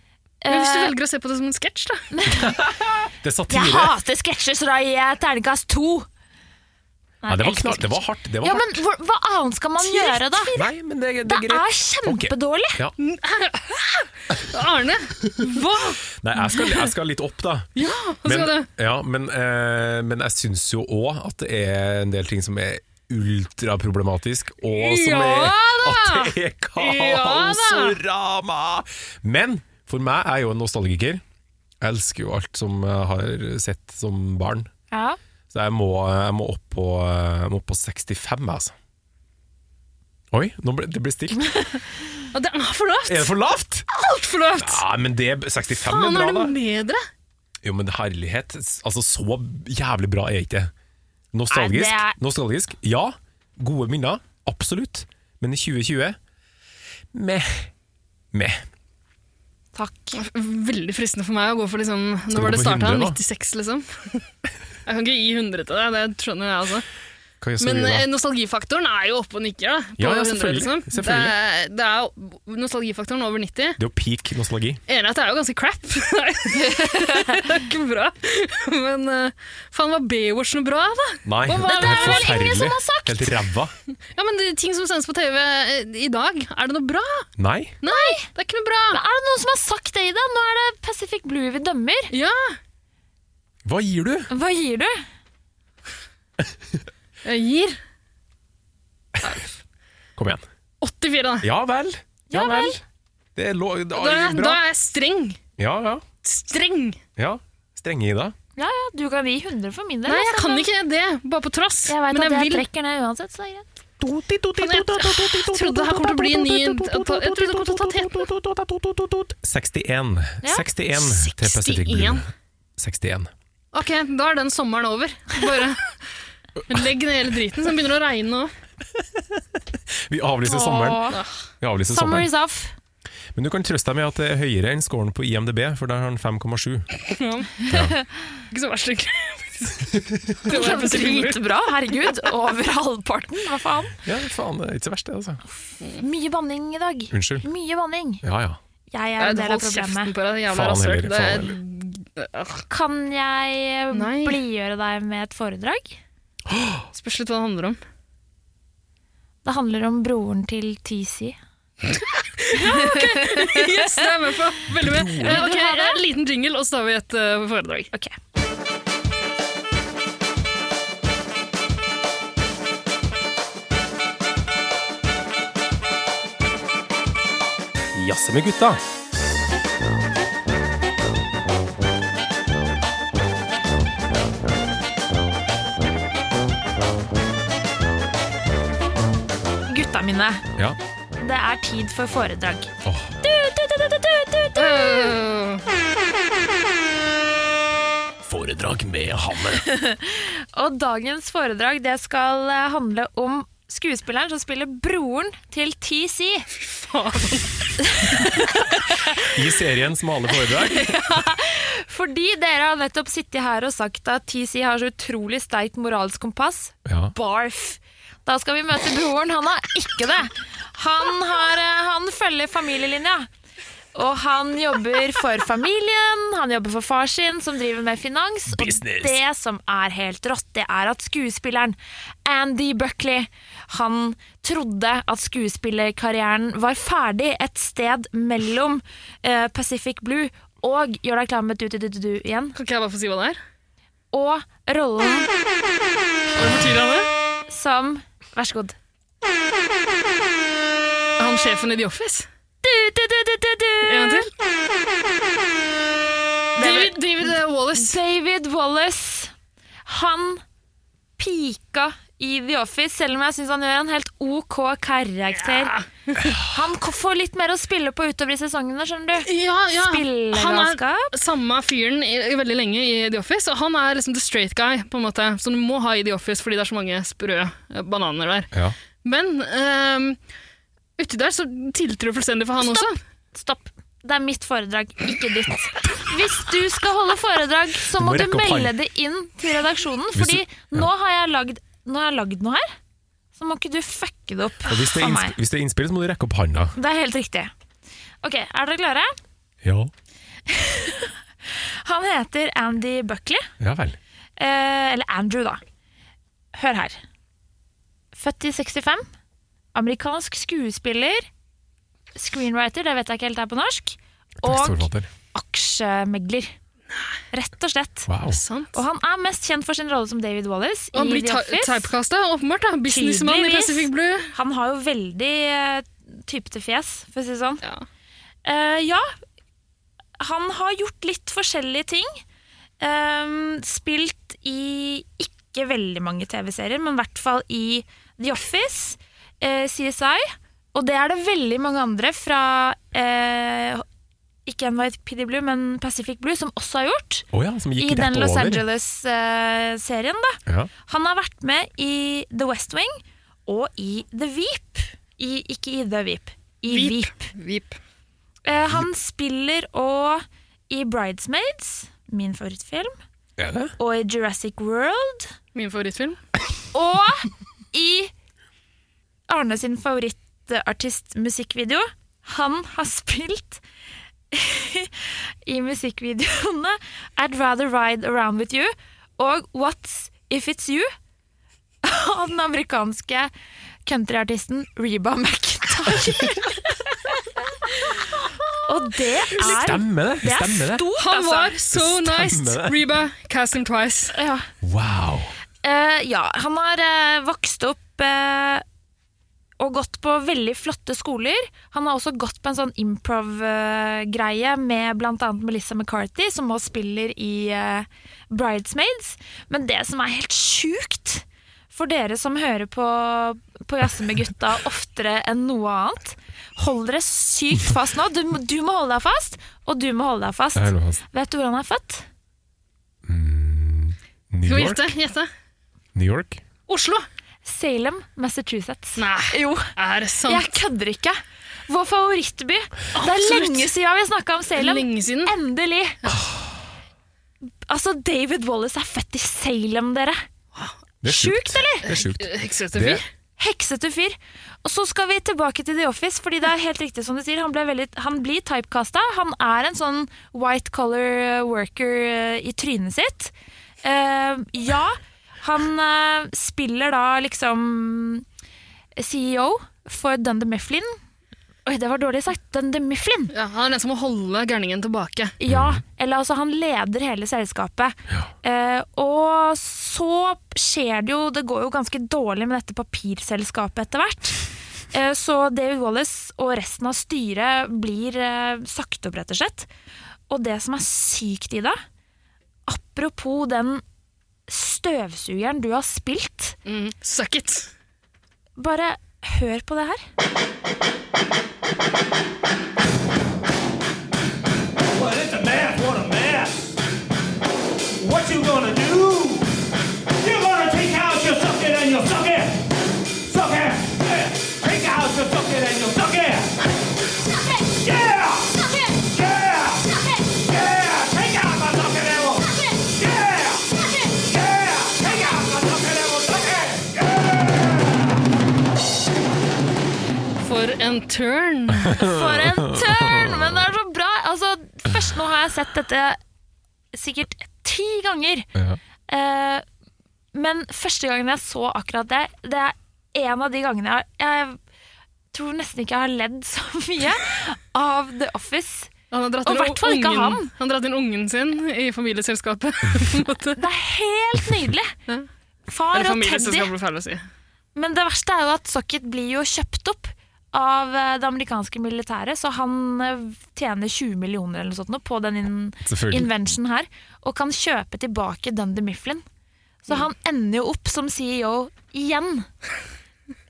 Speaker 3: Men hvis du
Speaker 1: Eh,
Speaker 3: velger å se på det som en sketsj, da.
Speaker 2: Det er
Speaker 1: jeg
Speaker 2: satire.
Speaker 1: hater sketsjer, så da gir jeg terningkast to. Nei,
Speaker 2: Nei, det,
Speaker 1: jeg
Speaker 2: var
Speaker 1: elsker
Speaker 2: knall, det var hardt. Det var
Speaker 1: Ja,
Speaker 2: hardt.
Speaker 1: men hvor, Hva annet skal man gjøre, da?
Speaker 2: Nei, men det, det
Speaker 1: Det
Speaker 2: er
Speaker 1: er
Speaker 2: greit.
Speaker 1: kjempedårlig.
Speaker 2: Ja.
Speaker 3: Arne, hva?
Speaker 2: Nei, jeg skal, jeg skal litt opp, da.
Speaker 3: Ja, hva skal
Speaker 2: Men,
Speaker 3: du?
Speaker 2: ja, men, eh, men jeg syns jo òg at det er en del ting som er ultraproblematisk, og som
Speaker 3: Ja
Speaker 2: er
Speaker 3: da!
Speaker 2: at det er
Speaker 3: Ja
Speaker 2: kaos
Speaker 3: da!
Speaker 2: og rama! Men for meg er jeg jo en nostalgiker. Jeg elsker jo alt som jeg har sett som barn.
Speaker 1: Ja.
Speaker 2: Så jeg må, jeg må, opp, på, jeg må opp på 65, altså. Oi, nå ble, det ble stilt.
Speaker 3: Ja, Det er for lavt!
Speaker 2: Er det for lavt?
Speaker 3: Altfor lavt!
Speaker 2: Ja, men det, 65
Speaker 3: Faen,
Speaker 2: er bra,
Speaker 3: er
Speaker 2: da.
Speaker 3: det med dere?
Speaker 2: Jo, men herlighet. Altså, så jævlig bra er jeg ikke. Nostalgisk.
Speaker 1: Nei, det er-
Speaker 2: Nostalgisk, ja. Gode minner, absolutt. Men i 2020 Meh. Meh.
Speaker 1: Takk.
Speaker 3: Veldig fristende for meg å gå for liksom Når
Speaker 2: du
Speaker 3: var
Speaker 2: gå
Speaker 3: det
Speaker 2: for
Speaker 3: starta?
Speaker 2: 100, da?
Speaker 3: 96, liksom? Jeg kan ikke gi 100 til deg, det skjønner jeg, altså.
Speaker 2: Hva gjør så
Speaker 3: Men
Speaker 2: vi
Speaker 3: eh,
Speaker 2: da?
Speaker 3: nostalgifaktoren er jo oppe og nikker, da. På
Speaker 2: Ja, ja,
Speaker 3: 100,
Speaker 2: selvfølgelig,
Speaker 3: liksom.
Speaker 2: selvfølgelig.
Speaker 3: Det er, det er nostalgifaktoren over 90.
Speaker 2: Det er jo peak nostalgi.
Speaker 3: Enig at det er jo ganske crap. det er ikke bra. Men eh, faen, var Baywatch noe bra, da?
Speaker 2: Nei,
Speaker 3: Og hva-
Speaker 2: det
Speaker 3: det
Speaker 2: er
Speaker 3: er vel
Speaker 2: forferdelig. Helt ræva.
Speaker 3: Ja, men de Ting som sendes på TV eh, i dag, er det noe bra?
Speaker 2: Nei.
Speaker 3: Nei, det er ikke noe bra!
Speaker 1: Men er det noen som har sagt det, Ida? Nå er det Pacific Blue vi dømmer.
Speaker 3: Ja,
Speaker 2: Hva gir du?
Speaker 1: Hva gir du?
Speaker 3: Jeg gir
Speaker 2: Kom igjen.
Speaker 3: 84, da.
Speaker 2: Ja vel. Ja vel. Det lå da,
Speaker 3: Da, da
Speaker 2: Bra.
Speaker 3: er jeg streng.
Speaker 2: Ja, ja.
Speaker 3: Streng!
Speaker 2: ja. Strenge Ida.
Speaker 1: Ja, ja, du kan gi 100 for min del.
Speaker 3: Nei, jeg
Speaker 1: altså.
Speaker 3: kan ikke det, bare på tross.
Speaker 1: Jeg vet
Speaker 3: Men
Speaker 1: at
Speaker 3: jeg
Speaker 1: jeg
Speaker 3: vil
Speaker 1: trekker ned uansett, så det er greit.
Speaker 3: Kan jeg- Jeg trodde det her kommer til å bli en ny Jeg trodde det kom til å ta teten.
Speaker 2: 61.
Speaker 1: Ja.
Speaker 2: 61 til Pacific Blue. 61.
Speaker 3: Ok, da er den sommeren over. Bare legg ned hele driten, så det begynner å regne nå.
Speaker 2: Vi avlyser sommeren.
Speaker 1: Åh,
Speaker 2: Vi avlyser
Speaker 1: Summer
Speaker 2: sommeren.
Speaker 1: is off.
Speaker 2: Men du kan trøste deg med at det er høyere enn scoren på IMDb, for der har han 5,7.
Speaker 3: Ikke så verst, egentlig.
Speaker 1: Det
Speaker 3: var
Speaker 1: var dritbra, herregud. Over halvparten, hva faen.
Speaker 2: Ja, faen, det er ikke så verst, det, altså.
Speaker 1: Mye banning i dag.
Speaker 2: Unnskyld.
Speaker 1: Mye banning.
Speaker 2: Ja, ja.
Speaker 1: Jeg er en
Speaker 3: Jeg
Speaker 1: del av
Speaker 3: holdt kjeften
Speaker 1: problemet.
Speaker 3: på deg, jævla
Speaker 2: Faen
Speaker 3: rasshøl.
Speaker 2: heller,
Speaker 3: Det
Speaker 2: faen
Speaker 3: er
Speaker 1: Kan jeg eh,
Speaker 3: Nei.
Speaker 1: blidgjøre deg med et foredrag?
Speaker 3: spørs litt hva det handler om.
Speaker 1: Det handler om broren til TC.
Speaker 3: Yes, det er jeg med på. Veldig med. Eh, Ok, en liten jingle, og så tar vi et eh, foredrag.
Speaker 1: Ok.
Speaker 2: Jazze med gutta.
Speaker 1: Gutta mine,
Speaker 2: Ja.
Speaker 1: det er tid for foredrag.
Speaker 2: Åh,
Speaker 3: Eh,
Speaker 2: foredrag med Hanne.
Speaker 1: Og dagens foredrag det skal eh, handle om skuespilleren som spiller broren til TC.
Speaker 2: I serien Smale foredrag.
Speaker 1: Fordi dere har nettopp sittet her og sagt at TC har så utrolig sterkt moralsk kompass.
Speaker 2: Ja.
Speaker 1: Barf. Da skal vi møte broren. Han har ikke det. Han, har, eh, han følger familielinja. Og han jobber for familien, han jobber for far sin, som driver med finans.
Speaker 2: Business.
Speaker 1: Og det som er helt rått, det er at skuespilleren Andy Buckley han trodde at skuespillerkarrieren var ferdig et sted mellom eh, Pacific Blue og Gjør deg klar med du-du-du-du igjen,
Speaker 3: kan ikke jeg bare få si hva det er?
Speaker 1: og rollen
Speaker 3: Var det for tidlig, Anne?
Speaker 1: som Vær så god.
Speaker 3: Er Han sjefen i The Office?
Speaker 1: Du-du-du-du-du-du.
Speaker 3: En gang til.
Speaker 1: David-
Speaker 3: David, David eh, Wallace.
Speaker 1: David Wallace Han pika i The Office, selv om jeg syns han gjør en helt OK karakter. Han k- får litt mer å spille på utover i sesongene, skjønner du.
Speaker 3: Ja, ja. Han er
Speaker 1: Spillegalskap.
Speaker 3: samme fyren i, i veldig lenge i The Office, og han er liksom the straight guy, på en måte, som du må ha i The Office fordi det er så mange sprø eh, bananer der.
Speaker 2: Ja.
Speaker 3: Men ehm, uti der så tiltror fullstendig for han også.
Speaker 1: Stopp. Det er mitt foredrag, ikke ditt. Hvis du skal holde foredrag, så
Speaker 2: Du
Speaker 1: må
Speaker 2: må
Speaker 1: du
Speaker 2: rekke opp
Speaker 1: melde
Speaker 2: hånden.
Speaker 1: det inn til redaksjonen,
Speaker 2: Hvis
Speaker 1: fordi
Speaker 2: du-
Speaker 1: nå har jeg lagd, nå har jeg lagd noe her. Så må ikke du fucke det opp
Speaker 2: Og hvis det, er
Speaker 1: for
Speaker 2: innsp-
Speaker 1: meg.
Speaker 2: hvis det er innspill, så må du rekke opp handa.
Speaker 1: Det er helt riktig. Ok, er dere klare?
Speaker 2: Ja.
Speaker 1: Han heter Andy Buckley.
Speaker 2: Ja vel.
Speaker 1: Eh, eller Andrew, da. Hør her. Født i 65. Amerikansk skuespiller. Screenwriter, det vet jeg ikke helt er på norsk. Og
Speaker 2: Tekstforfatter.
Speaker 1: aksjemegler. Rett og slett.
Speaker 2: Wow.
Speaker 3: Sant.
Speaker 1: Og han er mest kjent for sin rolle som David Wallace
Speaker 3: Og han
Speaker 1: i
Speaker 3: blir
Speaker 1: The
Speaker 3: ty
Speaker 1: Office.
Speaker 3: typecasta, åpenbart. da. Businessmann i
Speaker 1: Tydeligvis.
Speaker 3: Pacific Blue.
Speaker 1: Han har jo veldig eh, typete fjes, for å si det sånn.
Speaker 3: Ja.
Speaker 1: Eh, ja, han har gjort litt forskjellige ting. Ehm, spilt i ikke veldig mange TV-serier, men i hvert fall i The Office, eh, CSI, og det er det veldig mange andre fra eh, ikke NYPD Blue, men Pacific Blue, som også har gjort.
Speaker 2: Å ja, som gikk
Speaker 1: I
Speaker 2: rett
Speaker 1: den Los
Speaker 2: over.
Speaker 1: Angeles-serien, da.
Speaker 2: Ja.
Speaker 1: Han har vært med i The West Wing og i The Veep. I, ikke i The Veep, i
Speaker 3: Veep.
Speaker 1: Veep.
Speaker 3: Vip.
Speaker 1: Eh, han spiller òg i Bridesmaids, min favorittfilm,
Speaker 2: Er det?
Speaker 1: og i Jurassic World,
Speaker 3: Min favorittfilm.
Speaker 1: og i Arne sin favorittartistmusikkvideo. Han har spilt i musikkvideoene I'd Rather Ride Around With You og What's If It's You av den amerikanske countryartisten Reba McIntyre. og det er
Speaker 2: Stemmer det.
Speaker 1: det er
Speaker 2: Stemmer det.
Speaker 1: stort,
Speaker 3: Han
Speaker 1: altså.
Speaker 3: var so
Speaker 2: Stemmer
Speaker 3: nice!
Speaker 2: det.
Speaker 3: Reba, cast him twice.
Speaker 1: Ja.
Speaker 2: Wow.
Speaker 1: Eh, Eh, ja, han har eh, vokst opp eh, og gått på veldig flotte skoler. Han har også gått på en sånn improv-greie med bl.a. Melissa McCarthy, som også spiller i eh, Bridesmaids. Men det som er helt sjukt for dere som hører på, på Jazze med gutta oftere enn noe annet, hold dere sykt fast nå. Du, må- du må holde deg fast, og du må holde deg fast.
Speaker 2: Det er noe hans.
Speaker 1: Vet du hvor han er født?
Speaker 2: New
Speaker 3: Skal vi
Speaker 2: York?
Speaker 3: gjette? gjette?
Speaker 2: New York?
Speaker 3: Oslo!
Speaker 1: Salem, Massachusetts.
Speaker 3: Nei,
Speaker 1: Jo,
Speaker 3: er det sant?
Speaker 1: Jeg kødder ikke. Vår favorittby. Det er
Speaker 3: Absolutt.
Speaker 1: lenge siden vi snakka om Salem.
Speaker 3: Lenge Ah. siden.
Speaker 1: Endelig. Altså, David Wallace er født i Salem, dere.
Speaker 2: Det er
Speaker 1: Sjukt, eller?
Speaker 2: Det er sjukt.
Speaker 3: Heksete
Speaker 2: Det,
Speaker 3: fyr.
Speaker 1: Heksete fyr. Og så skal vi tilbake til The Office, fordi det er helt riktig som du sier. Han, ble veldig, han blir typecasta. Han er en sånn white collar worker eh, i trynet sitt. Eh, ja, han eh, spiller da liksom CEO for Dunder Mifflin. Oi, det var dårlig sagt. Dunder Mifflin!
Speaker 3: Ja, han er den som må holde gærningen tilbake.
Speaker 1: Ja, eller altså han leder hele selskapet. Eh, og så skjer det jo Det går jo ganske dårlig med dette papirselskapet etter hvert. Eh, så David Wallace og resten av styret blir eh, sagt opp, rett og slett. Og det som er sykt i det Apropos den støvsugeren du har spilt,
Speaker 3: Mm. Suck it!
Speaker 1: bare hør på det her.
Speaker 6: Well, it's a mess. What a mess. What you gonna do? You're gonna take out your sucker and your sucker. Sucker. Yeah. Take out your sucker and your sucker. Yeah. Yeah. Yeah. Take out my sucker and my Yeah. Yeah. Take out my sucker and my sucker.
Speaker 3: For en turn!
Speaker 1: For en turn! Men det er så bra! Altså, først nå har jeg sett dette sikkert ti ganger.
Speaker 2: ja.
Speaker 1: Eh, men første gangen jeg så akkurat det, det er en av de gangene jeg, jeg tror nesten ikke jeg har ledd så mye av The Office.
Speaker 3: Han har dratt
Speaker 1: Og
Speaker 3: inn
Speaker 1: i hvert fall ikke
Speaker 3: ungen.
Speaker 1: han.
Speaker 3: har dratt inn ungen sin i familieselskapet. på en måte.
Speaker 1: Det er helt nydelig! Far
Speaker 3: Eller
Speaker 1: og Teddy.
Speaker 3: familieselskapet, blir feil å si.
Speaker 1: Men det verste er jo at Socket blir jo kjøpt opp av eh, det amerikanske militæret, så han eh, tjener 20 millioner eller noe sånt nå på den in
Speaker 2: Selvfølgelig.
Speaker 1: invention her, og kan kjøpe tilbake Dunder Mifflin.
Speaker 2: Mm.
Speaker 1: Så han ender jo opp som CEO igjen.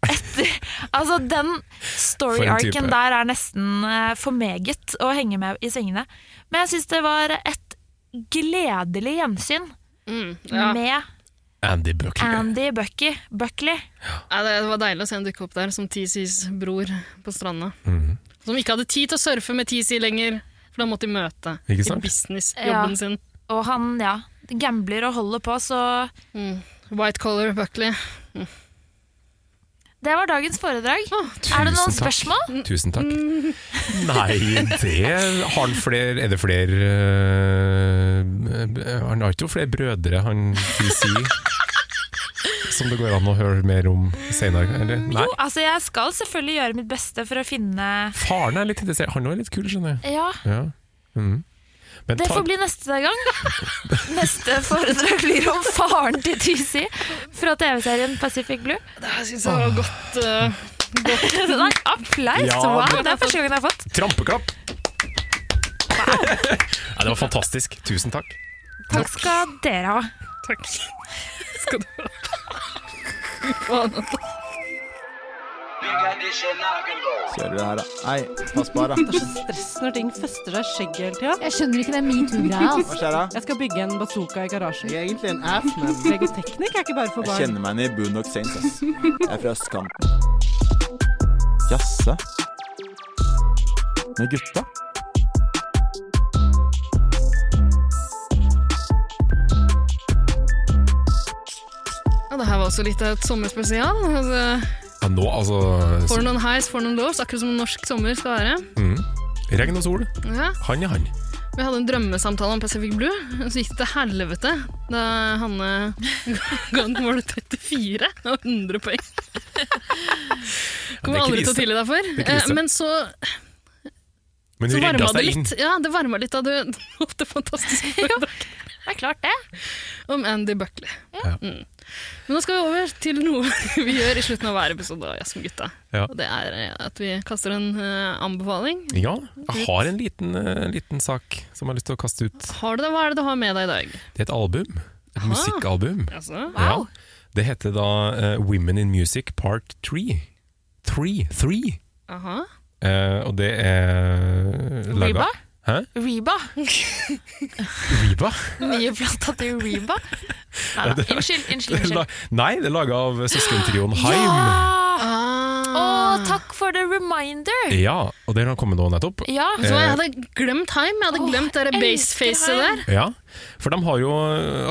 Speaker 1: Etter, altså den
Speaker 2: For en type.
Speaker 1: story-arken der er nesten eh, for meget å henge med i svingene. Men jeg syns det var et gledelig gjensyn Mm.
Speaker 3: Ja.
Speaker 1: med
Speaker 2: Andy Buckley.
Speaker 1: Andy Bucky, Buckley.
Speaker 3: Ja, det det var deilig å se han dukke opp der som TCs bror på stranda.
Speaker 2: Mhm.
Speaker 3: Som ikke hadde tid til å surfe med TC lenger, for da måtte de møte i
Speaker 2: Ikke sant?
Speaker 3: businessjobben
Speaker 1: Ja.
Speaker 3: sin.
Speaker 1: Og han, ja, gambler og holder på, så
Speaker 3: White collar Buckley.
Speaker 1: det var dagens foredrag.
Speaker 3: Åh,
Speaker 1: er det noen
Speaker 2: tusen takk.
Speaker 1: spørsmål?
Speaker 2: Tusen takk. Nei, det har han flere Er det flere øh, Han har ikke jo flere brødre, han vil si. Som det går an å høre mer om senere, eller? Nei.
Speaker 1: Jo, altså jeg skal selvfølgelig gjøre mitt beste for å finne
Speaker 2: Faren er litt interessert. Han er litt kul, skjønner jeg.
Speaker 1: Ja,
Speaker 2: Ja. Mhm. Men
Speaker 1: det
Speaker 2: ta-
Speaker 1: får bli neste gang. Neste foredrag blir om faren til TC fra TV-serien Pacific Blue.
Speaker 3: Det her synes jeg var godt.
Speaker 2: Ah.
Speaker 3: eh,
Speaker 1: Nei, Applaus!
Speaker 2: Ja,
Speaker 1: Wow,
Speaker 2: det-
Speaker 1: det er første gangen jeg har fått.
Speaker 2: Trampeklapp! Nei, det var fantastisk. Tusen takk.
Speaker 1: Takk skal dere ha.
Speaker 3: takk. Skal du ha. Fy faen, altså.
Speaker 8: Kjører du her, da? Nei, pass på her, da.
Speaker 9: stress når ting fester seg i skjegget hele tida.
Speaker 5: Jeg skjønner ikke den metoo-greia.
Speaker 8: Hva skjer da?
Speaker 9: Jeg skal bygge en bazooka i garasjen.
Speaker 8: Jeg er egentlig en ass, men
Speaker 9: Legoteknikk er ikke bare for
Speaker 8: Jeg
Speaker 9: barn.
Speaker 8: kjenner meg igjen i Boondock Saints, ass. Jeg er fra østkanten. Jasse? Med gutta?
Speaker 3: Ja, det her var også litt av et sommerspesial. Altså,
Speaker 2: Ja, nå, altså
Speaker 3: for noen highs, for noen lows, akkurat som en norsk sommer skal være.
Speaker 2: mm. Regn og sol.
Speaker 3: Ja.
Speaker 2: Han er han.
Speaker 3: Vi hadde en drømmesamtale om Pacific Blue, og så gikk det til helvete da Hanne ga den målet 34 av 100 poeng. Kommer aldri til å
Speaker 2: krise.
Speaker 3: tilgi deg for.
Speaker 2: er krise.
Speaker 3: Eh, Men så,
Speaker 2: Men
Speaker 3: så
Speaker 2: hun redda
Speaker 3: varma det
Speaker 2: seg inn.
Speaker 3: litt. Ja, det varma litt da du holdt det fantastiske foredraget.
Speaker 1: Det er klart, det.
Speaker 3: om Andy Buckley.
Speaker 2: Ja.
Speaker 3: Mm. Men nå skal vi over til noe vi gjør i slutten av hver episode av Jazz med gutta.
Speaker 2: Ja.
Speaker 3: Og det er eh, at vi kaster en eh, anbefaling.
Speaker 2: Ja, jeg har en liten, eh, liten sak som jeg har lyst til å kaste ut.
Speaker 3: Har du det, hva er det du har med deg i dag?
Speaker 2: Det er et album. Et
Speaker 3: Aha.
Speaker 2: musikkalbum.
Speaker 3: Altså,
Speaker 2: Ja. Det heter da eh, Women in Music Part 3. 3. 3.
Speaker 3: aha.
Speaker 2: Eh, og det er
Speaker 1: Reba?
Speaker 2: laga Hæ?
Speaker 1: Reba.
Speaker 2: Reba?
Speaker 1: Nye plata til Reba. Nei da. Unnskyld. unnskyld,
Speaker 2: La-
Speaker 1: unnskyld.
Speaker 2: Nei, det er laga av søskentrioen Haim.
Speaker 1: Ja! Å,
Speaker 3: Ah.
Speaker 1: takk for the reminder!
Speaker 2: Ja, og det har kommet nå nettopp.
Speaker 1: Ja.
Speaker 3: Vet du
Speaker 2: Eh.
Speaker 3: hva, jeg hadde glemt Heim. Jeg hadde
Speaker 1: Åh,
Speaker 3: glemt det
Speaker 1: jeg
Speaker 3: baseface
Speaker 1: elsker Haim.
Speaker 3: der.
Speaker 2: Ja, for de har jo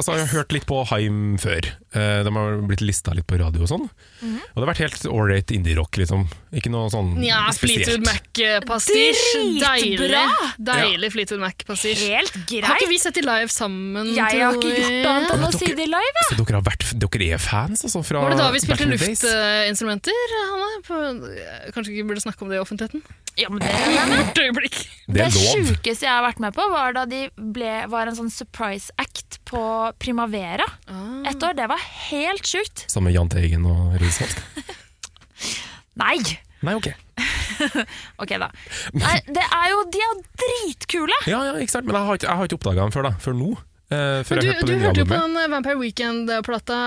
Speaker 2: altså, Jeg har hørt litt på Haim før. Eh, De har blitt lista litt på radio og sånn.
Speaker 3: Mhm.
Speaker 2: Og det har vært helt ålreit indie-rock, liksom. Ikke noe sånn
Speaker 3: Ja, Fleetwood Mac-pastisj. Deilig.
Speaker 1: Dritbra!
Speaker 3: Deilig
Speaker 2: Eh,
Speaker 3: Fleetwood Mac-pastisj.
Speaker 1: Helt
Speaker 3: Har
Speaker 1: greit.
Speaker 3: ikke vi sett de live sammen?
Speaker 1: Jeg har ikke gjort annet enn å si det live.
Speaker 2: Så dere, har vært, dere er fans, altså? Fra
Speaker 3: Var det da vi
Speaker 2: back
Speaker 3: spilte eh,
Speaker 2: in the days?
Speaker 3: luftinstrumenter, Hanne? På, kanskje ikke burde snakke om det i offentligheten?
Speaker 1: Ja, men det
Speaker 3: Et øyeblikk.
Speaker 2: Det er lov.
Speaker 1: sjukeste jeg har vært med på, var da de ble, var en sånn surprise act på Primavera et år. Det var helt sjukt.
Speaker 2: Sammen med Jahn Teigen og Risholt?
Speaker 1: Nei!
Speaker 2: Nei, ok.
Speaker 1: Ok, da. Nei, det er jo, de er dritkule!
Speaker 2: Ja, ja, ikke sant? Men jeg har ikke, jeg har ikke oppdaga den før, da. Før nå. Eh, før
Speaker 3: Men du,
Speaker 2: jeg hørte på
Speaker 3: du
Speaker 2: det nye
Speaker 3: hørte jo på
Speaker 2: albumet.
Speaker 3: den eh, Vampire Weekend-plata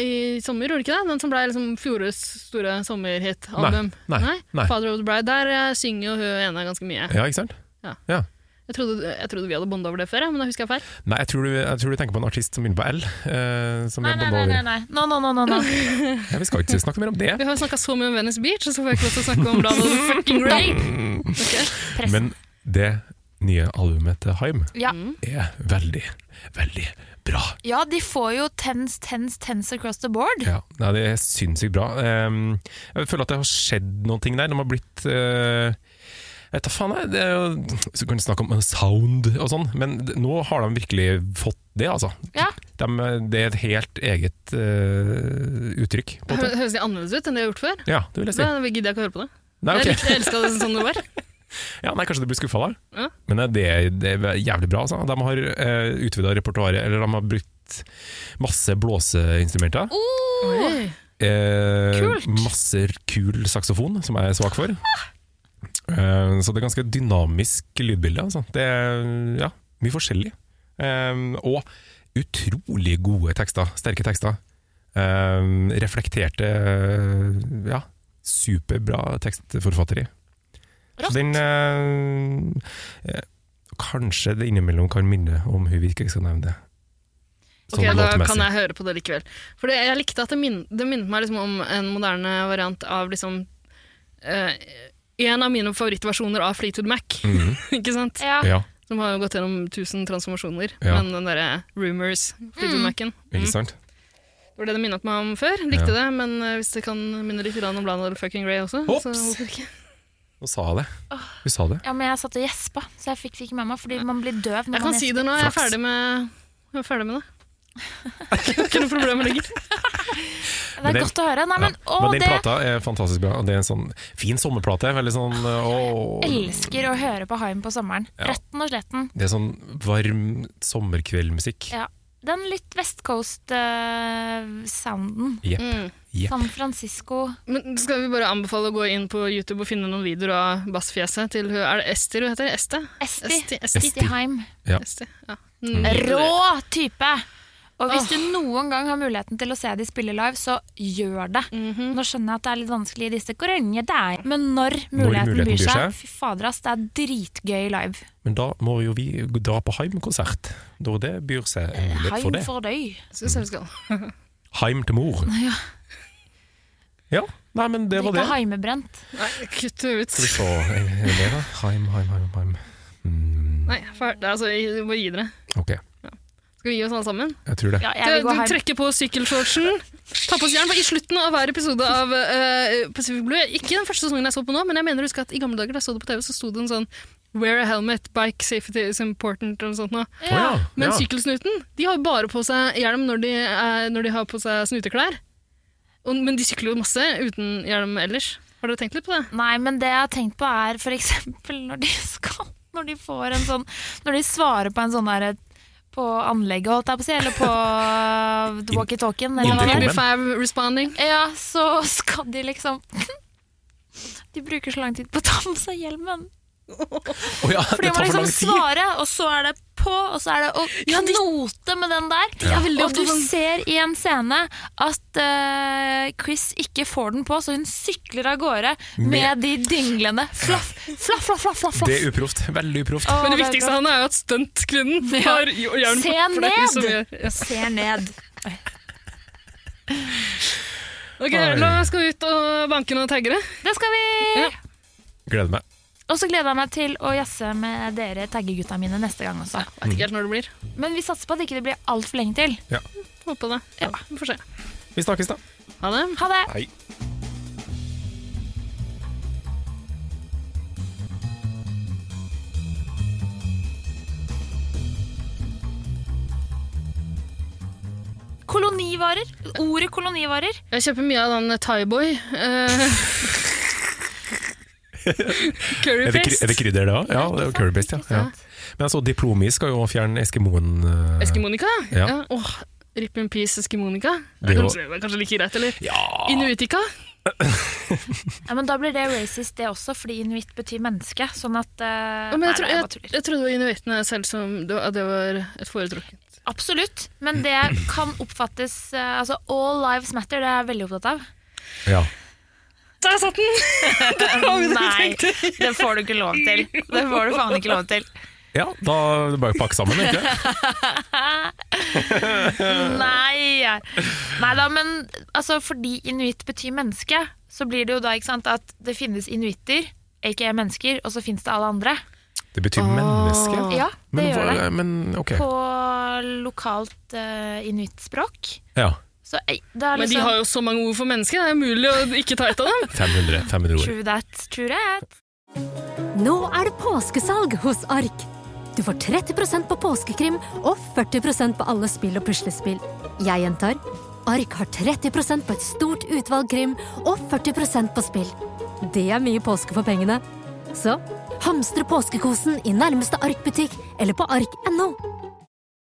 Speaker 3: i sommer, gjorde du ikke det? Den som ble liksom Fjordes store sommerhit-album.
Speaker 2: Nei, nei, nei.
Speaker 3: Father of the Bride. Der eh, synger jo hun ene ganske mye.
Speaker 2: Ja, ikke sant?
Speaker 3: Ja.
Speaker 2: Ja.
Speaker 3: Jeg trodde, jeg trodde vi hadde bonda over det før, ja, men da husker jeg feil.
Speaker 2: Nei, jeg tror, du, jeg tror du tenker på en artist som begynner på L. Eh, som
Speaker 1: Nei,
Speaker 2: jeg
Speaker 1: nei, nei. nei,
Speaker 2: bondet over.
Speaker 1: nei. No, no, no, no, no.
Speaker 2: Ja, vi skal ikke snakke mer om det.
Speaker 3: Vi har jo snakka så mye om Venice Beach, så får jeg ikke lov til å snakke om Lana the Fucking Rape.
Speaker 1: Press.
Speaker 2: Men det nye albumet til Haim
Speaker 1: Ja.
Speaker 2: er veldig, veldig bra.
Speaker 1: ja, de får jo tens, tens, tens across the board.
Speaker 2: Ja, nei, det er sinnssykt bra. Ehm, jeg føler at det har skjedd noen ting der. De har blitt eh, jeg vet da faen, jeg, det er jo, så kan du snakke om sound og sånn, men d- nå har de virkelig fått det, altså.
Speaker 1: Ja.
Speaker 2: De, det er et helt eget eh, uttrykk. På en måte.
Speaker 3: Hø- Høres de annerledes ut enn det jeg har gjort før?
Speaker 2: Ja, det vil jeg si.
Speaker 3: Da gidder jeg ikke å høre på det.
Speaker 2: Nei, ok.
Speaker 3: Jeg likte, jeg elska det sånn det var.
Speaker 2: Ja, nei, kanskje du blir skuffa da.
Speaker 3: Ja.
Speaker 2: Men eh, det, det er jævlig bra. Altså. De har uh, utvida repertoaret, eller de har brukt masse blåseinstrumenter.
Speaker 3: Oi.
Speaker 2: Eh,
Speaker 1: Kult.
Speaker 2: Masse kul saksofon, som jeg er svak for. Eh, så det er ganske dynamisk lydbilde. Altså. Det er ja, mye forskjellig. Eh, og utrolig gode tekster. Sterke tekster. Eh, reflekterte eh, Ja, superbra tekstforfatteri. Så
Speaker 1: Rått.
Speaker 2: den eh, eh, Kanskje det innimellom kan minne om hun vi ikke skal nevne det. Sånn
Speaker 3: Ok, Da kan jeg høre på det likevel. For det- jeg likte at det, min, det minnet meg liksom om en moderne variant av liksom eh, En av mine favorittversjoner av Fleetwood Mac,
Speaker 2: Mhm.
Speaker 3: ikke sant?
Speaker 1: Ja.
Speaker 2: Ja,
Speaker 3: Som har jo gått gjennom tusen transformasjoner.
Speaker 2: Ja.
Speaker 3: Men den derre Rumors, Fleetwood Mac'en
Speaker 2: ikke sant?
Speaker 3: Det var det det minnet meg om før. Likte det, men eh, hvis det kan minne litt grann om Lana Del Fucking Grey også, så
Speaker 2: Ops!
Speaker 3: hvorfor ikke?
Speaker 2: Nå sa jeg det. Hun sa det.
Speaker 1: Ja, men jeg satt og gjespa, så jeg fikk det ikke med meg. Fordi man blir døv når
Speaker 3: Jeg kan
Speaker 1: man
Speaker 3: si det nå, jeg er
Speaker 2: Flaks.
Speaker 3: ferdig med, jeg er ferdig med det. ikke noe problem lenger.
Speaker 1: Det
Speaker 2: Men
Speaker 1: er
Speaker 2: det-
Speaker 1: godt å høre. Nei, men,
Speaker 2: ja.
Speaker 1: å,
Speaker 2: men den
Speaker 1: det
Speaker 2: plata er fantastisk bra. og Det er en sånn fin sommerplate. Veldig sånn å,
Speaker 1: elsker å høre på Haim på sommeren.
Speaker 2: Ja.
Speaker 1: Retten og sletten.
Speaker 2: Det er sånn varm sommerkveldmusikk.
Speaker 1: Ja. Den litt West Coast-sounden.
Speaker 2: Jepp.
Speaker 3: Mm.
Speaker 2: Jepp.
Speaker 1: San Francisco.
Speaker 3: Men skal vi bare anbefale å gå inn på YouTube og finne noen videoer av bassfjeset til hun- Er det Ester hun heter? Este?
Speaker 1: Esti.
Speaker 3: Esti, Esti.
Speaker 1: Esti Haim.
Speaker 2: Ja.
Speaker 3: Esti, ja. Mm.
Speaker 1: Rå type! Og hvis du noen gang har muligheten til å se de spille live, så gjør det.
Speaker 3: Mhm.
Speaker 1: Nå skjønner jeg at det er litt vanskelig i disse korona dager, men når muligheten,
Speaker 2: muligheten
Speaker 1: byr
Speaker 2: byr
Speaker 1: seg,
Speaker 2: seg.
Speaker 1: fy fader ass, det er dritgøy live.
Speaker 2: Men da må jo vi dra på Heim-konsert, da det byr seg en mulighet for
Speaker 1: Haim
Speaker 2: det.
Speaker 1: Eh, for døy.
Speaker 3: Jeg synes jeg vi skal.
Speaker 2: Heim til mor. Ja. Nei, men det var
Speaker 1: Drikke
Speaker 2: det.
Speaker 1: haimebrent.
Speaker 3: Nei, kutt det ut.
Speaker 2: Skal vi se er det mer, da? Heim, heim, heim. heim. Mm,
Speaker 3: Nei, fer- det er altså, jeg- bare gi dere.
Speaker 2: ok,
Speaker 3: Skal vi gi oss alle sammen?
Speaker 2: jeg tror det.
Speaker 1: Ja, jeg
Speaker 3: Du,
Speaker 1: vil
Speaker 3: du
Speaker 1: gå haim.
Speaker 3: trekker på sykkelshortsen. Ta på oss jern. for I slutten av hver episode av eh, Pacific Blue Ikke den første sesongen jeg så på nå, men jeg mener husker at i gamle dager da jeg så det på TV, så sto det en sånn Wear a helmet, bike safety is important, eller noe sånt. Nå.
Speaker 2: Å ja,
Speaker 3: Men
Speaker 2: ja.
Speaker 3: sykkelsnuten de har jo bare på seg hjelm når de, er, når de har på seg snuteklær. Og, men de sykler jo masse uten hjelm ellers. Har dere tenkt litt på det?
Speaker 1: Nei, men det jeg har tenkt på er for eksempel når de skal Når de får en sånn Når de svarer på en sånn der På anlegget, holdt jeg på å si, eller på walkietalkien. eller hva det er.
Speaker 2: Intercomen.
Speaker 3: Five responding.
Speaker 1: Ja, så skal de liksom De bruker så lang tid på å ta med seg hjelmen.
Speaker 2: Å ja,
Speaker 1: For de må
Speaker 2: det tar for
Speaker 1: liksom
Speaker 2: lang tid!
Speaker 1: svare, og så er det på, og så er det å knote med den der.
Speaker 2: er
Speaker 1: Og du
Speaker 2: sånn-
Speaker 1: ser i en scene at eh, Chris ikke får den på, så hun sykler av gårde med de dinglende flaff, flaff, flaff, flaff, flaff.
Speaker 2: Det er uproft. Veldig uproft.
Speaker 1: Å,
Speaker 3: Men det
Speaker 1: er
Speaker 3: viktigste
Speaker 1: bra.
Speaker 3: han er jo at stuntkvinnen
Speaker 1: Ja.
Speaker 3: har jo- jern
Speaker 1: Se
Speaker 3: for det er hun som
Speaker 1: ned!
Speaker 3: gjør- ja.
Speaker 1: Ser ned.
Speaker 3: Ok, La oss gå ut og banke noen taggere.
Speaker 1: Det skal vi!
Speaker 3: Ja.
Speaker 2: Gleder meg.
Speaker 1: Og så gleder jeg meg til å jazze med dere taggegutta mine neste gang også.
Speaker 3: Vet ikke helt når det blir.
Speaker 1: Men vi satser på at det ikke blir altfor lenge til.
Speaker 3: Håper det. Ja, vi får se.
Speaker 2: Vi snakkes, da.
Speaker 3: Ha det.
Speaker 1: Ha det!
Speaker 2: Hei.
Speaker 1: Kolonivarer. Ordet kolonivarer.
Speaker 3: Jeg kjøper mye av den Thaiboy. Uh,
Speaker 2: Er det, kry- er det krydder, det òg? Ja, det er jo currybased. Ja. Ja. Men altså, Diplomi skal jo fjerne eskimoen. eh,
Speaker 3: Eskimonika?
Speaker 2: Ja.
Speaker 3: Ja. Åh, Rip in peace Eskimonika.
Speaker 2: Det er jo-
Speaker 3: kanskje, det er kanskje like greit, eller?
Speaker 2: Ja!
Speaker 3: Inuitika?
Speaker 1: Ja, men Da blir det racist, det også, fordi inuitt betyr menneske. Sånn at eh,
Speaker 3: Ja, men
Speaker 1: nei,
Speaker 3: jeg, tror,
Speaker 1: nei, jeg bare
Speaker 3: jeg,
Speaker 1: tuller.
Speaker 3: jeg trodde det var inuittene selv som det var, at det var et foretrukket.
Speaker 1: Absolutt. Men det kan oppfattes eh, Altså, All lives matter, det er jeg veldig opptatt av.
Speaker 2: ja.
Speaker 3: Der satt den!
Speaker 1: Nei, det får du ikke lov til. Det får du faen ikke lov til.
Speaker 2: ja, da er det bare å pakke sammen, egentlig.
Speaker 1: Nei. Nei da, men altså, fordi inuitt betyr menneske, så blir det jo da ikke sant, at det finnes inuitter, aka mennesker, og så finnes det alle andre.
Speaker 2: Det betyr menneske.
Speaker 3: Ah.
Speaker 1: Ja, det
Speaker 2: Men,
Speaker 1: gjør det.
Speaker 2: hva- men ok.
Speaker 1: På lokalt uh, inuittspråk.
Speaker 2: Ja.
Speaker 1: Så eh, det er
Speaker 3: Men de
Speaker 1: liksom
Speaker 3: har jo så mange ord for mennesker, det er umulig å ikke ta et av dem.
Speaker 2: 500, 500 ord.
Speaker 1: True that, true that.
Speaker 7: Nå er det påskesalg hos Ark. Du får 30 på påskekrim og 40 på alle spill og puslespill. Jeg gjentar Ark har 30 på et stort utvalg krim og 40 på spill. Det er mye påske for pengene. Så hamstre påskekosen i nærmeste Ark-butikk eller på ark.no.